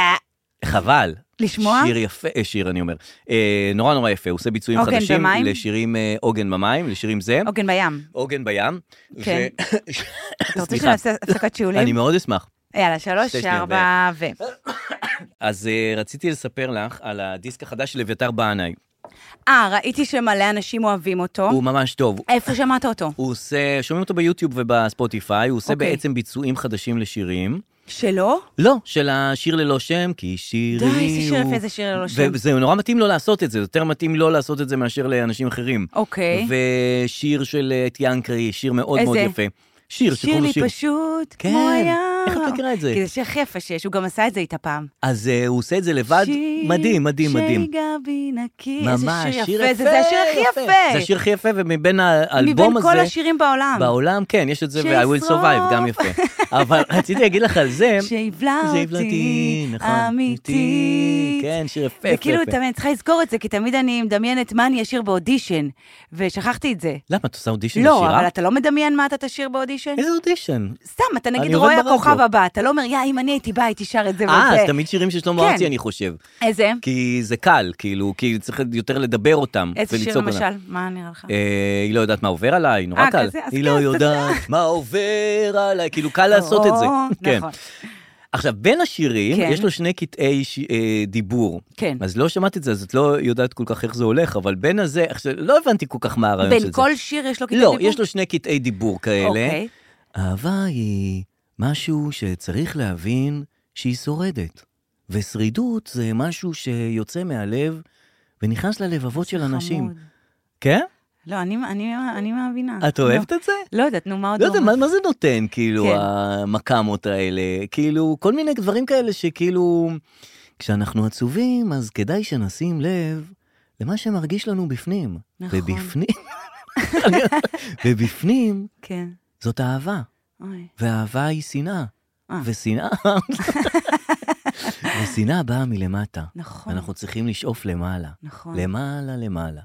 [SPEAKER 2] חבל.
[SPEAKER 3] לשמוע?
[SPEAKER 2] שיר יפה, אה, שיר אני אומר. אה, נורא נורא יפה, הוא עושה ביצועים
[SPEAKER 3] עוגן
[SPEAKER 2] חדשים.
[SPEAKER 3] במים?
[SPEAKER 2] לשירים אה, עוגן במים, לשירים זה.
[SPEAKER 3] עוגן בים.
[SPEAKER 2] עוגן בים.
[SPEAKER 3] כן.
[SPEAKER 2] ו-
[SPEAKER 3] אוקיי, אתה רוצה
[SPEAKER 2] סליחה,
[SPEAKER 3] שנעשה הפסקת
[SPEAKER 2] אני
[SPEAKER 3] שיעולים?
[SPEAKER 2] מאוד אשמח.
[SPEAKER 3] יאללה, שלוש,
[SPEAKER 2] שתי שניות
[SPEAKER 3] ארבע, ו...
[SPEAKER 2] אז אה, רציתי לספר לך על הדיסק החדש של אביתר בנאי.
[SPEAKER 3] אה, ראיתי שמלא אנשים אוהבים אותו.
[SPEAKER 2] הוא ממש טוב.
[SPEAKER 3] איפה שמעת אותו?
[SPEAKER 2] הוא עושה, שומעים אותו ביוטיוב ובספוטיפיי, הוא עושה
[SPEAKER 3] אוקיי.
[SPEAKER 2] בעצם ביצועים חדשים לשירים.
[SPEAKER 3] שלא?
[SPEAKER 2] לא, של השיר ללא שם, כי שירי
[SPEAKER 3] די,
[SPEAKER 2] הוא...
[SPEAKER 3] איזה שיר יפה זה שיר ללא שם.
[SPEAKER 2] וזה נורא מתאים לו לעשות את זה, יותר מתאים לו לעשות את זה מאשר לאנשים אחרים.
[SPEAKER 3] אוקיי.
[SPEAKER 2] ושיר של אה, את ינקרי, שיר מאוד
[SPEAKER 3] איזה?
[SPEAKER 2] מאוד יפה.
[SPEAKER 3] שיר
[SPEAKER 2] שיר שקוראים כאילו, לו
[SPEAKER 3] לי
[SPEAKER 2] שיר.
[SPEAKER 3] פשוט,
[SPEAKER 2] כן,
[SPEAKER 3] כמו היה.
[SPEAKER 2] איך את מכירה את זה?
[SPEAKER 3] כי זה שיר הכי יפה שיש, הוא גם עשה את זה איתה פעם.
[SPEAKER 2] אז אה, הוא עושה את זה לבד,
[SPEAKER 3] שיר
[SPEAKER 2] מדהים, מדהים, מדהים.
[SPEAKER 3] שיגע בי נקי, איזה
[SPEAKER 2] ממש,
[SPEAKER 3] שיר יפה. זה זה השיר הכי יפה.
[SPEAKER 2] זה השיר הכי יפה, ומבין האלבום
[SPEAKER 3] מבין
[SPEAKER 2] הזה...
[SPEAKER 3] כל השירים בעולם.
[SPEAKER 2] בעולם, כן, יש את זה, ו-I will
[SPEAKER 3] שישרוף.
[SPEAKER 2] survive,
[SPEAKER 3] [LAUGHS]
[SPEAKER 2] גם יפה. אבל רציתי להגיד לך על זה...
[SPEAKER 3] שיבלע
[SPEAKER 2] זה
[SPEAKER 3] אותי, אמיתית.
[SPEAKER 2] נכון, כן, שיר יפה,
[SPEAKER 3] זה
[SPEAKER 2] יפה,
[SPEAKER 3] כאילו,
[SPEAKER 2] יפה.
[SPEAKER 3] תמיד- אני צריכה לזכור את זה, כי תמיד אני מדמיינת מה אני אשיר באודישן, ושכחתי את זה.
[SPEAKER 2] למה, את עושה אודישן לשירה?
[SPEAKER 3] לא, אבל אתה לא מדמיין מה אתה תשיר באודישן?
[SPEAKER 2] איזה אודישן?
[SPEAKER 3] סתם, אתה
[SPEAKER 2] אני
[SPEAKER 3] נגיד
[SPEAKER 2] עובד
[SPEAKER 3] רואה
[SPEAKER 2] ברדיו.
[SPEAKER 3] הכוכב הבא, אתה לא אומר, יא, אם אני הייתי באה, הייתי שר את זה וזה.
[SPEAKER 2] אה, אז תמיד שירים של שלמה
[SPEAKER 3] כן.
[SPEAKER 2] ארצי, אני חושב.
[SPEAKER 3] איזה?
[SPEAKER 2] כי זה קל, כאילו, כי צריך יותר לדבר אותם.
[SPEAKER 3] איזה שיר
[SPEAKER 2] ולצעוק אותם.
[SPEAKER 3] למשל? מה נראה לך?
[SPEAKER 2] אה, היא לא יודעת מה עובר עליי, נורא
[SPEAKER 3] אה,
[SPEAKER 2] קל.
[SPEAKER 3] כזה, אז
[SPEAKER 2] היא
[SPEAKER 3] כן,
[SPEAKER 2] לא
[SPEAKER 3] אז
[SPEAKER 2] יודעת מה עובר עליי, כאילו קל לעשות את זה.
[SPEAKER 3] או,
[SPEAKER 2] כן.
[SPEAKER 3] נכון.
[SPEAKER 2] עכשיו, בין השירים,
[SPEAKER 3] כן.
[SPEAKER 2] יש לו שני קטעי ש- אה, דיבור.
[SPEAKER 3] כן.
[SPEAKER 2] אז לא שמעת את זה, אז את לא יודעת כל כך איך זה הולך, אבל בין הזה, עכשיו, לא הבנתי כל כך מה הרעיון של זה.
[SPEAKER 3] בין כל שיר יש לו קטעי
[SPEAKER 2] לא,
[SPEAKER 3] דיבור?
[SPEAKER 2] יש לו שני קטעי דיבור כאלה.
[SPEAKER 3] אוקיי.
[SPEAKER 2] אהבה היא משהו שצריך להבין שהיא שורדת. ושרידות זה משהו שיוצא מהלב ונכנס ללבבות של אנשים.
[SPEAKER 3] חמוד.
[SPEAKER 2] כן?
[SPEAKER 3] לא, אני- אני אני מאמינה.
[SPEAKER 2] את אוהבת את זה?
[SPEAKER 3] לא יודעת, נו, מה עוד
[SPEAKER 2] לא יודע,
[SPEAKER 3] אומר?
[SPEAKER 2] מה, מה זה נותן, כאילו,
[SPEAKER 3] כן.
[SPEAKER 2] המקאמות האלה? כאילו, כל מיני דברים כאלה שכאילו, כשאנחנו עצובים, אז כדאי שנשים לב למה שמרגיש לנו בפנים.
[SPEAKER 3] נכון.
[SPEAKER 2] ובפנים, [LAUGHS] ובפנים
[SPEAKER 3] כן.
[SPEAKER 2] זאת אהבה,
[SPEAKER 3] אוי.
[SPEAKER 2] ואהבה היא שנאה.
[SPEAKER 3] [LAUGHS] אה.
[SPEAKER 2] ושנאה, ושנאה באה מלמטה.
[SPEAKER 3] נכון.
[SPEAKER 2] אנחנו צריכים לשאוף למעלה.
[SPEAKER 3] נכון.
[SPEAKER 2] למעלה, למעלה.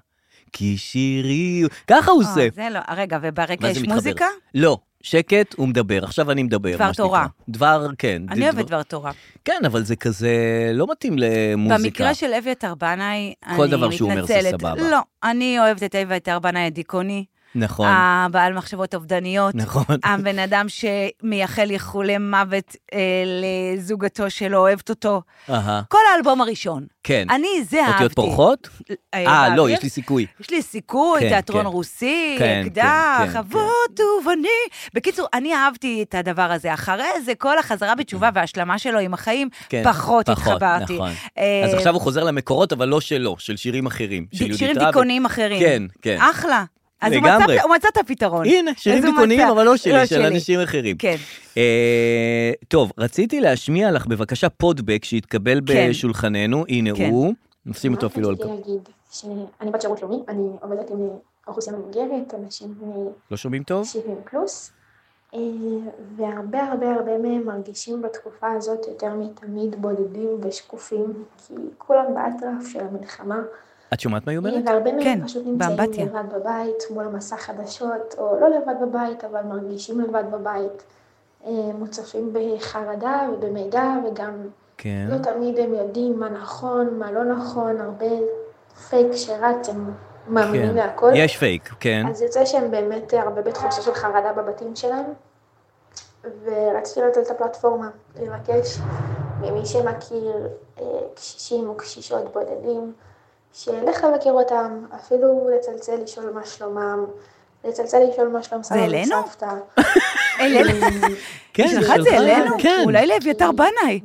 [SPEAKER 2] כי שירי... ככה הוא
[SPEAKER 3] אה,
[SPEAKER 2] עושה.
[SPEAKER 3] זה לא, רגע, וברקע
[SPEAKER 2] ואז
[SPEAKER 3] יש
[SPEAKER 2] זה מתחבר.
[SPEAKER 3] מוזיקה?
[SPEAKER 2] לא, שקט, הוא מדבר. עכשיו אני מדבר,
[SPEAKER 3] דבר
[SPEAKER 2] מה שנקרא.
[SPEAKER 3] תורה.
[SPEAKER 2] דבר, כן.
[SPEAKER 3] אני אוהבת דבר תורה.
[SPEAKER 2] כן, אבל זה כזה לא מתאים למוזיקה.
[SPEAKER 3] במקרה של אביתר בנאי, אני מתנצלת.
[SPEAKER 2] כל דבר שהוא אומר זה סבבה.
[SPEAKER 3] לא, אני אוהבת את אביתר בנאי הדיכאוני,
[SPEAKER 2] נכון,
[SPEAKER 3] אה, הבעל מחשבות אובדניות.
[SPEAKER 2] נכון.
[SPEAKER 3] הבן אדם שמייחל איחולי מוות אה, לזוגתו שלא אוהבת אותו.
[SPEAKER 2] אהה,
[SPEAKER 3] כל האלבום הראשון.
[SPEAKER 2] אה. כן.
[SPEAKER 3] אני, זה אהבתי.
[SPEAKER 2] אותיות פורחות? אה, לא, יש לי סיכוי.
[SPEAKER 3] יש לי סיכוי,
[SPEAKER 2] כן,
[SPEAKER 3] תיאטרון
[SPEAKER 2] כן.
[SPEAKER 3] רוסי,
[SPEAKER 2] כן, כן,
[SPEAKER 3] אקדח,
[SPEAKER 2] כן,
[SPEAKER 3] אבות ובני. בקיצור, אני אהבתי את הדבר הזה. אחרי זה, כל החזרה
[SPEAKER 2] [LAUGHS]
[SPEAKER 3] בתשובה וההשלמה שלו עם החיים,
[SPEAKER 2] כן,
[SPEAKER 3] פחות התחברתי.
[SPEAKER 2] נכון.
[SPEAKER 3] אה,
[SPEAKER 2] אז עכשיו הוא חוזר למקורות, אבל לא שלו, של שירים אחרים. של
[SPEAKER 3] ד-
[SPEAKER 2] יהודית
[SPEAKER 3] שירים
[SPEAKER 2] רביץ.
[SPEAKER 3] דיכאוניים אחרים.
[SPEAKER 2] כן, כן.
[SPEAKER 3] אחלה. אז הוא
[SPEAKER 2] לגמרי.
[SPEAKER 3] מצא- הוא מצא את הפתרון.
[SPEAKER 2] הנה, שירים
[SPEAKER 3] אז הוא
[SPEAKER 2] דיכאוניים,
[SPEAKER 3] מצא.
[SPEAKER 2] אבל לא שלי,
[SPEAKER 3] נכון. לא
[SPEAKER 2] של
[SPEAKER 3] שלי.
[SPEAKER 2] אנשים אחרים.
[SPEAKER 3] כן.
[SPEAKER 2] אה, טוב, רציתי להשמיע לך בבקשה פודבק שהתקבל
[SPEAKER 3] כן.
[SPEAKER 2] בשולחננו, הנה
[SPEAKER 3] כן.
[SPEAKER 2] הוא. נשים אותו אפילו על
[SPEAKER 9] רציתי
[SPEAKER 2] כפ...
[SPEAKER 9] להגיד שאני בת שירות לאומי, אני עובדת עם אוכלוסייה מבוגרת, אנשים
[SPEAKER 2] לא שומעים טוב?
[SPEAKER 9] מ-70 פלוס, אה, והרבה הרבה הרבה מהם מרגישים בתקופה הזאת יותר מתמיד בודדים ושקופים, כי כולם באטרף של המלחמה,
[SPEAKER 2] את שומעת מה היא אומרת?
[SPEAKER 9] והרבה מהם
[SPEAKER 3] כן,
[SPEAKER 9] פשוט נמצאים
[SPEAKER 3] באמבטיה.
[SPEAKER 9] לבד בבית, מול מסך חדשות, או לא לבד בבית, אבל מרגישים לבד בבית. אה, מוצפים בחרדה ובמידע, וגם
[SPEAKER 2] כן.
[SPEAKER 9] לא תמיד הם יודעים מה נכון, מה לא נכון, הרבה פייק שרץ, הם
[SPEAKER 2] כן.
[SPEAKER 9] מאמינים להכל.
[SPEAKER 2] יש פייק, כן.
[SPEAKER 9] אז יוצא שהם באמת אה, הרבה בתחושה של חרדה בבתים שלהם, ורציתי לתת את הפלטפורמה, לבקש ממי שמכיר אה, קשישים או קשישות בודדים, שילך לבקר אותם, אפילו לצלצל לשאול מה שלומם, לצלצל לשאול מה שלום סבא
[SPEAKER 3] אלינו?
[SPEAKER 9] וסבתא. [LAUGHS]
[SPEAKER 3] אלינו?
[SPEAKER 2] כן,
[SPEAKER 3] שלך את זה
[SPEAKER 2] שלך,
[SPEAKER 3] אלינו?
[SPEAKER 2] כן.
[SPEAKER 3] אולי לאביתר בנאי.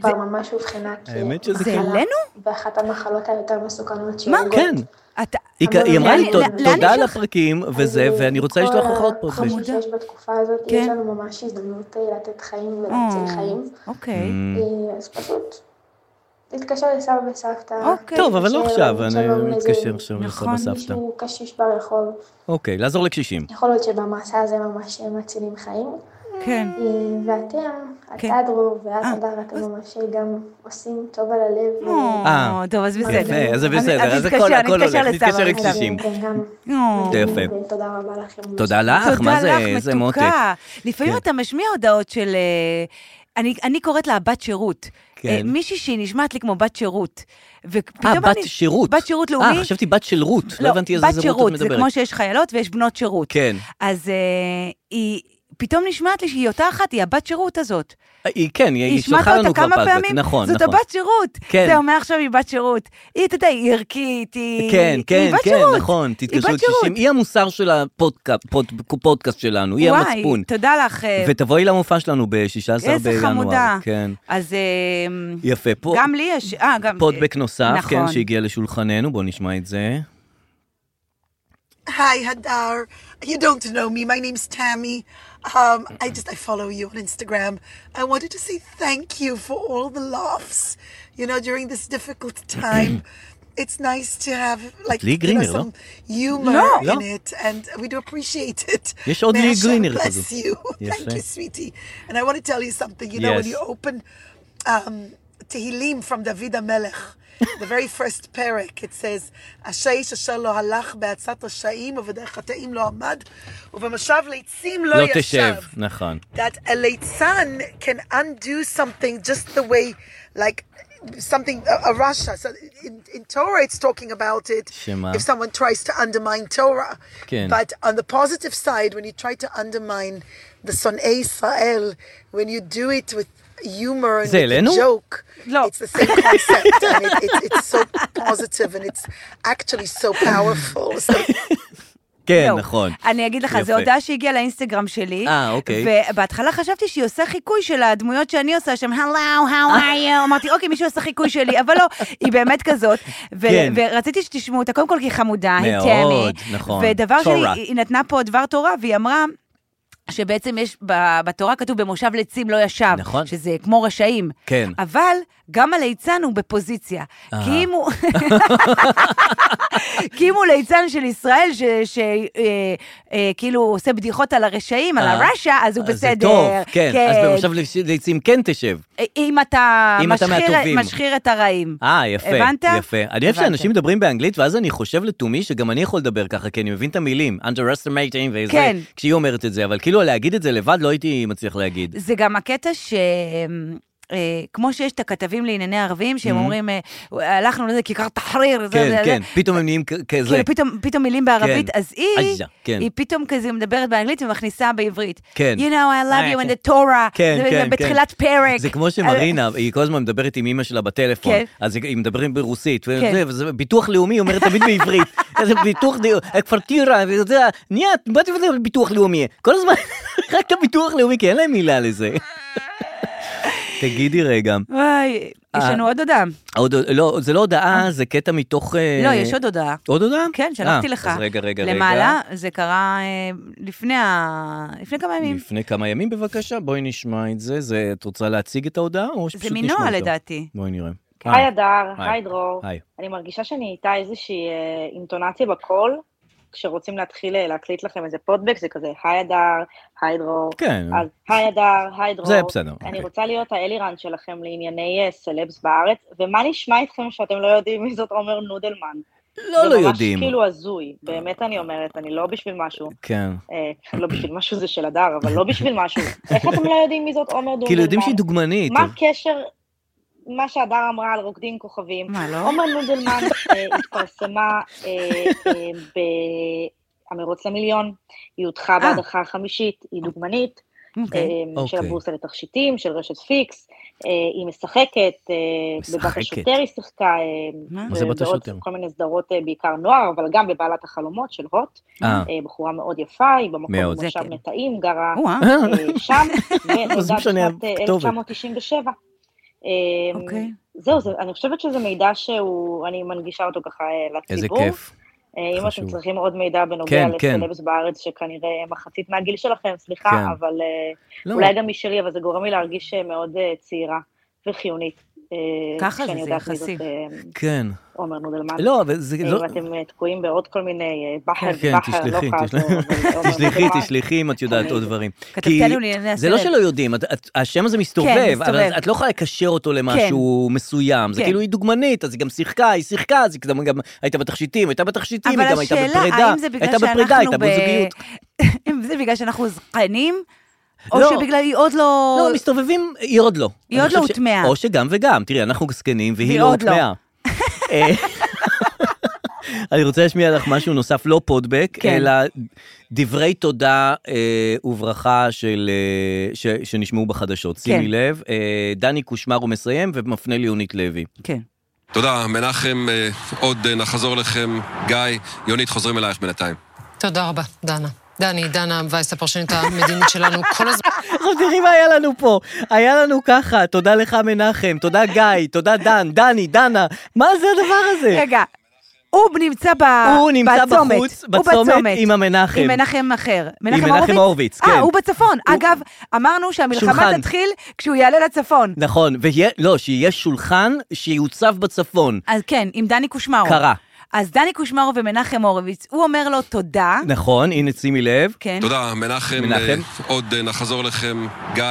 [SPEAKER 9] כבר ממש אובחנה כ...
[SPEAKER 2] האמת שזה
[SPEAKER 3] זה
[SPEAKER 2] כן.
[SPEAKER 3] אלינו?
[SPEAKER 9] ואחת המחלות היותר מסוכנות
[SPEAKER 3] מה?
[SPEAKER 9] שהורגות.
[SPEAKER 2] כן.
[SPEAKER 3] אתה...
[SPEAKER 2] היא כ- היא אמרה לי
[SPEAKER 3] לאן-
[SPEAKER 2] "תוד-
[SPEAKER 3] לאן- לאן
[SPEAKER 2] תודה
[SPEAKER 3] יש
[SPEAKER 2] על
[SPEAKER 3] לך-
[SPEAKER 2] הפרקים וזה,
[SPEAKER 9] אז,
[SPEAKER 2] ואני רוצה לשלוח לך עוד אוקיי.
[SPEAKER 9] כל
[SPEAKER 2] פרק.
[SPEAKER 9] החמוד שיש בתקופה הזאת,
[SPEAKER 3] כן.
[SPEAKER 9] יש לנו ממש הזדמנות אה, לתת חיים
[SPEAKER 2] אה.
[SPEAKER 9] ולהציל חיים.
[SPEAKER 3] אה, אוקיי.
[SPEAKER 2] Mm.
[SPEAKER 9] אה, אז פשוט להתקשר לסבא וסבתא.
[SPEAKER 3] אוקיי.
[SPEAKER 2] טוב, אבל לא
[SPEAKER 9] להתקשר-
[SPEAKER 2] עכשיו,
[SPEAKER 9] למצוא לו
[SPEAKER 2] אני
[SPEAKER 9] איזה
[SPEAKER 2] מתקשר עכשיו לסבא
[SPEAKER 3] נכון,
[SPEAKER 2] סבתא.
[SPEAKER 9] מישהו קשיש ברחוב.
[SPEAKER 2] אוקיי, לעזור לקשישים.
[SPEAKER 9] יכול להיות שבמעשה הזה ממש אה, מצילים חיים.
[SPEAKER 2] Mm.
[SPEAKER 3] כן.
[SPEAKER 9] אה, ואתם,
[SPEAKER 3] כן.
[SPEAKER 9] אתה דרור ואת
[SPEAKER 3] אה,
[SPEAKER 9] הדר, אתם ממש גם עושים טוב על הלב.
[SPEAKER 2] אה,
[SPEAKER 3] או, טוב, אז בסדר.
[SPEAKER 2] יפה, אז זה
[SPEAKER 3] אני-
[SPEAKER 2] בסדר,
[SPEAKER 3] אני
[SPEAKER 2] אז הכל-
[SPEAKER 3] אתקשר, אני
[SPEAKER 2] הכל הולך,
[SPEAKER 3] אתקשר לסבא
[SPEAKER 2] נתקשר
[SPEAKER 3] וסבתא.
[SPEAKER 2] לקשישים.
[SPEAKER 9] ואתם גם
[SPEAKER 3] או.
[SPEAKER 9] מדהים,
[SPEAKER 2] יפה.
[SPEAKER 9] ותודה רבה לכם.
[SPEAKER 2] תודה לך, מה זה, איזה מותק.
[SPEAKER 3] תודה לך, מתוקה. לפעמים
[SPEAKER 2] כן.
[SPEAKER 3] אתה משמיע הודעות של... אה, אני, אני קוראת לה בת שירות.
[SPEAKER 2] כן.
[SPEAKER 3] אה, מישהי שהיא נשמעת לי כמו בת שירות. ופתאום
[SPEAKER 2] אה, בת
[SPEAKER 3] אני-
[SPEAKER 2] שירות.
[SPEAKER 3] בת שירות לאומי.
[SPEAKER 2] אה, חשבתי בת של רות, לא הבנתי איזה
[SPEAKER 3] בת
[SPEAKER 2] זרות את
[SPEAKER 3] שירות, זה
[SPEAKER 2] מדברת.
[SPEAKER 3] כמו שיש חיילות ויש בנות שירות.
[SPEAKER 2] כן.
[SPEAKER 3] אז אה, היא פתאום נשמעת לי שהיא אותה אחת, היא הבת שירות הזאת.
[SPEAKER 2] היא כן, היא
[SPEAKER 3] היא שמעת
[SPEAKER 2] שלחה לנו
[SPEAKER 3] אותה
[SPEAKER 2] כבר
[SPEAKER 3] כמה
[SPEAKER 2] פאזבק,
[SPEAKER 3] פעמים,
[SPEAKER 2] נכון,
[SPEAKER 3] זאת
[SPEAKER 2] נכון.
[SPEAKER 3] הבת שירות.
[SPEAKER 2] כן.
[SPEAKER 3] זהו, מעכשיו היא בת שירות. היא, אתה יודע, היא ערכית, היא...
[SPEAKER 2] כן,
[SPEAKER 3] היא
[SPEAKER 2] כן,
[SPEAKER 3] בת
[SPEAKER 2] כן,
[SPEAKER 3] שירות.
[SPEAKER 2] נכון,
[SPEAKER 3] היא
[SPEAKER 2] תתקשרו
[SPEAKER 3] בת
[SPEAKER 2] את
[SPEAKER 3] שירות.
[SPEAKER 2] 60. היא המוסר של הפודקאסט פודקאסט שלנו, היא המצפון.
[SPEAKER 3] וואי, תודה לך. אה,
[SPEAKER 2] ותבואי למופע שלנו ב-16 בינואר.
[SPEAKER 3] איזה חמודה.
[SPEAKER 2] כן.
[SPEAKER 3] אז אה,
[SPEAKER 2] יפה, פה
[SPEAKER 3] גם לי יש, אה, גם...
[SPEAKER 2] פודבק נוסף, כן,
[SPEAKER 3] נכון.
[SPEAKER 2] שהגיע לשולחננו, בואו נשמע את זה.
[SPEAKER 10] Hi, Hadar. You don't know me. My name's Tammy. Um, I just I follow you on Instagram. I wanted to say thank you for all the laughs. You know, during this
[SPEAKER 2] [CLEARS THROAT]
[SPEAKER 10] difficult time, it's nice to have like
[SPEAKER 2] Lee
[SPEAKER 10] you know,
[SPEAKER 2] Greener, no?
[SPEAKER 10] some humor
[SPEAKER 3] No.
[SPEAKER 10] in
[SPEAKER 2] No.
[SPEAKER 10] it, and we do appreciate it.
[SPEAKER 2] יש עוד
[SPEAKER 10] May
[SPEAKER 2] לי
[SPEAKER 10] Hashem
[SPEAKER 2] גרינר
[SPEAKER 10] bless
[SPEAKER 2] כזו.
[SPEAKER 10] you.
[SPEAKER 2] [LAUGHS] יפה.
[SPEAKER 10] Thank you, sweetie. And I want to tell you something. You know, when
[SPEAKER 2] Yes.
[SPEAKER 10] you open um, Tehillim from David Amelech, the very first parak, it says, "אשר איש אשר לא הלך בעצת רשעים ובדרך חטאים לא עמד, ובמשב ליצים לא
[SPEAKER 2] לא
[SPEAKER 10] ישב."
[SPEAKER 2] תשב, נכון.
[SPEAKER 10] That a leitzan can undo something just the way, like something a, a rasha. So in, in Torah, it's talking about it.
[SPEAKER 2] Shema.
[SPEAKER 10] If someone tries to undermine Torah,
[SPEAKER 2] Ken.
[SPEAKER 10] but on the positive side, when you try to undermine the Sonei Israel, when you do it with humor and
[SPEAKER 2] זה
[SPEAKER 10] with a
[SPEAKER 2] אלינו?
[SPEAKER 10] joke,
[SPEAKER 3] לא.
[SPEAKER 10] it's the same concept. and it, it, it's so positive and it's actually so powerful. So
[SPEAKER 2] כן,
[SPEAKER 3] זהו.
[SPEAKER 2] נכון.
[SPEAKER 3] אני אגיד לך,
[SPEAKER 2] יפה.
[SPEAKER 3] זו הודעה שהגיעה לאינסטגרם שלי.
[SPEAKER 2] אה, אוקיי.
[SPEAKER 3] ובהתחלה חשבתי שהיא עושה חיקוי של הדמויות שאני עושה שם, הלו, how are
[SPEAKER 2] אה.
[SPEAKER 3] you? אמרתי, אוקיי, מישהו עושה חיקוי שלי, אבל לא, היא באמת כזאת. ו-
[SPEAKER 2] כן.
[SPEAKER 3] ורציתי שתשמעו אותה, קודם כל כי היא חמודה, היא
[SPEAKER 2] מאוד,
[SPEAKER 3] תמי.
[SPEAKER 2] נכון.
[SPEAKER 3] ודבר שני,
[SPEAKER 2] תורה.
[SPEAKER 3] היא נתנה פה דבר תורה, והיא אמרה... שבעצם יש, ב- בתורה כתוב במושב לצים לא ישב.
[SPEAKER 2] נכון.
[SPEAKER 3] שזה כמו רשעים.
[SPEAKER 2] כן.
[SPEAKER 3] אבל גם הליצן הוא בפוזיציה.
[SPEAKER 2] אהה.
[SPEAKER 3] כי אם הוא... כי אם הוא ליצן של ישראל, שכאילו אה, כאילו עושה בדיחות על הרשעים, על
[SPEAKER 2] אה.
[SPEAKER 3] הרשע, אז הוא
[SPEAKER 2] אז
[SPEAKER 3] בסדר.
[SPEAKER 2] זה טוב, כן. אז במושב לש- לעצים כן תשב.
[SPEAKER 3] אם אתה
[SPEAKER 2] אם אתה
[SPEAKER 3] משחיר-
[SPEAKER 2] מהטובים.
[SPEAKER 3] משחיר את הרעים.
[SPEAKER 2] אה, יפה.
[SPEAKER 3] הבנת?
[SPEAKER 2] יפה. אני אוהב
[SPEAKER 3] הבנתם.
[SPEAKER 2] שאנשים מדברים באנגלית, ואז אני חושב לתומי שגם אני יכול לדבר ככה, כי אני מבין את המילים. underestimating וזה,
[SPEAKER 3] כן.
[SPEAKER 2] כשהיא אומרת את זה, אבל כאילו להגיד את זה לבד לא הייתי מצליח להגיד.
[SPEAKER 3] זה גם הקטע ש... אה, כמו שיש את הכתבים לענייני ערבים, שהם
[SPEAKER 2] Mhm.
[SPEAKER 3] אומרים, אה, הלכנו לזה כיכר תחריר, זה,
[SPEAKER 2] כן,
[SPEAKER 3] זה,
[SPEAKER 2] כן,
[SPEAKER 3] זה.
[SPEAKER 2] פתאום הם נהיים כ- כזה.
[SPEAKER 3] כאילו פתאום, פתאום מילים בערבית,
[SPEAKER 2] כן.
[SPEAKER 3] אז היא,
[SPEAKER 2] עזה, כן.
[SPEAKER 3] היא פתאום כזה מדברת באנגלית ומכניסה בעברית.
[SPEAKER 2] כן.
[SPEAKER 3] You know, I love
[SPEAKER 2] אה,
[SPEAKER 3] you in
[SPEAKER 2] כן.
[SPEAKER 3] the Torah.
[SPEAKER 2] כן,
[SPEAKER 3] זה
[SPEAKER 2] כן,
[SPEAKER 3] בתחילת
[SPEAKER 2] כן.
[SPEAKER 3] פרק.
[SPEAKER 2] זה כמו שמרינה, היא כל הזמן מדברת עם אימא שלה בטלפון,
[SPEAKER 3] אוקיי. כן.
[SPEAKER 2] אז היא היא מדברת ברוסית,
[SPEAKER 3] כן.
[SPEAKER 2] וזה, וזה ביטוח לאומי, היא אומרת תמיד בעברית,
[SPEAKER 3] [LAUGHS]
[SPEAKER 2] איזה ביטוח, די- קוורטירה, וזה, נהיה, באתי וזה ביטוח לאומי, כל הזמן, [LAUGHS] רק את הביטוח לאומי, כי אין להם
[SPEAKER 3] [LAUGHS]
[SPEAKER 2] מילה לזה. תגידי רגע,
[SPEAKER 3] וואי, יש
[SPEAKER 2] אה.
[SPEAKER 3] לנו עוד הודעה.
[SPEAKER 2] עוד, לא, זה לא הודעה, זה קטע מתוך... אה,
[SPEAKER 3] לא, יש עוד הודעה.
[SPEAKER 2] עוד הודעה?
[SPEAKER 3] כן, שלחתי
[SPEAKER 2] אה,
[SPEAKER 3] לך.
[SPEAKER 2] אז רגע, רגע, רגע.
[SPEAKER 3] למעלה, זה קרה אה, לפני ה- לפני כמה ימים.
[SPEAKER 2] לפני כמה ימים בבקשה, בואי נשמע את זה. זה, את רוצה להציג את ההודעה או שפשוט נשמע אותה?
[SPEAKER 3] מנועה, לדעתי.
[SPEAKER 2] בואי נראה.
[SPEAKER 11] היי אדר,
[SPEAKER 2] כן. היי.
[SPEAKER 11] היי דרור.
[SPEAKER 2] היי.
[SPEAKER 11] אני מרגישה שנהייתה איזושהי אה, אינטונציה בקול, כשרוצים להתחיל אה, להקליט לכם איזה פודבק, זה כזה היי אדר, היי דרור.
[SPEAKER 2] כן.
[SPEAKER 11] אז היי אדר, היי דרור.
[SPEAKER 2] זה בסדר,
[SPEAKER 11] אני
[SPEAKER 2] אוקיי.
[SPEAKER 11] רוצה להיות האלירן שלכם לענייני אה, סלבס בארץ, ומה נשמע איתכם שאתם לא יודעים מי זאת עומר נודלמן?
[SPEAKER 2] לא, לא
[SPEAKER 11] זה
[SPEAKER 2] יודעים.
[SPEAKER 11] ממש כאילו הזוי, באמת אני אומרת, אני לא בשביל משהו.
[SPEAKER 2] כן.
[SPEAKER 11] אה, לא בשביל משהו זה של הדר, אבל לא בשביל משהו. איך אתם לא יודעים מי זאת עומר נודלמן?
[SPEAKER 2] כאילו יודעים שהיא דוגמנית.
[SPEAKER 11] מה
[SPEAKER 2] אבל-
[SPEAKER 11] הקשר, מה שהדר אמרה על רוקדים כוכבים?
[SPEAKER 3] מה, לא?
[SPEAKER 11] עומר נודלמן אה, התפרסמה אה, אה, ב"המרוץ למיליון", היא הודחה
[SPEAKER 2] אה.
[SPEAKER 11] בהדחה החמישית, היא דוגמנית.
[SPEAKER 3] אוקיי.
[SPEAKER 11] אה, של
[SPEAKER 3] אוקיי.
[SPEAKER 11] הבורסה לתכשיטים, של רשת פיקס, אה, היא משחקת, אה, בבת
[SPEAKER 2] משחקת.
[SPEAKER 11] השוטר היא שיחקה, אה,
[SPEAKER 2] מה? מה זה בת
[SPEAKER 11] ובעוד
[SPEAKER 2] השוטר?
[SPEAKER 11] כל מיני סדרות אה, בעיקר נוער, אבל גם בבעלת החלומות של הוט,
[SPEAKER 2] אה.
[SPEAKER 11] אה, בחורה מאוד יפה, היא במקום
[SPEAKER 2] מאוד. זה
[SPEAKER 11] מושב
[SPEAKER 2] כן.
[SPEAKER 11] נטעים, גרה
[SPEAKER 2] או-אה.
[SPEAKER 11] אה,
[SPEAKER 2] [LAUGHS]
[SPEAKER 11] שם,
[SPEAKER 2] אז
[SPEAKER 11] ונולדה
[SPEAKER 2] משנה
[SPEAKER 11] בשנת אה,
[SPEAKER 2] הכתובת.
[SPEAKER 11] 1997. אה,
[SPEAKER 2] אוקיי.
[SPEAKER 3] אוקיי.
[SPEAKER 11] זהו, זה- אני חושבת שזה מידע שהוא, אני מנגישה אותו ככה אה,
[SPEAKER 2] איזה
[SPEAKER 11] לציבור.
[SPEAKER 2] כיף.
[SPEAKER 11] אה, אם
[SPEAKER 2] חשוב.
[SPEAKER 11] אתם צריכים עוד מידע בנוגע
[SPEAKER 2] כן, כן.
[SPEAKER 11] לסלבס בארץ, שכנראה מחצית מהגיל שלכם,
[SPEAKER 2] כן.
[SPEAKER 11] סליחה, אבל אה,
[SPEAKER 2] לא.
[SPEAKER 11] אולי גם משלי, אבל זה גורם לי להרגיש אה, מאוד אה, צעירה וחיונית. אה,
[SPEAKER 3] ככה זה,
[SPEAKER 11] כשאני
[SPEAKER 3] זה
[SPEAKER 11] יודעת מי
[SPEAKER 3] יחסי.
[SPEAKER 11] זאת, אה,
[SPEAKER 2] כן.
[SPEAKER 11] עומר נודלמן.
[SPEAKER 2] לא, אבל זה
[SPEAKER 11] אה,
[SPEAKER 2] לא-
[SPEAKER 11] אם אתם אה, תקועים בעוד כל מיני, אה, בכר,
[SPEAKER 2] כן,
[SPEAKER 11] בכר, לא
[SPEAKER 2] תשלחי,
[SPEAKER 11] חזור,
[SPEAKER 2] תשלחי.
[SPEAKER 11] אבל
[SPEAKER 2] [LAUGHS]
[SPEAKER 11] עומר
[SPEAKER 2] תשלחי,
[SPEAKER 11] נודלמן.
[SPEAKER 2] תשלחי אם את יודעת עוד דברים.
[SPEAKER 3] כתבתי
[SPEAKER 2] כי
[SPEAKER 3] עלינו לענייני
[SPEAKER 2] זה לא
[SPEAKER 3] הסרט.
[SPEAKER 2] שלא יודעים, את- את- השם הזה מסתובב,
[SPEAKER 3] כן, מסתובב.
[SPEAKER 2] אבל את לא יכולה לקשר אותו למשהו מסוים. זה
[SPEAKER 3] כן.
[SPEAKER 2] כאילו היא דוגמנית, אז היא גם שיחקה, היא שיחקה, אז היא גם- גם הייתה בתכשיטים, הייתה בתכשיטים,
[SPEAKER 3] אבל
[SPEAKER 2] היא גם הייתה
[SPEAKER 3] השאלה,
[SPEAKER 2] בפרידה.
[SPEAKER 3] האם זה בגלל
[SPEAKER 2] הייתה
[SPEAKER 3] שאנחנו
[SPEAKER 2] בפרידה, הייתה
[SPEAKER 3] ב-
[SPEAKER 2] בזוגיות.
[SPEAKER 3] [LAUGHS] אם זה בגלל שאנחנו זקנים, או
[SPEAKER 2] לא.
[SPEAKER 3] שבגלל היא עוד לא...
[SPEAKER 2] לא, מסתובבים, היא עוד לא.
[SPEAKER 3] היא
[SPEAKER 2] אני
[SPEAKER 3] עוד לא
[SPEAKER 2] חושב ש-
[SPEAKER 3] הוטמעה.
[SPEAKER 2] או שגם וגם, תראי, אנחנו זקנים והיא
[SPEAKER 3] והיא
[SPEAKER 2] לא
[SPEAKER 3] עוד לא. [LAUGHS]
[SPEAKER 2] הוטמעה. אה, [LAUGHS] אני רוצה להשמיע לך משהו נוסף, לא פודבק,
[SPEAKER 3] כן.
[SPEAKER 2] אלא דברי תודה אה, וברכה של, אה, ש, שנשמעו בחדשות. שימי
[SPEAKER 3] כן.
[SPEAKER 2] לב, אה, דני קושמרו מסיים ומפנה
[SPEAKER 3] [LAUGHS]
[SPEAKER 2] ליונית לוי.
[SPEAKER 3] כן.
[SPEAKER 12] תודה, מנחם, אה, עוד אה, נחזור לכם. גיא, יונית, חוזרים אלייך בינתיים.
[SPEAKER 13] תודה רבה, דנה. דני, דנה וייס, הפרשנית המדינית שלנו, כל הזמן...
[SPEAKER 2] עכשיו תראי מה היה לנו פה, היה לנו ככה, תודה לך מנחם, תודה גיא, תודה דן, דני, דנה, מה זה הדבר הזה?
[SPEAKER 3] רגע, הוא נמצא ב...
[SPEAKER 2] אה. הוא נמצא
[SPEAKER 3] בצומת.
[SPEAKER 2] בחוץ,
[SPEAKER 3] הוא
[SPEAKER 2] בצומת, עם המנחם.
[SPEAKER 3] עם מנחם אחר.
[SPEAKER 2] מנחם הורוביץ, כן.
[SPEAKER 3] אה, הוא בצפון. אגב, אמרנו שהמלחמה
[SPEAKER 2] שולחן.
[SPEAKER 3] תתחיל כשהוא יעלה לצפון.
[SPEAKER 2] נכון, ויה, לא, שיהיה שולחן שיוצב בצפון.
[SPEAKER 3] אז כן, עם דני קושמרו.
[SPEAKER 2] קרה.
[SPEAKER 3] אז דני קושמרו ומנחם הורוביץ, הוא אומר לו תודה.
[SPEAKER 2] נכון, הנה שימי לב.
[SPEAKER 3] כן.
[SPEAKER 12] תודה, מנחם,
[SPEAKER 2] מנחם.
[SPEAKER 12] אה, עוד אה, נחזור לכם. גיא,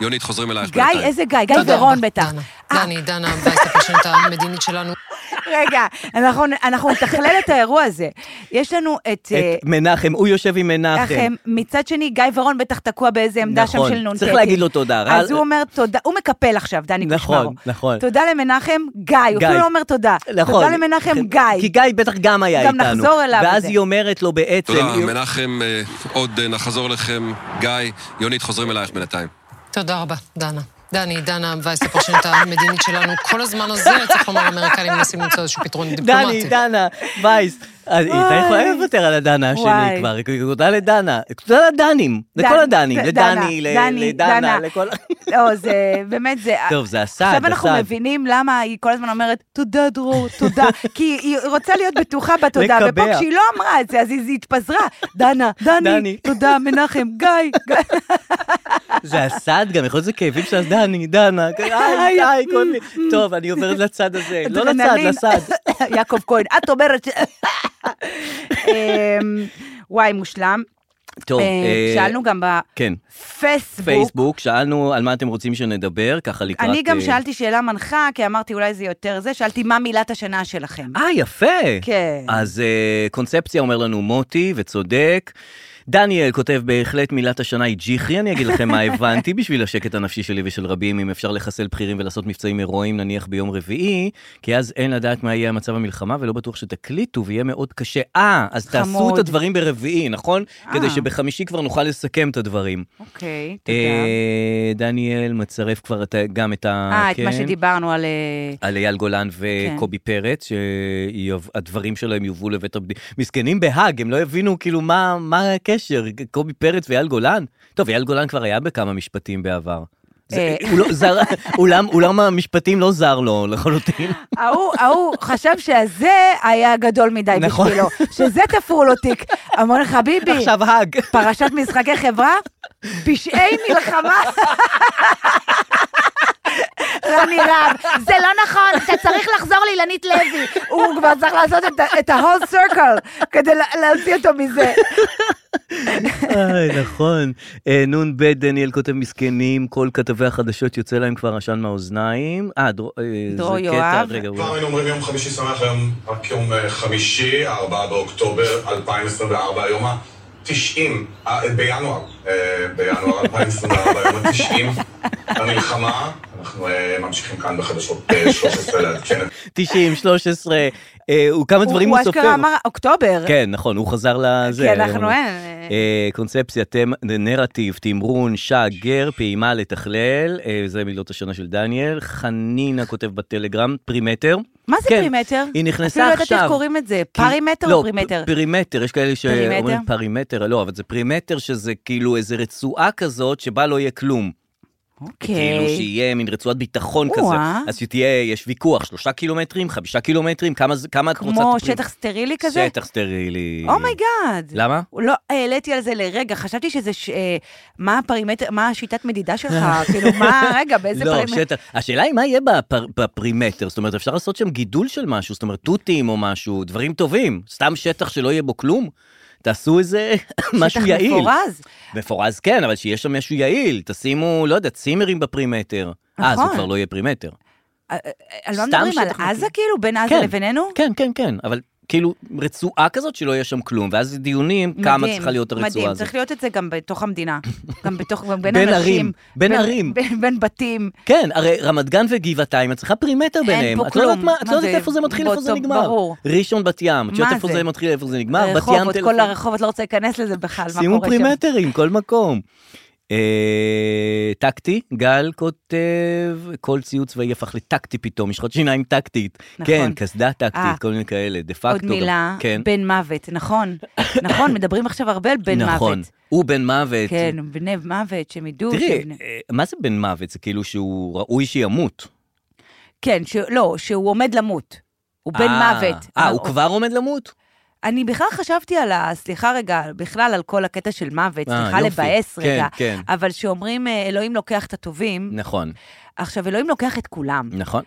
[SPEAKER 12] יונית, חוזרים אלייך
[SPEAKER 3] גיא,
[SPEAKER 12] בינתיים.
[SPEAKER 3] איזה גיא? גיא
[SPEAKER 13] תודה
[SPEAKER 3] ורון
[SPEAKER 13] רבה,
[SPEAKER 3] בטח. אה,
[SPEAKER 13] דנה, דני, דנה וייס, הפרשנית המדינית שלנו,
[SPEAKER 3] רגע, אנחנו- אנחנו נתכלל את האירוע הזה. יש לנו את... אה,
[SPEAKER 2] את מנחם, הוא יושב עם מנחם.
[SPEAKER 3] אחם. מצד שני, גיא ורון בטח תקוע באיזה עמדה שם
[SPEAKER 2] נכון,
[SPEAKER 3] של נ"ט.
[SPEAKER 2] צריך להגיד לו תודה.
[SPEAKER 3] אז
[SPEAKER 2] רע-
[SPEAKER 3] הוא אומר תודה, הוא מקפל עכשיו, דני קושמרו.
[SPEAKER 2] נכון, נכון.
[SPEAKER 3] תודה למנחם גיא, הוא
[SPEAKER 2] גיא.
[SPEAKER 3] אפילו לא אומר תודה.
[SPEAKER 2] נכון.
[SPEAKER 3] תודה למנחם גיא.
[SPEAKER 2] כי גיא בטח גם היה
[SPEAKER 3] גם
[SPEAKER 2] איתנו.
[SPEAKER 3] נחזור אליו
[SPEAKER 2] ואז
[SPEAKER 3] בזה.
[SPEAKER 2] היא אומרת לו בעצם...
[SPEAKER 12] תודה,
[SPEAKER 2] היא-
[SPEAKER 12] מנחם, אה, עוד אה, נחזור לכם. גיא, יונית, חוזרים אלייך בינתיים.
[SPEAKER 13] תודה רבה, דנה. דני, דנה וייס, הפרשנית המדינית שלנו, כל הזמן הזה, צריך לומר, האמריקנים מנסים למצוא איזשהו פתרון דיפלומטי.
[SPEAKER 2] דני, דנה, וייס. אז היא
[SPEAKER 13] וואי.
[SPEAKER 2] הייתה יכולה לוותר על הדנה
[SPEAKER 13] וואי.
[SPEAKER 2] השני כבר, כי תודה לדנה, תודה לדנים,
[SPEAKER 3] דן-
[SPEAKER 2] לכל הדנים,
[SPEAKER 3] ד-
[SPEAKER 2] לדני, ל-
[SPEAKER 3] דנה,
[SPEAKER 2] לדנה, לכל...
[SPEAKER 3] לא, זה באמת, זה...
[SPEAKER 2] טוב, זה הסעד,
[SPEAKER 3] עכשיו אנחנו
[SPEAKER 2] הסעד.
[SPEAKER 3] מבינים למה היא כל הזמן אומרת, תודה דרור, תודה,
[SPEAKER 2] [LAUGHS]
[SPEAKER 3] כי היא רוצה להיות בטוחה בתודה,
[SPEAKER 2] לקבע.
[SPEAKER 3] ופה כשהיא לא אמרה את זה, אז היא היא התפזרה, דנה, דני,
[SPEAKER 2] דני.
[SPEAKER 3] תודה, מנחם, גיא, גיא.
[SPEAKER 2] זה הסעד גם, יכול להיות שזה כאבים של
[SPEAKER 3] [LAUGHS]
[SPEAKER 2] דני, דנה, איי, איי, כל מיני, טוב, אני עוברת לצד הזה, לא לצד,
[SPEAKER 3] אדרנלין.
[SPEAKER 2] לסעד.
[SPEAKER 3] [LAUGHS] יעקב כהן, את אומרת ש... [LAUGHS] אמ, וואי, מושלם.
[SPEAKER 2] טוב,
[SPEAKER 3] אה,
[SPEAKER 2] אה,
[SPEAKER 3] שאלנו גם
[SPEAKER 2] כן,
[SPEAKER 3] בפייסבוק.
[SPEAKER 2] פייסבוק, שאלנו על מה אתם רוצים שנדבר, ככה לקראת...
[SPEAKER 3] אני גם
[SPEAKER 2] אה,
[SPEAKER 3] שאלתי שאלה מנחה, כי אמרתי אולי זה יותר זה, שאלתי מה מילת השנה שלכם.
[SPEAKER 2] אה, יפה.
[SPEAKER 3] כן.
[SPEAKER 2] אז אה, קונספציה אומר לנו מוטי, וצודק. דניאל כותב, בהחלט מילת השנה היא ג'יחרי, אני אגיד
[SPEAKER 3] [LAUGHS]
[SPEAKER 2] לכם מה הבנתי בשביל השקט הנפשי שלי ושל רבים, אם אפשר לחסל בכירים ולעשות מבצעים הירואיים נניח ביום רביעי, כי אז אין לדעת מה יהיה המצב המלחמה ולא בטוח שתקליטו ויהיה מאוד קשה. אה, אז תעשו
[SPEAKER 3] חמוד.
[SPEAKER 2] את הדברים ברביעי, נכון?
[SPEAKER 3] אה.
[SPEAKER 2] כדי שבחמישי כבר נוכל לסכם את הדברים.
[SPEAKER 3] אוקיי, תודה.
[SPEAKER 2] אה, דניאל מצרף כבר את ה- גם את ה...
[SPEAKER 3] אה, את מה
[SPEAKER 2] כן.
[SPEAKER 3] שדיברנו על... אה,
[SPEAKER 2] על אייל גולן וקובי
[SPEAKER 3] כן.
[SPEAKER 2] פרץ, שהדברים שלהם יובאו לבית הבדיחה. מסכנים בהאג, הם לא הבינו כאילו מה, מה הקשר, קובי פרץ ואייל גולן. טוב, אייל גולן כבר היה בכמה משפטים בעבר. זה,
[SPEAKER 3] אה.
[SPEAKER 2] הוא לא, זר, אולם, אולם המשפטים לא זר לו
[SPEAKER 3] [LAUGHS]
[SPEAKER 2] לחלוטין.
[SPEAKER 3] ההוא, ההוא חשב שהזה היה גדול מדי
[SPEAKER 2] נכון.
[SPEAKER 3] בשבילו, שזה תפרו לו
[SPEAKER 2] [LAUGHS]
[SPEAKER 3] תיק. אמרו לך, ביבי,
[SPEAKER 2] עכשיו האג.
[SPEAKER 3] פרשת משחקי חברה, פשעי מלחמה. רני רהב, זה לא נכון, אתה צריך לחזור לאילנית לוי. הוא כבר צריך לעשות את ה- את ה-whole circle כדי לה- להוציא אותו מזה.
[SPEAKER 2] איי, נכון. אה, נ"ב דניאל כותב מסכנים, כל כתבי החדשות יוצא להם כבר עשן מהאוזניים. אה, דרור
[SPEAKER 3] דרור יואב.
[SPEAKER 2] רגע, הוא-
[SPEAKER 14] פעם היינו אומרים יום חמישי שמח, היום רק יום אה, חמישי, 4 באוקטובר 2024, היום ה-90, אה, בינואר, אה, בינואר [LAUGHS] 2024, היום
[SPEAKER 3] [LAUGHS]
[SPEAKER 14] ה-90, המלחמה, אנחנו אה, ממשיכים כאן בחדשות אה, 13 לעדכן את
[SPEAKER 2] 90, 13, אה, הוא כמה דברים
[SPEAKER 3] הוא
[SPEAKER 2] הוא סופר.
[SPEAKER 3] אשכרה אמר אוקטובר.
[SPEAKER 2] כן, נכון, הוא חזר לזה.
[SPEAKER 3] כי אנחנו
[SPEAKER 2] אה,
[SPEAKER 3] אין,
[SPEAKER 2] אה, קונספציה, תמ- נרטיב, תמרון, שגר, פעימה, לתכלל, אה, זה מילות השנה של דניאל. חנינה כותב בטלגרם, פרימטר.
[SPEAKER 3] מה זה
[SPEAKER 2] כן,
[SPEAKER 3] פרימטר?
[SPEAKER 2] היא נכנסה
[SPEAKER 3] אפילו לא יודעת איך
[SPEAKER 2] עכשיו.
[SPEAKER 3] קוראים את זה,
[SPEAKER 2] כי-
[SPEAKER 3] פרימטר
[SPEAKER 2] לא,
[SPEAKER 3] או פרימטר?
[SPEAKER 2] פ- פרימטר, יש כאלה שאומרים
[SPEAKER 3] פרימטר?
[SPEAKER 2] פרימטר, לא, אבל זה פרימטר שזה כאילו איזה רצועה כזאת שבה לא יהיה כלום. כאילו
[SPEAKER 3] אוקיי.
[SPEAKER 2] שיהיה מין רצועת ביטחון כזה.
[SPEAKER 3] או-אה.
[SPEAKER 2] אז שתהיה, יש ויכוח, שלושה קילומטרים, חמישה קילומטרים, כמה זה- כמה את רוצה...
[SPEAKER 3] כמו
[SPEAKER 2] את הפרימ-
[SPEAKER 3] שטח סטרילי כזה? Oh
[SPEAKER 2] שטח סטרילי.
[SPEAKER 3] אומייגאד.
[SPEAKER 2] למה?
[SPEAKER 3] לא העליתי על זה לרגע, חשבתי שזה, ש... אה, מה הפרימטר, מה השיטת מדידה שלך, כאילו, מה, רגע, באיזה
[SPEAKER 2] אה. לא,
[SPEAKER 3] פרימטר?
[SPEAKER 2] שטח. השאלה היא מה יהיה בפר- בפרימטר, זאת אומרת, אפשר לעשות שם גידול של משהו, זאת אומרת, תותים או משהו, דברים טובים, סתם שטח שלא יהיה בו כלום. תעשו איזה משהו יעיל.
[SPEAKER 3] מפורז.
[SPEAKER 2] מפורז כן, אבל שיהיה שם משהו יעיל. תשימו, לא יודע, צימרים בפרימטר. אה, זה
[SPEAKER 3] נכון.
[SPEAKER 2] כבר לא יהיה פרימטר.
[SPEAKER 3] אה, אה, על מה
[SPEAKER 2] סתם
[SPEAKER 3] מדברים? על
[SPEAKER 2] שטח
[SPEAKER 3] עזה כאילו? בין עזה
[SPEAKER 2] כן.
[SPEAKER 3] לבינינו?
[SPEAKER 2] כן, כן, כן, אבל כאילו, רצועה כזאת שלא יהיה שם כלום, ואז דיונים כן. כמה
[SPEAKER 3] מדהים,
[SPEAKER 2] צריכה להיות הרצועה
[SPEAKER 3] מדהים,
[SPEAKER 2] הזאת.
[SPEAKER 3] צריך להיות את זה גם בתוך
[SPEAKER 2] [LAUGHS]
[SPEAKER 3] המדינה. גם בתוך, גם בין
[SPEAKER 2] בין
[SPEAKER 3] אנשים.
[SPEAKER 2] ערים, בין ערים.
[SPEAKER 3] בין- בין בתים.
[SPEAKER 2] כן, הרי רמת גן וגבעתיים, את צריכה פרימטר
[SPEAKER 3] אין
[SPEAKER 2] ביניהם.
[SPEAKER 3] פה
[SPEAKER 2] את לא יודעת
[SPEAKER 3] כלום.
[SPEAKER 2] מה- את
[SPEAKER 3] מה
[SPEAKER 2] לא יודעת
[SPEAKER 3] זה?
[SPEAKER 2] איפה זה מתחיל, איפה זה
[SPEAKER 3] באותו-
[SPEAKER 2] נגמר.
[SPEAKER 3] ברור.
[SPEAKER 2] ראשון בת ים, את יודעת
[SPEAKER 3] מה
[SPEAKER 2] איפה
[SPEAKER 3] זה?
[SPEAKER 2] זה מתחיל, איפה זה נגמר, בת ים
[SPEAKER 3] רחובות,
[SPEAKER 2] תל
[SPEAKER 3] כל
[SPEAKER 2] אביב.
[SPEAKER 3] הרחובות, לא רוצה להיכנס לזה בכלל, מה קורה שם.
[SPEAKER 2] שימו פרימטרים, כל מקום. אה, טקטי, גל כותב, כל ציוד צבאי הפך לטקטי פתאום, משחות שיניים טקטית.
[SPEAKER 3] נכון.
[SPEAKER 2] כן, קסדה
[SPEAKER 3] אה.
[SPEAKER 2] טקטית, כל מיני כאלה, דה פקטו.
[SPEAKER 3] עוד
[SPEAKER 2] גם-
[SPEAKER 3] מילה,
[SPEAKER 2] כן.
[SPEAKER 3] בן מוות, נכון. נכון, מדברים עכשיו הרבה על בן מוות.
[SPEAKER 2] נכון, הוא בן מוות.
[SPEAKER 3] כן, בני מוות, שהם ידעו.
[SPEAKER 2] תראי,
[SPEAKER 3] שבני-
[SPEAKER 2] אה, מה זה בן מוות? זה כאילו שהוא ראוי שימות.
[SPEAKER 3] כן, ש... לא, שהוא עומד למות. הוא בן
[SPEAKER 2] אה,
[SPEAKER 3] מוות.
[SPEAKER 2] אה,
[SPEAKER 3] אבל-
[SPEAKER 2] הוא כבר עומד למות?
[SPEAKER 3] אני בכלל חשבתי על ה... סליחה רגע, בכלל על כל הקטע של מוות,
[SPEAKER 2] אה,
[SPEAKER 3] סליחה
[SPEAKER 2] יופי.
[SPEAKER 3] לבאס
[SPEAKER 2] כן,
[SPEAKER 3] רגע. אמ,
[SPEAKER 2] כן.
[SPEAKER 3] אבל שאומרים, אה, אלוהים לוקח את הטובים,
[SPEAKER 2] נכון,
[SPEAKER 3] עכשיו, אלוהים לוקח את כולם.
[SPEAKER 2] נכון,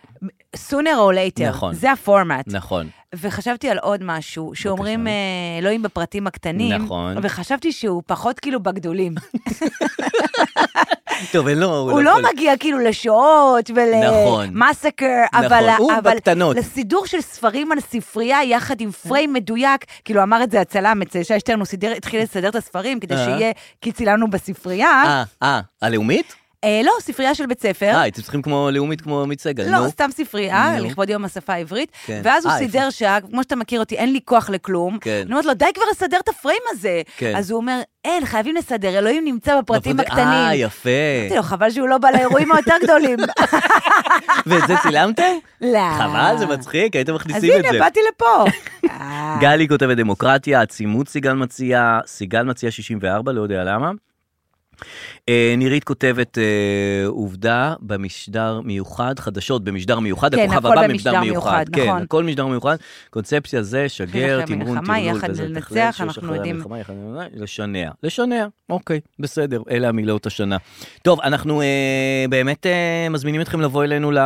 [SPEAKER 3] sooner or later.
[SPEAKER 2] נכון.
[SPEAKER 3] זה הפורמט.
[SPEAKER 2] נכון.
[SPEAKER 3] וחשבתי על עוד משהו, שאומרים אה, אלוהים בפרטים הקטנים,
[SPEAKER 2] נכון.
[SPEAKER 3] וחשבתי שהוא פחות כאילו בגדולים.
[SPEAKER 2] [LAUGHS] טוב, אין לו...
[SPEAKER 3] הוא לא
[SPEAKER 2] יכול-
[SPEAKER 3] מגיע כאילו לשעות
[SPEAKER 2] נכון.
[SPEAKER 3] ולמסקר,
[SPEAKER 2] נכון,
[SPEAKER 3] אבל,
[SPEAKER 2] הוא
[SPEAKER 3] אבל
[SPEAKER 2] בקטנות.
[SPEAKER 3] לסידור של ספרים על ספרייה יחד
[SPEAKER 2] כן.
[SPEAKER 3] עם פריים מדויק, כאילו אמר את זה הצלם אצל שי שטרן, הוא סידר, התחיל לסדר את הספרים כדי
[SPEAKER 2] אה.
[SPEAKER 3] שיהיה כי צילמנו בספרייה.
[SPEAKER 2] אה, אה, הלאומית?
[SPEAKER 3] אה, לא, ספרייה של בית ספר.
[SPEAKER 2] אה, הייתם צריכים כמו לאומית כמו עמית סגל,
[SPEAKER 3] לא,
[SPEAKER 2] נו.
[SPEAKER 3] סתם ספרייה,
[SPEAKER 2] נו.
[SPEAKER 3] לכבוד יום השפה העברית.
[SPEAKER 2] כן.
[SPEAKER 3] ואז הוא
[SPEAKER 2] אה,
[SPEAKER 3] סידר שעה, כמו שאתה מכיר אותי, אין לי כוח לכלום.
[SPEAKER 2] כן.
[SPEAKER 3] אני אומרת לו, די כבר לסדר את הפריים הזה.
[SPEAKER 2] כן.
[SPEAKER 3] אז הוא אומר, אין, חייבים לסדר, אלוהים נמצא בפרטים
[SPEAKER 2] בפרטי-
[SPEAKER 3] הקטנים.
[SPEAKER 2] אה, יפה.
[SPEAKER 3] אמרתי לו, חבל שהוא לא בא לאירועים היותר גדולים.
[SPEAKER 2] ואת זה צילמתם?
[SPEAKER 3] לא.
[SPEAKER 2] [LAUGHS] חבל, זה מצחיק, הייתם
[SPEAKER 3] "אה, אז
[SPEAKER 2] מכניסים את זה.
[SPEAKER 3] הנה, באתי
[SPEAKER 2] [LAUGHS]
[SPEAKER 3] לפה. אה.
[SPEAKER 2] גלי כותבת דמוקרטיה, עצימות סיגל מציעה, סיגל מציעה 64, לא יודע למה. אה, נירית כותבת אה, עובדה במשדר מיוחד, חדשות במשדר מיוחד,
[SPEAKER 3] כן,
[SPEAKER 2] הכוכב
[SPEAKER 3] הכל
[SPEAKER 2] הבא
[SPEAKER 3] במשדר מיוחד, נכון.
[SPEAKER 2] כן, הכל משדר מיוחד, קונספציה זה, שגר,
[SPEAKER 3] אחרי
[SPEAKER 2] תמרון,
[SPEAKER 3] המלחמה,
[SPEAKER 2] טרלול,
[SPEAKER 3] יחד
[SPEAKER 2] וזה,
[SPEAKER 3] ננצח,
[SPEAKER 2] תכלית, שיש
[SPEAKER 3] אנחנו
[SPEAKER 2] אחרי
[SPEAKER 3] יודעים.
[SPEAKER 2] המלחמה, יחד ננצח, לשנע, לשנע, אוקיי, בסדר, אלה המילות השנה. טוב, אנחנו אה, באמת אה, מזמינים אתכם לבוא אלינו ל...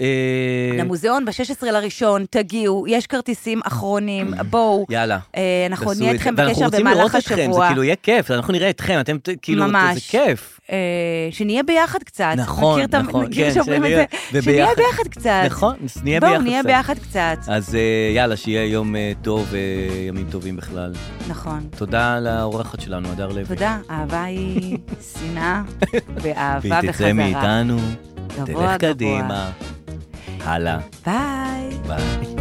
[SPEAKER 2] אה,
[SPEAKER 3] למוזיאון ב-16 לראשון, תגיעו, יש כרטיסים אחרונים, בואו.
[SPEAKER 2] יאללה.
[SPEAKER 3] אה, אנחנו עוד
[SPEAKER 2] תעשו
[SPEAKER 3] נהיה
[SPEAKER 2] את זה.
[SPEAKER 3] איתכם בקשר
[SPEAKER 2] ואנחנו רוצים
[SPEAKER 3] במהלך
[SPEAKER 2] לראות אתכם, זה
[SPEAKER 3] השבוע.
[SPEAKER 2] כאילו יהיה כיף, אנחנו נראה אתכם, אתם ת- כאילו,
[SPEAKER 3] ממש.
[SPEAKER 2] זה כיף.
[SPEAKER 3] אה, שנהיה ביחד קצת.
[SPEAKER 2] נכון,
[SPEAKER 3] מכיר את ה-
[SPEAKER 2] נכון,
[SPEAKER 3] מכיר
[SPEAKER 2] כן,
[SPEAKER 3] שאומרים את
[SPEAKER 2] שנהיה-
[SPEAKER 3] זה? שנהיה
[SPEAKER 2] וביחד.
[SPEAKER 3] ביחד קצת.
[SPEAKER 2] נכון, אז נהיה
[SPEAKER 3] בואו,
[SPEAKER 2] ביחד
[SPEAKER 3] נהיה
[SPEAKER 2] קצת.
[SPEAKER 3] ביחד קצת.
[SPEAKER 2] אז אה, יאללה, שיהיה יום אה, טוב, אה, ימים טובים בכלל.
[SPEAKER 3] נכון.
[SPEAKER 2] תודה לאורחת שלנו, הדר לוי.
[SPEAKER 3] תודה, אהבה היא
[SPEAKER 2] [LAUGHS]
[SPEAKER 3] שנאה ואהבה
[SPEAKER 2] והיא
[SPEAKER 3] בחזרה.
[SPEAKER 2] תצא מאיתנו,
[SPEAKER 3] גבוה,
[SPEAKER 2] תלך
[SPEAKER 3] גבוה.
[SPEAKER 2] קדימה. הלאה.
[SPEAKER 3] ביי.
[SPEAKER 2] ביי.